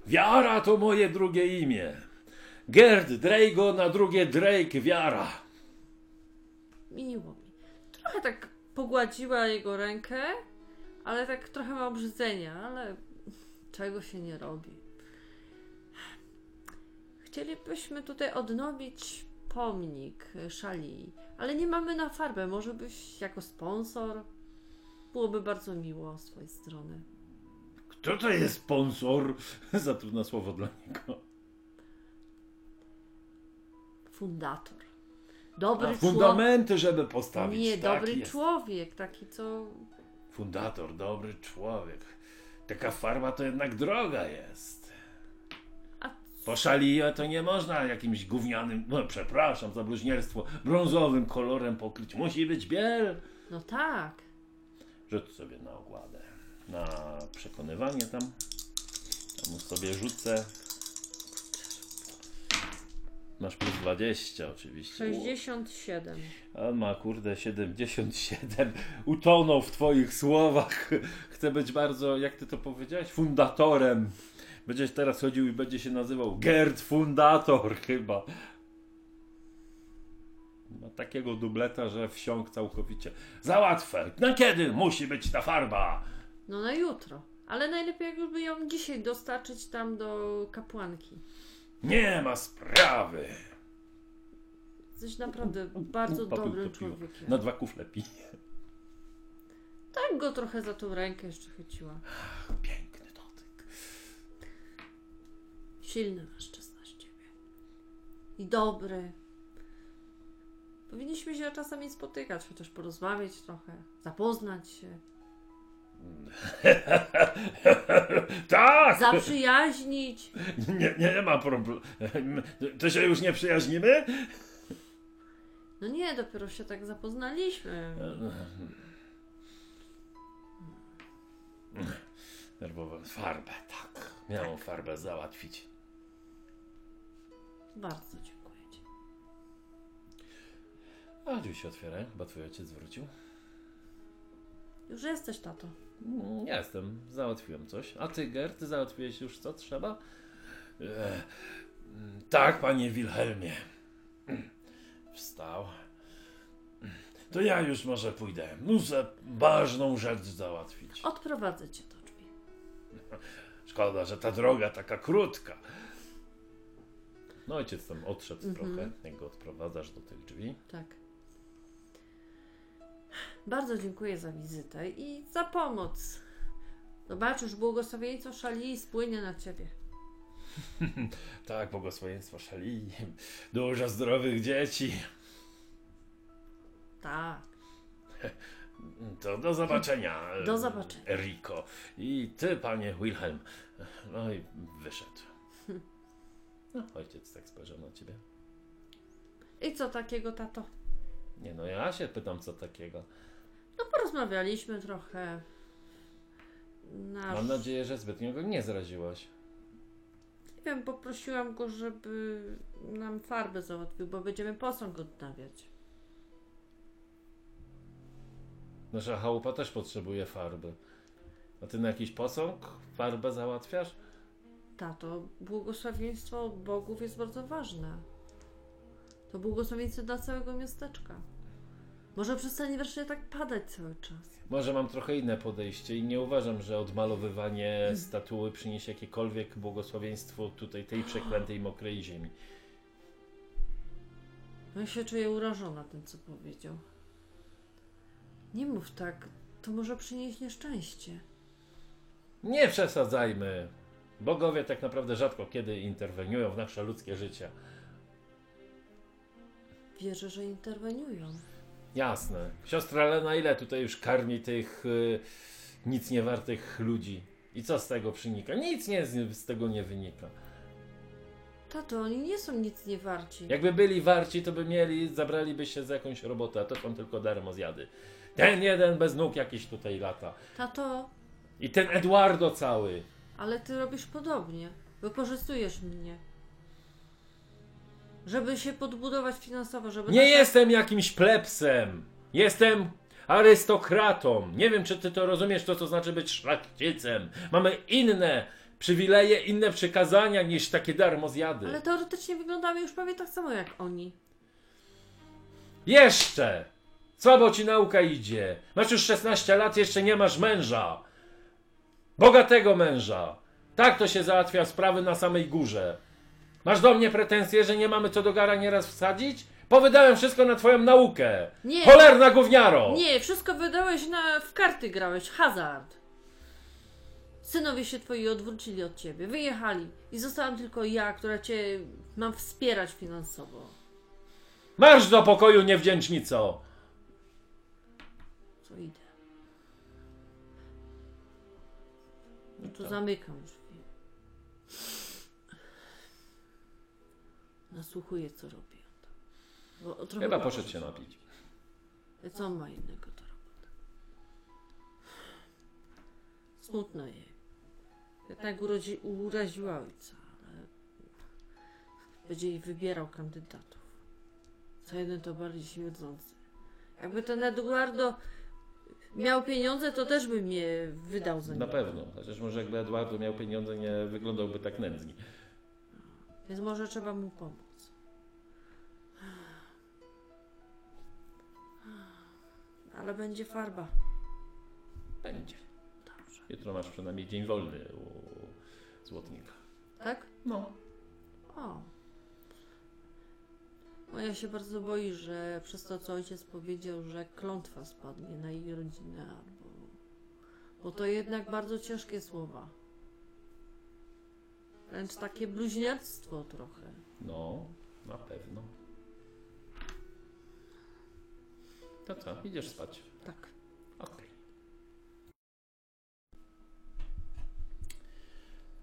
S1: wiara to moje drugie imię. Gerd Drago na drugie Drake wiara.
S5: Miło mi. Trochę tak pogładziła jego rękę, ale tak trochę ma obrzydzenia, ale czego się nie robi. Chcielibyśmy tutaj odnowić pomnik y, szalii, ale nie mamy na farbę. Może byś jako sponsor? Byłoby bardzo miło z twojej strony.
S1: Kto to jest sponsor? Za trudne słowo dla niego.
S5: Fundator. Dobry
S1: A
S5: człowiek.
S1: fundamenty, żeby postawić.
S5: Nie,
S1: tak
S5: dobry
S1: jest.
S5: człowiek, taki co
S1: Fundator, dobry człowiek. Taka farma to jednak droga jest.
S5: A-
S1: Po szalije to nie można jakimś gównianym, no przepraszam za bluźnierstwo, brązowym kolorem pokryć. Musi być biel.
S5: No tak.
S1: Rzuć sobie na ogładę. Na przekonywanie tam. Tam sobie rzucę. Masz plus 20 oczywiście.
S5: 67.
S1: A On ma kurde 77. Utonął w twoich słowach. Chce być bardzo, jak ty to powiedziałeś, fundatorem. Będziesz teraz chodził i będzie się nazywał Gerd Fundator chyba. Ma takiego dubleta, że wsiąk całkowicie. Załatwę! Na kiedy musi być ta farba?
S5: No na jutro. Ale najlepiej jakby ją dzisiaj dostarczyć tam do kapłanki.
S1: Nie ma sprawy!
S5: Jesteś naprawdę bardzo
S1: Popiół
S5: dobrym
S1: to piło.
S5: człowiekiem.
S1: Na dwa kufle pije.
S5: Tak go trochę za tą rękę jeszcze chyciła.
S1: Piękny dotyk.
S5: Silny mężczyzna z ciebie. I dobry. Powinniśmy się czasami spotykać, chociaż porozmawiać trochę, zapoznać się,
S1: tak!
S5: zaprzyjaźnić.
S1: Nie, nie ma problemu. To się już nie przyjaźnimy?
S5: No nie, dopiero się tak zapoznaliśmy.
S1: Nerwową farbę, tak. Miałą farbę załatwić.
S5: Bardzo dziękuję ci.
S1: A drzwi się otwierają, chyba twój ojciec wrócił.
S5: Już jesteś, tato.
S1: Mm, Ja jestem, załatwiłem coś. A ty, Gert, ty załatwiłeś już co trzeba? E, mm, tak, panie Wilhelmie. Wstał. To ja już może pójdę. Muszę ważną rzecz załatwić.
S5: Odprowadzę cię do drzwi.
S1: Szkoda, że ta droga taka krótka. No ojciec tam odszedł
S5: Mhm.
S1: trochę, jak go odprowadzasz do tych drzwi.
S5: Tak. Bardzo dziękuję za wizytę i za pomoc. Zobaczysz, błogosławieństwo szali spłynie na ciebie.
S1: Tak, błogosławieństwo szali. Dużo zdrowych dzieci.
S5: Tak.
S1: To do zobaczenia.
S5: Do zobaczenia.
S1: Rico. I ty, panie Wilhelm. No i wyszedł. No, ojciec tak spojrzał na ciebie.
S5: I co takiego, tato?
S1: Nie no, ja się pytam co takiego.
S5: No porozmawialiśmy trochę. Nasz...
S1: Mam nadzieję, że zbytnio go nie zraziłaś.
S5: Nie wiem, poprosiłam go, żeby nam farbę załatwił, bo będziemy posąg odnawiać.
S1: Nasza chałupa też potrzebuje farby. A ty na jakiś posąg farbę załatwiasz?
S5: Tato, błogosławieństwo od bogów jest bardzo ważne. To błogosławieństwo dla całego miasteczka. Może przestanie wreszcie tak padać cały czas.
S1: Może mam trochę inne podejście i nie uważam, że odmalowywanie statuły przyniesie jakiekolwiek błogosławieństwo tutaj tej przeklętej mokrej ziemi.
S5: Ja No się czuję urażona tym, co powiedział. Nie mów tak, to może przynieść nieszczęście.
S1: Nie przesadzajmy. Bogowie tak naprawdę rzadko kiedy interweniują w nasze ludzkie życie.
S5: Wierzę, że interweniują.
S1: Jasne. Siostra Lena, ile tutaj już karmi tych y, nic niewartych ludzi? I co z tego przynika? Nic nie, z z tego nie wynika.
S5: Tato, oni nie są nic nie warci.
S1: Jakby byli warci, to by mieli, zabraliby się za jakąś robotę, a to są tylko darmo zjady. Ten jeden bez nóg jakiś tutaj lata.
S5: Tato,
S1: I ten Eduardo cały.
S5: ale ty robisz podobnie. Wykorzystujesz mnie. Żeby się podbudować finansowo, żeby...
S1: Nie
S5: nasza-
S1: jestem jakimś plebsem. Jestem arystokratą. Nie wiem, czy ty to rozumiesz, to co znaczy być szlachcicem. Mamy inne przywileje, inne przykazania niż takie darmozjady.
S5: Ale teoretycznie wyglądamy już prawie tak samo jak oni.
S1: Jeszcze! Słabo ci nauka idzie. Masz już 16 lat, jeszcze nie masz męża. Bogatego męża. Tak to się załatwia sprawy na samej górze. Masz do mnie pretensje, że nie mamy co do gara nieraz wsadzić? Powydałem wszystko na twoją naukę.
S5: Nie,
S1: Cholerna gówniaro!
S5: nie, wszystko wydałeś na... w karty grałeś, hazard. Synowie się twoi odwrócili od ciebie, wyjechali i zostałam tylko ja, która cię mam wspierać finansowo.
S1: Marsz do pokoju, niewdzięcznico!
S5: Co idę. No to zamykam drzwi. Nasłuchuję, co robię. Bo o trochę-
S1: Chyba poszedł się napić.
S5: Co on ma innego do roboty? Smutno jej. Jednak tak urodzi, uraziła ojca, ale będzie jej wybierał kandydatów. Co jeden to bardziej śmierdzący. Jakby ten Eduardo miał pieniądze, to też by mnie wydał za
S1: Na
S5: niego.
S1: pewno. Chociaż może jakby Eduardo miał pieniądze, nie wyglądałby tak nędznie.
S5: Więc może trzeba mu pomóc. Ale będzie farba.
S1: Będzie.
S5: Dobrze.
S1: Jutro masz przynajmniej dzień wolny u złotnika.
S5: Tak?
S1: No.
S5: O. Moja się bardzo boi, że przez to, co ojciec powiedział, że klątwa spadnie na jej rodzinę albo. Bo to jednak bardzo ciężkie słowa. Wręcz takie bluźniactwo trochę.
S1: No, na pewno. To co, idziesz spać.
S5: Tak.
S1: Okej.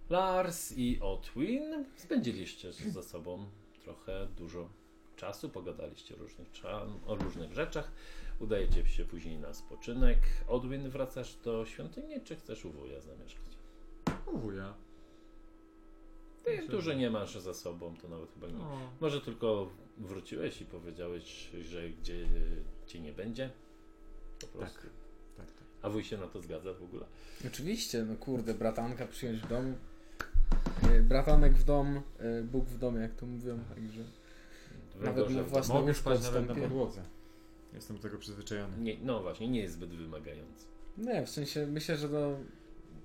S1: Lars i Otwin spędziliście ze sobą trochę dużo czasu, pogadaliście różnych cza- o różnych rzeczach. Udajecie się później na spoczynek. Odwin, wracasz do świątyni, czy chcesz u wuja zamieszkać?
S2: U wuja.
S1: Ty dużo nie masz za sobą, to nawet chyba nie
S2: O,
S1: Może tylko wróciłeś i powiedziałeś, że gdzie cię nie będzie? Po prostu.
S2: tak. Tak, tak.
S1: A wuj się na to zgadza w ogóle.
S3: Oczywiście, no kurde, bratanka przyjąć w domu. E,
S6: Y,
S3: Bratanek w dom, e, Bóg w domu, jak to mówią, także nawet
S1: Wygorzał
S3: na
S1: to.
S3: własne
S2: Mogę
S3: łóżko
S2: spać nawet na
S3: wstąpię.
S2: podłodze. Jestem do tego przyzwyczajony.
S1: Nie, no właśnie, nie jest zbyt wymagający.
S3: Nie, w sensie myślę, że to.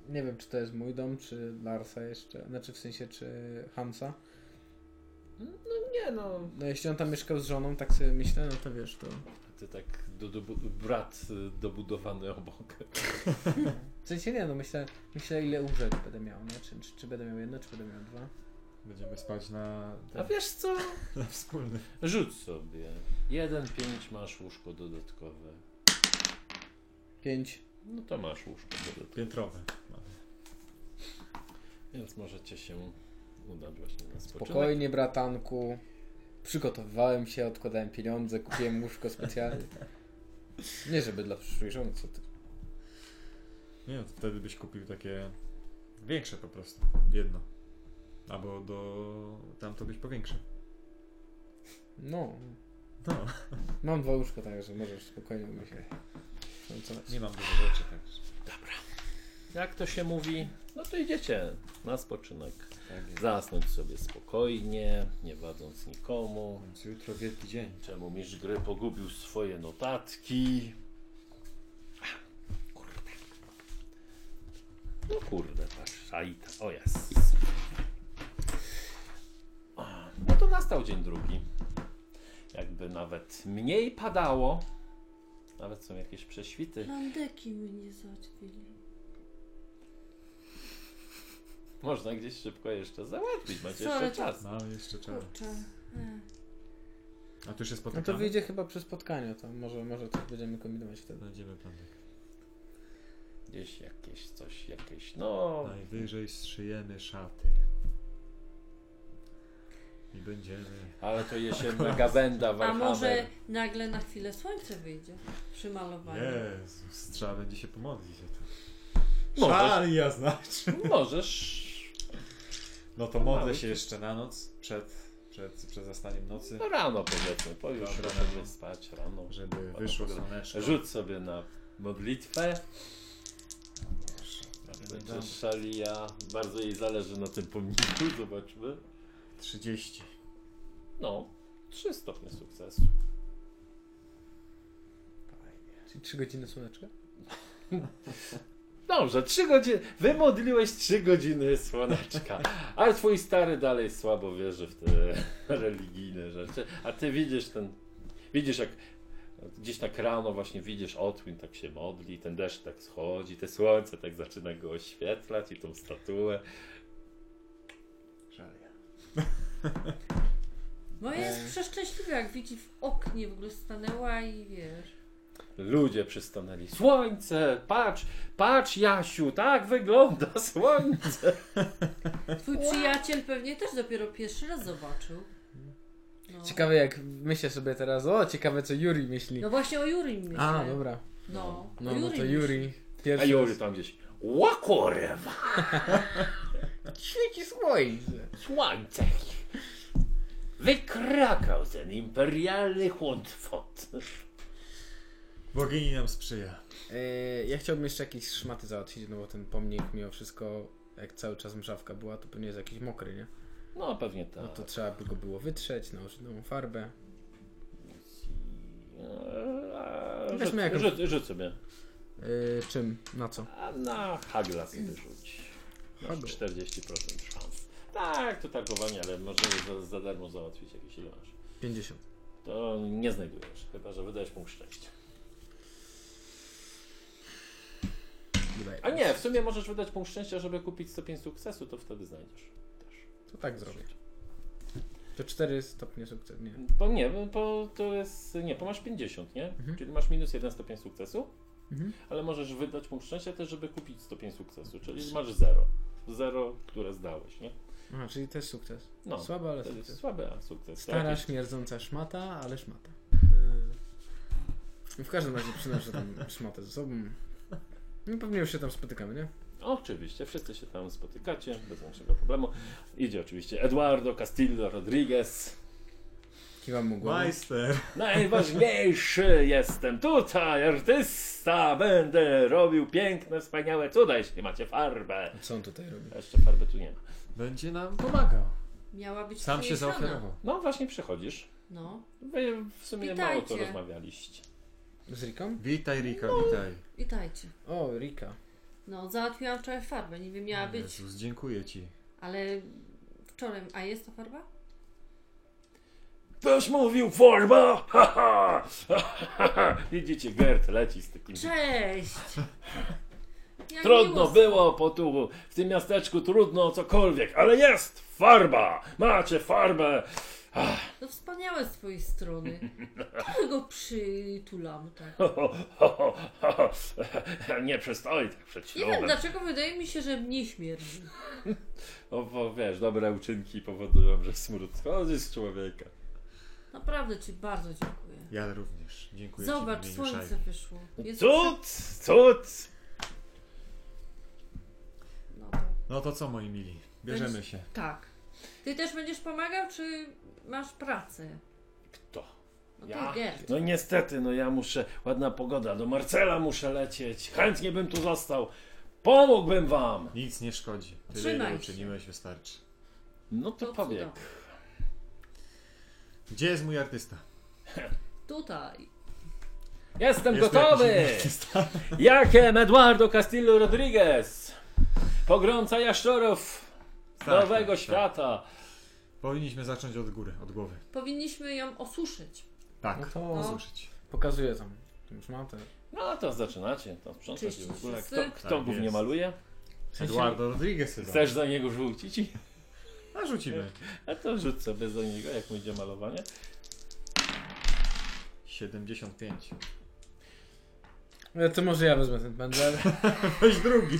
S3: Nie wiem, czy to jest mój dom, czy Larsa jeszcze. Znaczy, w sensie, czy Hansa.
S1: Nie no.
S3: No, jeśli on tam mieszkał z żoną, tak sobie myślę, no to wiesz, to.
S1: Ty tak do, do, brat y, dobudowany obok.
S3: W sensie nie, no myślę, myślę ile łóżek będę miał, nie? Czy, czy, czy będę miał jedno, czy będę miał dwa.
S2: Będziemy spać na,
S1: A wiesz co?
S2: na wspólny.
S1: Rzuć sobie. Jeden pięć masz łóżko dodatkowe.
S3: Pięć.
S1: No to masz łóżko dodatkowe.
S2: Piętrowy.
S1: Więc możecie się udać właśnie na spoczynek.
S3: Spokojnie, bratanku. Przygotowywałem się, odkładałem pieniądze, kupiłem łóżko specjalne. Nie, żeby dla przyszłej żony, co ty.
S2: Nie, to wtedy byś kupił takie większe po prostu. Jedno. Albo do... tamto byś powiększył.
S3: No,
S2: No.
S3: mam dwa łóżka, także możesz spokojnie mi się.
S2: tak, Nie mam dużo rzeczy, także.
S1: jak to się mówi, no to idziecie na spoczynek.
S2: Tak jest.
S1: Zasnąć sobie spokojnie, nie wadząc nikomu.
S2: Więc jutro wielki dzień.
S1: Czemu mistrz gry pogubił swoje notatki? Kurde. No kurde, patrz, Aita, o jest. No to nastał dzień drugi. Jakby nawet mniej padało. Nawet są jakieś prześwity.
S5: Landeki mnie załatwili.
S1: Można gdzieś szybko jeszcze załatwić, macie
S5: Sorry,
S1: jeszcze czas.
S2: Mamy No, jeszcze czas.
S5: Kurczę. e.
S2: A tu się
S3: No
S2: spotykamy.
S3: to wyjdzie chyba przy spotkaniu, to może, może tak będziemy kombinować wtedy.
S2: Znajdziemy planek.
S1: Gdzieś jakieś coś, jakieś, no...
S2: Najwyżej zszyjemy szaty. I będziemy...
S1: Ale to jesienna gawenda,
S5: A
S1: Warhammer.
S5: może nagle na chwilę słońce wyjdzie przy malowaniu?
S2: Jezus, trzeba będzie się pomodlić.
S1: Możesz.
S2: ja znaczy.
S1: Możesz.
S2: No to modlę się jeszcze na noc, przed, przed, przed zastaniem nocy,
S1: No rano powiedzmy, powiesz,
S2: Dobra,
S1: rano
S2: no.
S1: będziesz spać rano.
S2: żeby wyszło słoneczko.
S1: Rzuć sobie na modlitwę. Będziesz szalia. Bardzo jej zależy na tym pomniku, zobaczmy.
S2: 30.
S1: No, trzy stopnie sukcesu.
S3: Czyli 3 godziny słoneczka?
S1: Dobrze, trzy godziny. Wymodliłeś trzy godziny słoneczka. Ale twój stary dalej słabo wierzy w te religijne rzeczy. A ty widzisz ten. Widzisz jak. Gdzieś tak rano właśnie widzisz otwin, tak się modli, ten deszcz tak schodzi, te słońce tak zaczyna go oświetlać i tą statuę.
S2: Szalia.
S5: Moja jest przeszczęśliwa, jak widzi w oknie w ogóle stanęła i wiesz.
S1: Ludzie przystanęli. Słońce, patrz, patrz Jasiu, tak wygląda słońce.
S5: Twój przyjaciel pewnie też dopiero pierwszy raz zobaczył. No,
S3: Ciekawe jak myślę sobie teraz, o ciekawe co Yuri myśli.
S5: no właśnie o Juri myślę.
S3: A, dobra.
S5: No,
S3: No,
S5: o
S3: no to
S5: myślę.
S3: Yuri.
S1: A
S3: Pierwszy
S1: Juri tam gdzieś. Łakorewa,
S3: Świeci słońce.
S1: słońce. Wykrakał ten imperialny chłodwot.
S2: Bogini nam sprzyja.
S3: E, ja chciałbym jeszcze jakieś szmaty załatwić, no bo ten pomnik mimo wszystko, jak cały czas mrzawka była, to pewnie jest jakiś mokry, nie?
S1: No pewnie tak.
S3: No to trzeba by go było wytrzeć, nałożyć nową farbę.
S1: Eee,
S3: Weźmy
S1: Rzuć,
S3: jakąś-
S1: rzuć, rzuć sobie.
S3: E, czym? Na co?
S1: A na hagla sobie rzuć. Masz
S3: Hagl.
S1: 40% szans. Tak, to targowanie, ale możemy za, za darmo załatwić jakieś ile masz.
S3: 50.
S1: To nie znajdujesz, chyba że wydajesz punkt szczęścia.
S3: Wydaje.
S1: A nie, w sumie możesz wydać punkt szczęścia, żeby kupić stopień sukcesu, to wtedy znajdziesz. Też.
S3: To tak zrobię. To 4 stopnie sukces, nie.
S1: Bo nie, bo to jest. Nie, bo masz 50, nie? Czyli masz minus jeden stopień sukcesu,
S3: Mhm.
S1: ale możesz wydać punkt szczęścia też, żeby kupić stopień sukcesu, czyli masz 0. 0, które zdałeś, nie?
S3: Aha, czyli też sukces.
S1: No.
S3: Słaba, ale
S1: To jest
S3: sukces.
S1: słaby a sukces.
S3: Stara,
S1: Jakiś-
S3: śmierdząca szmata, ale szmata. Yy, W każdym razie przynoszę tam szmatę ze sobą. No pewnie już się tam spotykamy, nie?
S1: Oczywiście, wszyscy się tam spotykacie, bez większego problemu. Idzie oczywiście Eduardo Castillo Rodriguez.
S3: Kiwam
S6: No.
S3: mu głową.
S2: Majster!
S1: Najważniejszy jestem tutaj, artysta. Będę robił piękne, wspaniałe cuda, jeśli macie farbę.
S3: Co on tutaj robi?
S1: Jeszcze farby tu nie ma.
S2: Będzie nam pomagał.
S5: Miała być
S2: Sam się
S5: przyniesiona.
S2: zaoferował.
S1: No właśnie przychodzisz.
S5: No.
S1: Wy w sumie mało co
S5: Witajcie.
S1: rozmawialiście.
S3: Z Riką?
S2: Witaj Rika, witaj.
S5: Witajcie.
S3: O, Rika.
S5: No, załatwiłam wczoraj farbę, niby miała być,
S2: Jezus, dziękuję ci.
S5: ale wczoraj. A jest to farba?
S1: Ktoś mówił forma! Ha, ha! Ha, ha! Widzicie, Gert leci z takim...
S5: Cześć! Jak
S1: Trudno
S5: miło z-
S1: było po tu, w tym miasteczku trudno o cokolwiek, ale jest farba! Macie farbę!
S5: No wspaniałe z twojej strony. Trochę go przytulam, tak.
S1: Ho, ho, ho, ho, ho, ho. Nie przystoi tak przed
S5: Nie wiem
S1: ślubem.
S5: dlaczego, wydaje mi się, że mnie śmierdzi.
S1: No bo wiesz, dobre uczynki powodują, że smród schodzi z człowieka.
S5: Naprawdę ci bardzo dziękuję.
S2: Ja również. Dziękuję
S5: Zobacz,
S2: ci. w imieniu
S5: słońce
S2: Szajki.
S5: wyszło. Jest
S1: Cud! Cud!
S5: prze- No to...
S2: No to co, moi mili? Bierzemy
S5: Będziesz-
S2: się.
S5: Tak. Ty też będziesz pomagał, czy masz pracę?
S1: Kto?
S5: No
S1: Ja?
S5: to Gerd.
S1: No niestety, no ja muszę, ładna pogoda, do Marcela muszę lecieć. Chętnie bym tu został. Pomógłbym wam!
S2: Nic nie szkodzi. Tyle
S5: Trzymaj
S2: ile
S5: się.
S2: uczyniłeś wystarczy.
S1: No to
S5: To
S1: powiek.
S5: cuda.
S2: Gdzie jest mój artysta?
S5: Tutaj.
S1: Jestem
S2: Jest
S1: gotowy!
S2: jakiś artysta?
S1: Jakem Eduardo Castillo Rodriguez! Pogromca jaszczurów
S2: Tak,
S1: nowego
S2: tak,
S1: świata!
S2: Powinniśmy zacząć od góry, od głowy.
S5: Powinniśmy ją osuszyć.
S2: Tak.
S6: No to
S2: Posłuchać.
S6: pokazuję tam. Już mam te.
S1: No to zaczynacie, to sprzątać i w
S5: Czyścić
S1: ogóle.
S5: wszyscy?
S1: Kto, kto
S2: Tak
S1: głównie
S2: jest.
S1: maluje?
S2: Eduardo Rodriguez chyba.
S1: Chcesz za niego rzucić?
S2: A rzucimy.
S1: A to rzuć sobie za niego, jak mu idzie malowanie.
S2: 75.
S6: E, To może ja wezmę ten pędzel.
S2: Weź drugi.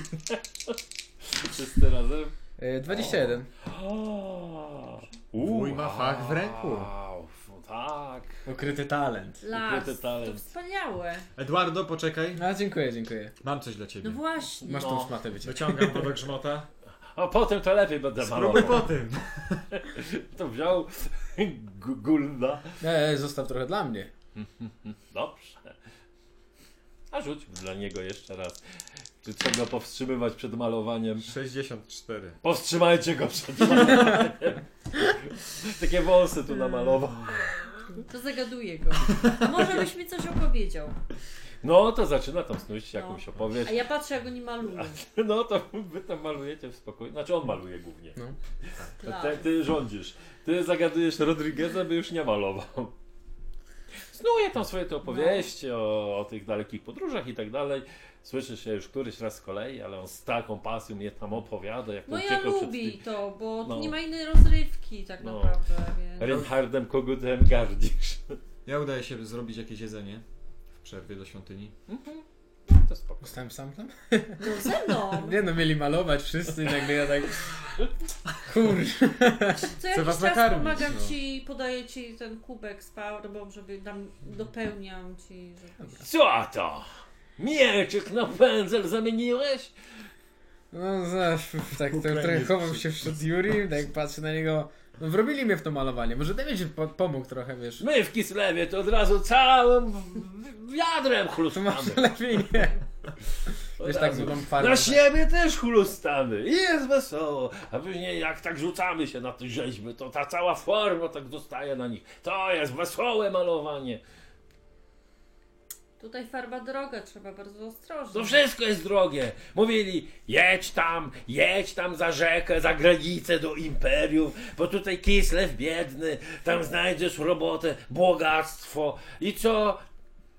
S1: Wszyscy razem.
S6: E, 21.
S1: O,
S2: Wuj ma fach w ręku.
S1: Wow, tak.
S6: Ukryty talent.
S5: Las.
S1: Ukryty
S5: To
S1: talent.
S5: wspaniałe.
S2: Eduardo, poczekaj.
S6: A No, dziękuję, dziękuję.
S2: Mam coś dla ciebie.
S5: No właśnie.
S6: Masz
S1: No.
S6: tą szmatę wyciąć.
S2: Wyciągam go do grzmota.
S1: A potem to lepiej będę
S2: Spróbuj po
S1: malował.
S2: tym.
S1: To wziął gu- gulda.
S6: E, e, zostaw trochę dla mnie.
S1: Dobrze. A rzuć dla niego jeszcze raz. Czy trzeba powstrzymywać przed malowaniem?
S2: 64.
S1: Powstrzymajcie go przed malowaniem. Takie wąsy tu namalował.
S5: To zagaduję go. Może byś mi coś opowiedział.
S1: No to zaczyna tam snuć jakąś opowieść.
S5: A ja patrzę, jak oni malują.
S1: No to wy tam malujecie w spokoju. Znaczy on maluje głównie.
S5: Las.
S1: Ty, ty rządzisz. Ty zagadujesz Rodrigueza, by już nie malował. Snuje tam swoje te opowieści o, o tych dalekich podróżach i tak dalej. Słyszy się już któryś raz z kolei, ale on z taką pasją je tam opowiada, jak
S5: No ja
S1: uciekał przed
S5: lubię
S1: tym
S5: to, bo tu
S1: No.
S5: nie ma innej rozrywki tak
S1: No.
S5: naprawdę, więc...
S1: Reinhardem Kogutem gardzisz.
S2: Ja udaję się zrobić jakieś jedzenie w przerwie do świątyni.
S1: To spoko.
S6: Zostałem sam tam?
S5: No ze mną!
S6: Nie no, mieli malować wszyscy, nagle ja tak... Kur...
S5: Co jakiś
S2: was
S5: czas
S2: nakarmić,
S5: pomagam
S2: no.
S5: ci, podaję ci ten kubek z farbą, żeby tam dopełniam ci, żebyś...
S1: Co to? Mieczyk na pędzel zamieniłeś?
S6: No zaś, uf, tak to
S2: Ukrainie
S6: trochę chował
S2: wszyscy.
S6: się wśród Juri, tak patrzę na niego. No wrobili mnie w to malowanie, może Damian się po pomógł trochę, wiesz.
S1: My w Kislewie to od razu całym wiadrem
S6: To
S2: No,
S1: chlustamy.
S6: może lepiej nie.
S1: Od
S6: Wiesz, tak
S1: razu.
S6: złą farbą.
S1: Na siebie też chulustamy i jest wesoło, a później jak tak rzucamy się na te rzeźby, to ta cała forma tak dostaje na nich. To jest wesołe malowanie.
S5: Tutaj farba droga, trzeba bardzo ostrożnie.
S1: To wszystko jest drogie. Mówili, jedź tam, jedź tam za rzekę, za granicę do imperium, bo tutaj Kislew biedny, tam znajdziesz robotę, bogactwo. I co?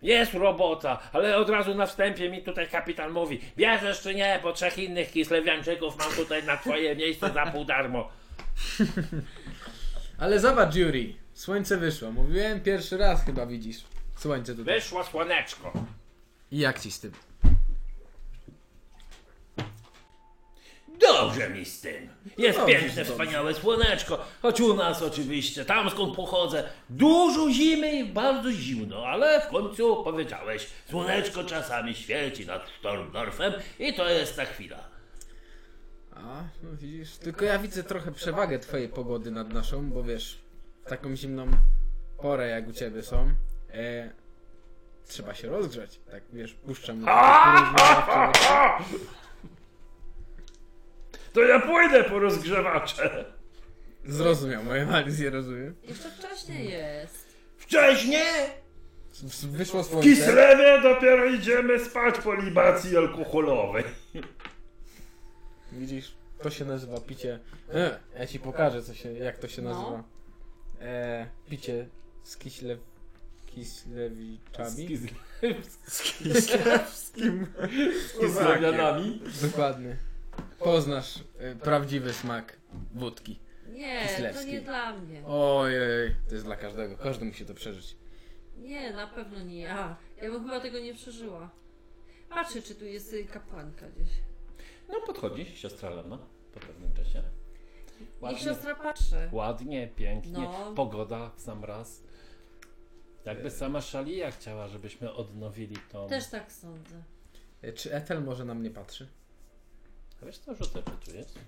S1: Jest robota, ale od razu na wstępie mi tutaj kapitan mówi, bierzesz czy nie, bo trzech innych Kislewianczyków mam tutaj na twoje miejsce za pół darmo.
S6: Ale zobacz Juri, słońce wyszło. Mówiłem pierwszy raz chyba widzisz słońce tutaj.
S1: Wyszło słoneczko.
S6: I jak ci z tym?
S1: Dobrze mi z tym. Jest
S6: Dobrze,
S1: piękne,
S6: dobrze.
S1: wspaniałe słoneczko. Choć u nas oczywiście, tam skąd pochodzę, dużo zimy i bardzo zimno, ale w końcu powiedziałeś, słoneczko czasami świeci nad Stormdorfem i to jest ta chwila.
S6: A, no widzisz. Tylko ja widzę trochę przewagę twojej pogody nad naszą, bo wiesz, w taką zimną porę jak u ciebie są, e, trzeba się rozgrzać. Tak wiesz, puszczam.
S1: To ja pójdę po rozgrzewacze.
S6: Zrozumiał moje analizę, rozumiem.
S5: Jeszcze wcześniej jest.
S1: Wcześniej
S6: W- Wyszło
S1: w
S6: słońce.
S1: Kislewie dopiero idziemy spać po libacji alkoholowej.
S6: Widzisz, to się nazywa picie. E, ja ci pokażę, co się, jak to się
S5: No.
S6: nazywa. E, picie z kiślew... Kiślewiczami?
S1: Z Kislewianami.
S6: Dokładnie. Poznasz e, prawdziwy smak wódki.
S5: Nie, to
S6: Kislewski.
S5: nie dla mnie.
S6: Ojej, to jest dla każdego. Każdy musi to przeżyć.
S5: Nie, na pewno nie ja. Ja bym chyba tego nie przeżyła. Patrzę, czy tu jest y, kapłanka gdzieś.
S1: No podchodzi siostra Lena po pewnym czasie.
S5: Niech
S1: Ładnie,
S5: siostra patrzy.
S1: ładnie pięknie,
S5: No.
S1: pogoda w sam raz.
S2: E.
S1: Jakby sama Szalia chciała, żebyśmy odnowili tą...
S5: Też tak sądzę.
S6: E, Czy Ethel może na mnie patrzy?
S1: A Wiesz co, rzutę czy tu jest?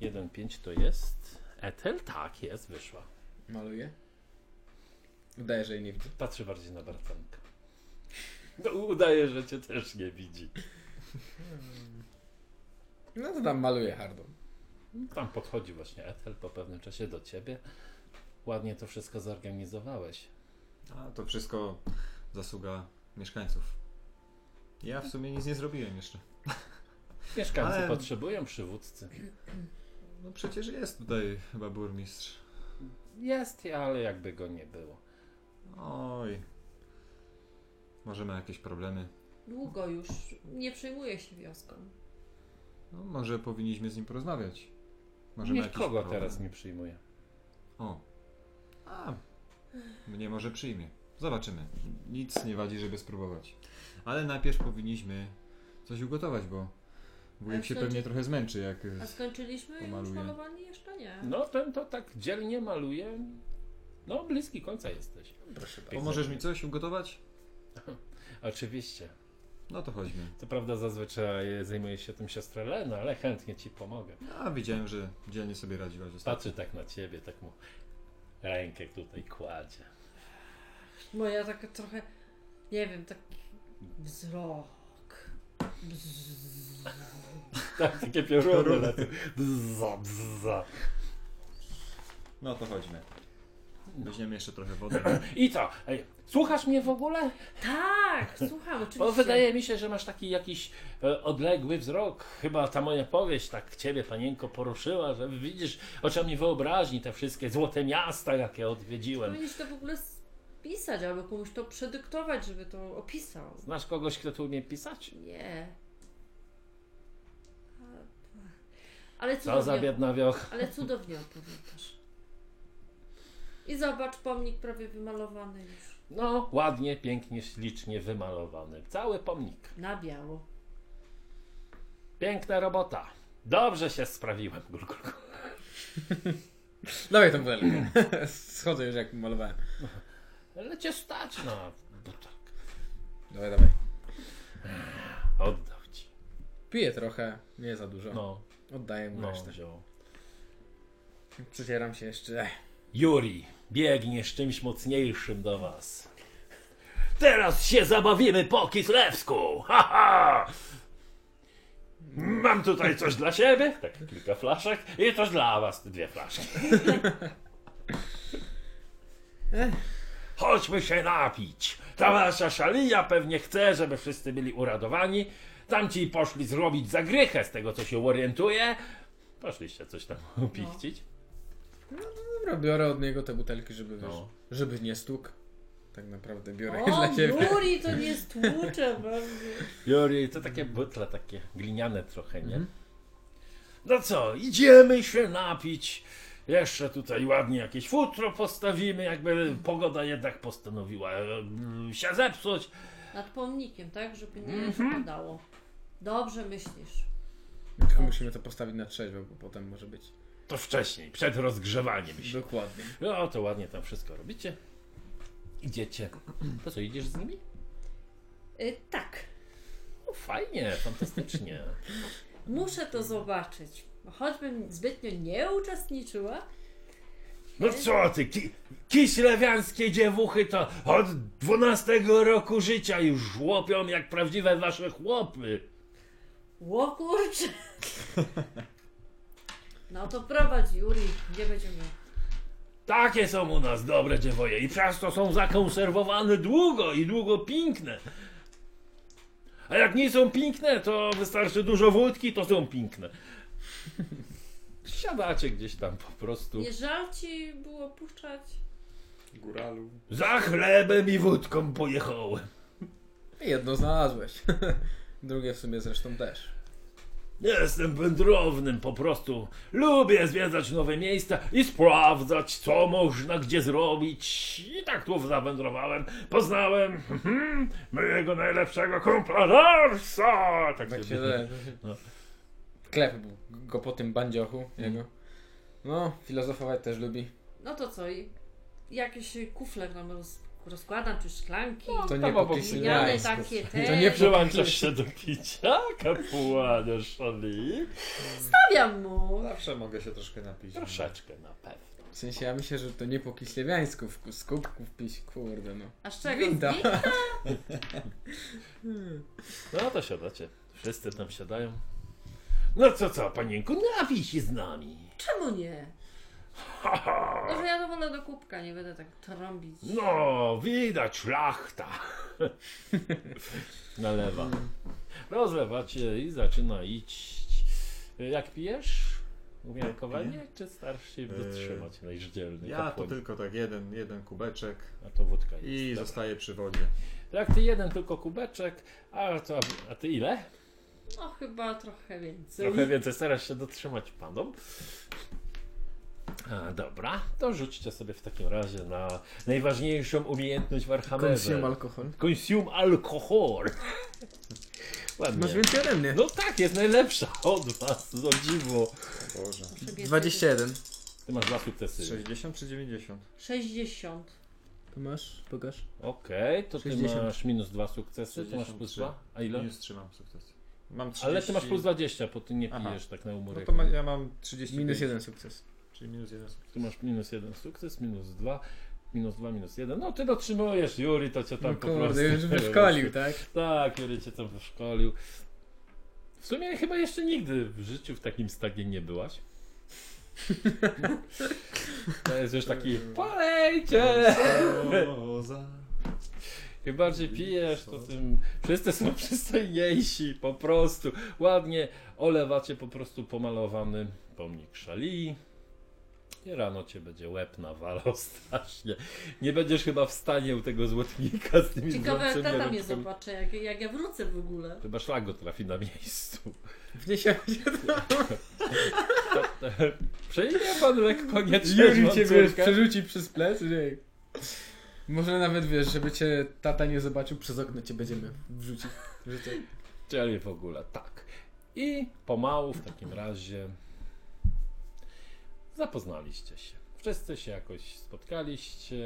S1: 1,5 to jest... Etel? Tak, jest, wyszła.
S6: Maluje? Wydaje, że jej nie widzę.
S1: Patrzy bardziej na Bartanka. No, udaje, że cię też nie widzi.
S6: No to tam maluję hardą.
S1: Tam podchodzi właśnie Ethel po pewnym czasie do ciebie. Ładnie to wszystko zorganizowałeś.
S2: A to wszystko zasługa mieszkańców. Ja w sumie nic nie zrobiłem jeszcze.
S1: Mieszkańcy
S2: Ale-
S1: potrzebują przywódcy.
S2: No przecież jest tutaj chyba burmistrz.
S1: Jest, ale jakby go nie było.
S2: Oj. Może ma jakieś problemy.
S5: Długo już nie przejmuje się wioską.
S2: No może powinniśmy z nim porozmawiać. Może ma jakiś
S1: Nikogo
S2: problem.
S1: teraz nie przyjmuje.
S2: O. A. Mnie może przyjmie. Zobaczymy. Nic nie wadzi, żeby spróbować. Ale najpierw powinniśmy coś ugotować, bo wujek
S5: A
S2: się
S5: co-
S2: pewnie trochę zmęczy, jak...
S5: A skończyliśmy już
S2: Pomaluję.
S5: malowanie? Jeszcze nie.
S1: No ten to tak dzielnie maluje. No bliski końca jesteś.
S6: Proszę bardzo.
S2: Pomożesz mi coś ugotować?
S1: Oczywiście.
S2: No to chodźmy.
S1: Co prawda zazwyczaj zajmuje się tym siostra Lena, ale chętnie ci pomogę.
S2: A widziałem, że dzielnie sobie radziłaś ostatnio.
S1: Patrzy tak na ciebie, tak mu rękę tutaj kładzie.
S5: Bo ja tak trochę, nie wiem, taki wzrok. Bzz.
S1: Tak, takie piorunne lety. Bzza, bzza.
S2: No to chodźmy. Weźmiemy jeszcze trochę wody.
S1: I co? Ej, słuchasz mnie w ogóle?
S5: Tak, słucham, oczywiście.
S1: Bo wydaje mi się, że masz taki jakiś e, odległy wzrok. Chyba ta moja powieść tak ciebie, panienko, poruszyła, że widzisz oczami wyobraźni te wszystkie złote miasta, jakie odwiedziłem.
S5: Powinieneś to w ogóle spisać albo komuś to przedyktować, żeby to opisał.
S1: Znasz kogoś, kto tu umie pisać?
S5: Nie. Ale
S1: Co za
S5: cudownie,
S1: biedna wiocha.
S5: ale cudownie opowiadasz. I zobacz, pomnik prawie wymalowany już.
S1: No, ładnie, pięknie, ślicznie wymalowany. Cały pomnik.
S5: Na biało.
S1: Piękna robota. Dobrze się sprawiłem. Gul, gul, gul.
S6: Dawaj tą butelkę. Schodzę już jak malowałem.
S1: Ale cię stać na butak.
S6: Dawaj, dawaj.
S1: Oddał ci.
S6: Piję trochę, nie za dużo.
S1: No,
S6: Oddaję mu
S1: no,
S6: resztę.
S1: wziął.
S6: Przecieram się jeszcze.
S1: Juri, biegniesz czymś mocniejszym do was. Teraz się zabawimy po kislewsku! Ha, ha! Mam tutaj coś dla siebie, tak kilka flaszek i coś dla was, dwie flaszki. Chodźmy się napić. Ta wasza szalija pewnie chce, żeby wszyscy byli uradowani. Tamci poszli zrobić zagrychę, z tego co się orientuję. Poszliście coś tam upichcić.
S6: Dobra, biorę od niego te butelki, żeby wiesz,
S1: No.
S6: żeby nie stuk. Tak naprawdę biorę
S5: O, no.
S6: dla ciebie.
S5: Juri, to nie stłucze bardzo.
S1: Jori, to takie butle, takie gliniane trochę, nie? No co, idziemy się napić. Jeszcze tutaj ładnie jakieś futro postawimy, jakby pogoda jednak postanowiła e, m, się zepsuć.
S5: Nad pomnikiem, tak? Żeby nie
S6: Mhm.
S5: spadało. Dobrze myślisz.
S6: Tylko musimy to postawić na trzeźwo, bo potem może być.
S1: To wcześniej, przed rozgrzewaniem się.
S6: Dokładnie.
S1: No to ładnie tam wszystko robicie. Idziecie. To co, idziesz z nimi?
S5: Y, tak,
S1: No fajnie, fantastycznie.
S5: muszę to zobaczyć. Choćbym zbytnio nie uczestniczyła,
S1: No co ty, ki, kislewiańskie dziewuchy to od 12 roku życia już łopią jak prawdziwe wasze chłopy.
S5: Ło kurczę! No to prowadź, Juri, gdzie będziemy?
S1: Takie są u nas dobre dziewoje i przez to są zakonserwowane długo i długo piękne. A jak nie są piękne, to wystarczy dużo wódki, to są piękne. Siadacie gdzieś tam po prostu.
S5: Nie żal ci było puszczać?
S2: Góralu.
S1: Za chlebem i wódką pojechałem.
S6: Jedno znalazłeś. Drugie w sumie zresztą też.
S1: Jestem wędrownym po prostu. Lubię zwiedzać nowe miejsca i sprawdzać, co można gdzie zrobić. I tak tu zawędrowałem. Poznałem mhm, mojego najlepszego kumpla Larsa. Tak
S6: Tak
S1: się
S6: się że...
S1: No. Mm.
S6: Klep go po tym bandziochu jego. No, filozofować też lubi.
S5: No to co, i jakieś kufle nam roz, rozkładam, czy szklanki?
S6: No, To
S1: tam
S6: nie
S1: obok
S6: popisuj.
S5: Gliniane
S6: Nice.
S5: takie te.
S6: To nie
S1: Przyłączasz się do picia, kapłanie szali.
S5: Stawiam mu!
S2: Zawsze mogę się troszkę napić.
S1: Troszeczkę na pewno.
S6: W sensie ja myślę, że to nie po kiślewiańsku w z kubków pić, kurde no.
S5: A z czego?
S6: Winda.
S5: Z nich?
S1: No to siadacie. Wszyscy tam siadają. No co, co, panienku, napij się z nami.
S5: Czemu nie? Może ja to wolę do kubka, nie będę tak trąbić.
S1: No, widać szlachta. Nalewa. Rozlewacie i zaczyna iść. Jak pijesz? Umiarkowanie? Czy starasz się dotrzymać najżdzielny
S2: Ja to
S1: kapłan?
S2: tylko tak jeden, jeden kubeczek
S1: A to wódka jest.
S2: i
S1: dobra.
S2: zostaję przy wodzie.
S1: Jak ty jeden tylko kubeczek, a, to, a ty ile?
S5: No chyba trochę więcej.
S1: Trochę więcej starasz się dotrzymać panom. A, dobra, to rzućcie sobie w takim razie na najważniejszą umiejętność
S6: Consume
S1: Warhammerze.
S6: alkohol.
S1: Consume alkohol. Ładnie.
S6: Masz więcej ode mnie.
S1: No tak, jest najlepsza od was, do dziwo.
S2: Boże.
S5: Muszę biec
S6: 21.
S1: Ty masz dwa sukcesy.
S2: 60 czy 90?
S5: 60.
S6: To masz? Pokaż.
S1: Okej, to ty
S6: 60.
S1: masz minus dwa sukcesy, ty masz plus
S2: 63.
S1: dwa. A ile?
S2: Minus 3 mam sukces. Mam 30.
S1: Ale ty masz plus 20, bo ty nie pijesz
S2: Aha.
S1: tak na
S2: No
S1: umorek.
S2: to ma, ja mam 30.
S6: Minus jeden sukces.
S2: Czyli minus 1 sukces.
S1: Ty masz minus jeden sukces, minus dwa, minus dwa, minus jeden. No ty dotrzymujesz, Juri to cię tam
S6: No
S1: po prostu...
S6: kurde, już wyszkolił, tak?
S1: Tak, Juri cię tam wyszkolił. W sumie chyba jeszcze nigdy w życiu w takim stanie nie byłaś. To jest już taki polejcie! Im bardziej pijesz, to tym wszyscy są przystojniejsi, po prostu. Ładnie olewacie po prostu pomalowany pomnik szali. I rano cię będzie łeb nawalał strasznie. Nie będziesz chyba w stanie u tego złotnika z tymi
S5: Ciekawe jak
S1: złotcymi
S5: tata mnie
S1: rączkami.
S5: zobaczy, jak, jak ja wrócę w ogóle.
S1: Chyba szlak go trafi na miejscu.
S6: Wniesie
S1: Przejmie pan lekko, nie
S6: Juri cię wiesz,
S1: córkę.
S6: przerzuci przez plec, nie. Może nawet wiesz, żeby cię tata nie zobaczył, przez okno cię będziemy wrzucić. Że to-
S1: Czyli w ogóle tak. I pomału w takim razie zapoznaliście się. Wszyscy się jakoś spotkaliście,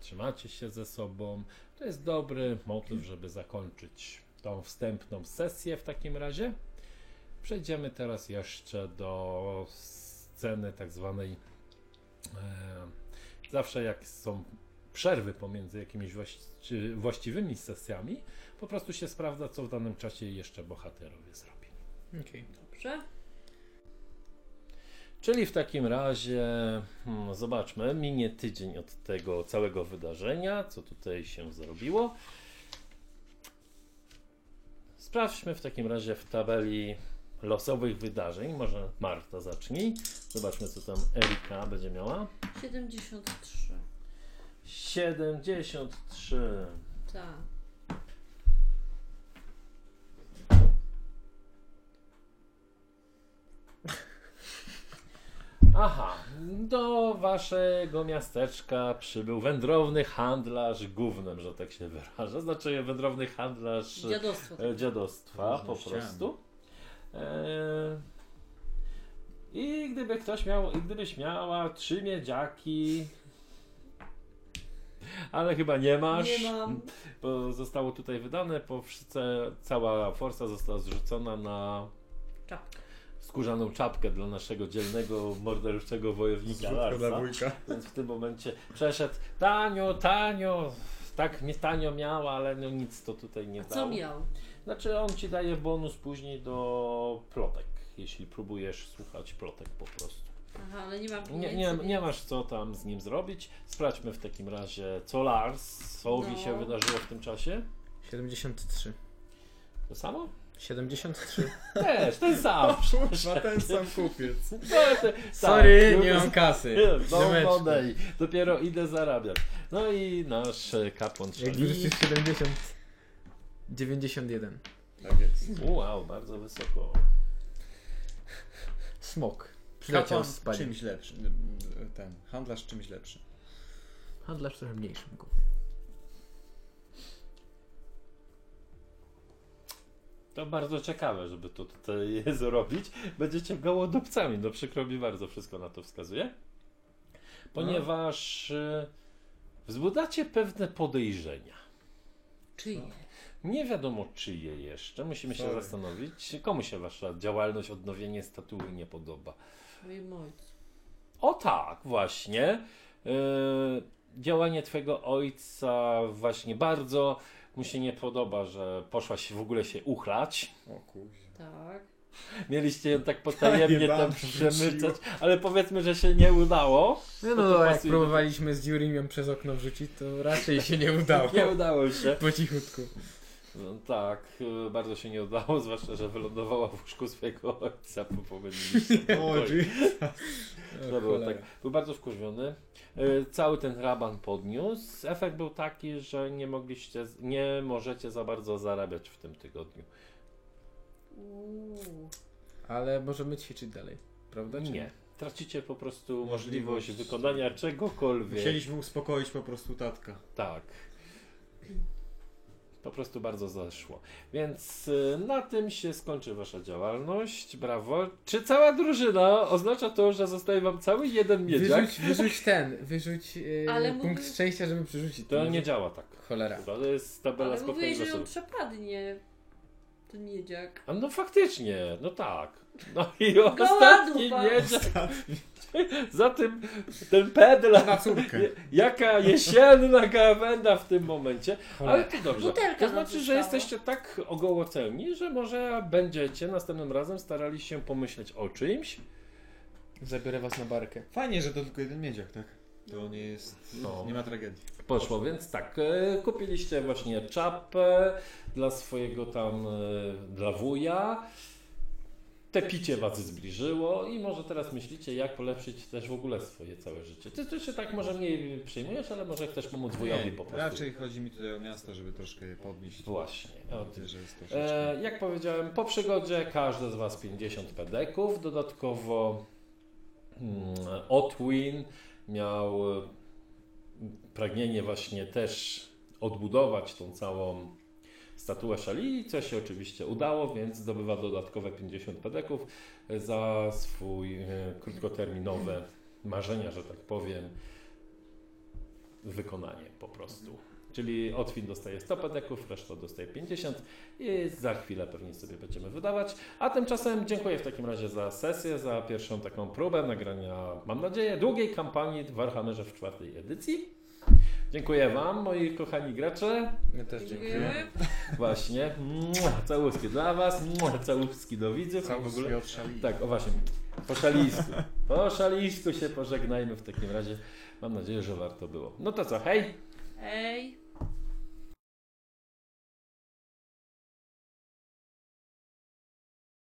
S1: trzymacie się ze sobą. To jest dobry motyw, żeby zakończyć tą wstępną sesję w takim razie. Przejdziemy teraz jeszcze do sceny tak zwanej. E, zawsze jak są przerwy pomiędzy jakimiś właści- właściwymi sesjami, po prostu się sprawdza, co w danym czasie jeszcze bohaterowie zrobi.
S6: Okej.
S5: Dobrze?
S1: Czyli w takim razie hmm, zobaczmy, minie tydzień od tego całego wydarzenia, co tutaj się zrobiło. Sprawdźmy w takim razie w tabeli losowych wydarzeń. Może Marta zacznij. Zobaczmy, co tam Erika będzie miała.
S5: 73.
S1: 73.
S5: Tak.
S1: Aha, do waszego miasteczka przybył wędrowny handlarz gównem, że tak się wyraża. Znaczy wędrowny handlarz
S5: Dziadostwo.
S1: e, dziadostwa po
S2: Różnościami.
S1: prostu. E, I gdyby ktoś miał, i gdybyś miała trzy miedziaki, ale chyba nie masz.
S5: Nie mam.
S1: Bo zostało tutaj wydane, po wszyce- cała forsa została zrzucona na
S5: Czapkę.
S1: skórzaną czapkę dla naszego dzielnego, morderczego wojownika
S2: Zrzutka dla
S1: Larsa.
S2: wujka.
S1: Więc w tym momencie przeszedł tanio, tanio, tak mnie tanio miała, ale no nic to tutaj nie
S5: A
S1: dało.
S5: co miał?
S1: Znaczy on ci daje bonus później do plotek, jeśli próbujesz słuchać plotek po prostu.
S5: Aha, ale nie mam
S1: Nie,
S5: pieniędzy.
S1: nie,
S5: więc-
S1: nie masz co tam z nim zrobić. Sprawdźmy w takim razie, co Larsowi
S5: No.
S1: się wydarzyło w tym czasie.
S6: 73.
S1: To samo?
S6: 73.
S1: Też, ten sam.
S2: Ma ten sam kupiec.
S6: Sorry,
S1: Tak,
S6: nie mam kasy. Ziomeczki.
S1: No, odej. Dopiero idę zarabiać. No i nasz e, kapłan
S6: Jak
S1: strzeli.
S6: wrzucisz 70... 91.
S2: Tak jest.
S1: Wow, bardzo wysoko.
S6: Smok. Przyleciał
S2: Kapłan
S6: z pali.
S2: czymś lepszy. Ten handlarz czymś lepszy.
S6: Handlarz trochę mniejszym. go.
S1: To bardzo ciekawe, żeby to tutaj zrobić. Będziecie gołodupcami, no przykro mi bardzo, wszystko na to wskazuje. Ponieważ e, wzbudzacie pewne podejrzenia.
S5: Czyje?
S1: Nie wiadomo czyje jeszcze, musimy się
S2: Sorry.
S1: zastanowić, komu się wasza działalność, odnowienie statuły nie podoba.
S5: Moim ojcu.
S1: O tak, właśnie. Yy, działanie twojego ojca właśnie bardzo mu się nie podoba, że poszłaś w ogóle się uchlać.
S2: O kuźwa.
S5: Tak.
S1: Mieliście ją tak
S2: Panie
S1: potajemnie
S2: Bam,
S1: tam przemycać,
S2: wróciło.
S1: ale powiedzmy, że się nie udało.
S6: No,
S1: To
S6: no
S1: tu
S6: jak
S1: pasuje.
S6: próbowaliśmy z Jurim ją przez okno wrzucić, to raczej się nie udało.
S1: Nie udało się.
S6: Po cichutku.
S1: No, tak, y, bardzo się nie udało, zwłaszcza, że wylądowała w łóżku swojego ojca po pomyliliście.
S2: O, czyli
S1: To było tak. Był bardzo wkurwiony. Y, Cały ten raban podniósł. Efekt był taki, że nie mogliście, nie możecie za bardzo zarabiać w tym tygodniu.
S5: Uuu.
S6: Ale możemy ćwiczyć dalej, prawda? czy
S1: Nie. Tracicie po prostu
S2: Możliwość.
S1: możliwość wykonania czegokolwiek.
S2: Musieliśmy uspokoić po prostu tatka.
S1: Tak. Po prostu bardzo zeszło. Więc y, na tym się skończy wasza działalność. Brawo. Czy cała drużyna oznacza to, że zostaje wam cały jeden miedziak?
S6: Wyrzuć, wyrzuć ten, wyrzuć yy,
S5: Ale
S6: punkt
S5: mógłby-
S6: szczęścia, żeby przerzucić.
S1: To nie działa tak.
S6: Cholera.
S1: To jest tabela
S5: Ale mówiłeś,
S1: spokojnego
S5: że on
S1: losu.
S5: przepadnie. Ten miedziak.
S1: A no faktycznie, no tak. No i ostatni
S5: dupa.
S1: miedziak. Za tym ten pedla.
S2: Na córkę.
S1: Jaka jesienna gawenda w tym momencie. Ale
S6: Cholera.
S1: to dobrze. To
S5: Butelka nam
S1: znaczy, że
S5: została.
S1: jesteście tak ogołoceni, że może będziecie następnym razem starali się pomyśleć o czymś.
S6: Zabiorę was na barkę.
S2: Fajnie, że to tylko jeden miedziak, tak? To nie jest...
S1: No.
S2: Nie ma tragedii.
S1: Poszło, więc tak, e, kupiliście właśnie czapę dla swojego tam, e, dla wuja. Te picie was zbliżyło i może teraz myślicie, jak polepszyć też w ogóle swoje całe życie. Ty, ty się tak może mniej przejmujesz, ale może chcesz pomóc wujowi
S2: Nie,
S1: po prostu.
S2: Raczej chodzi mi tutaj o miasto, żeby troszkę je podnieść.
S1: Właśnie, o tym.
S2: Widzę, że jest troszeczkę...
S1: E, jak powiedziałem, po przygodzie każdy z Was 50 pedeków. Dodatkowo mm, Otwin miał e, pragnienie właśnie też odbudować tą całą statuę Szali, co się oczywiście udało, więc zdobywa dodatkowe 50 pedeków za swój e, krótkoterminowe marzenia, że tak powiem, wykonanie po prostu. Czyli Otwin dostaje 100 pedeków, reszta dostaje 50 i za chwilę pewnie sobie będziemy wydawać. A tymczasem dziękuję w takim razie za sesję, za pierwszą taką próbę nagrania, mam nadzieję, długiej kampanii w Warhammerze w czwartej edycji. Dziękuję Wam, moi kochani gracze.
S6: My też dziękujemy.
S5: Dziękujemy.
S1: Właśnie. Mua, Całuski dla Was, mua, całuski do widzów. i w ogóle-
S2: Całuski od szali.
S1: Tak, o właśnie. Po szalisku. Po szalisku się pożegnajmy w takim razie. Mam nadzieję, że warto było. No to co, hej!
S5: Ej.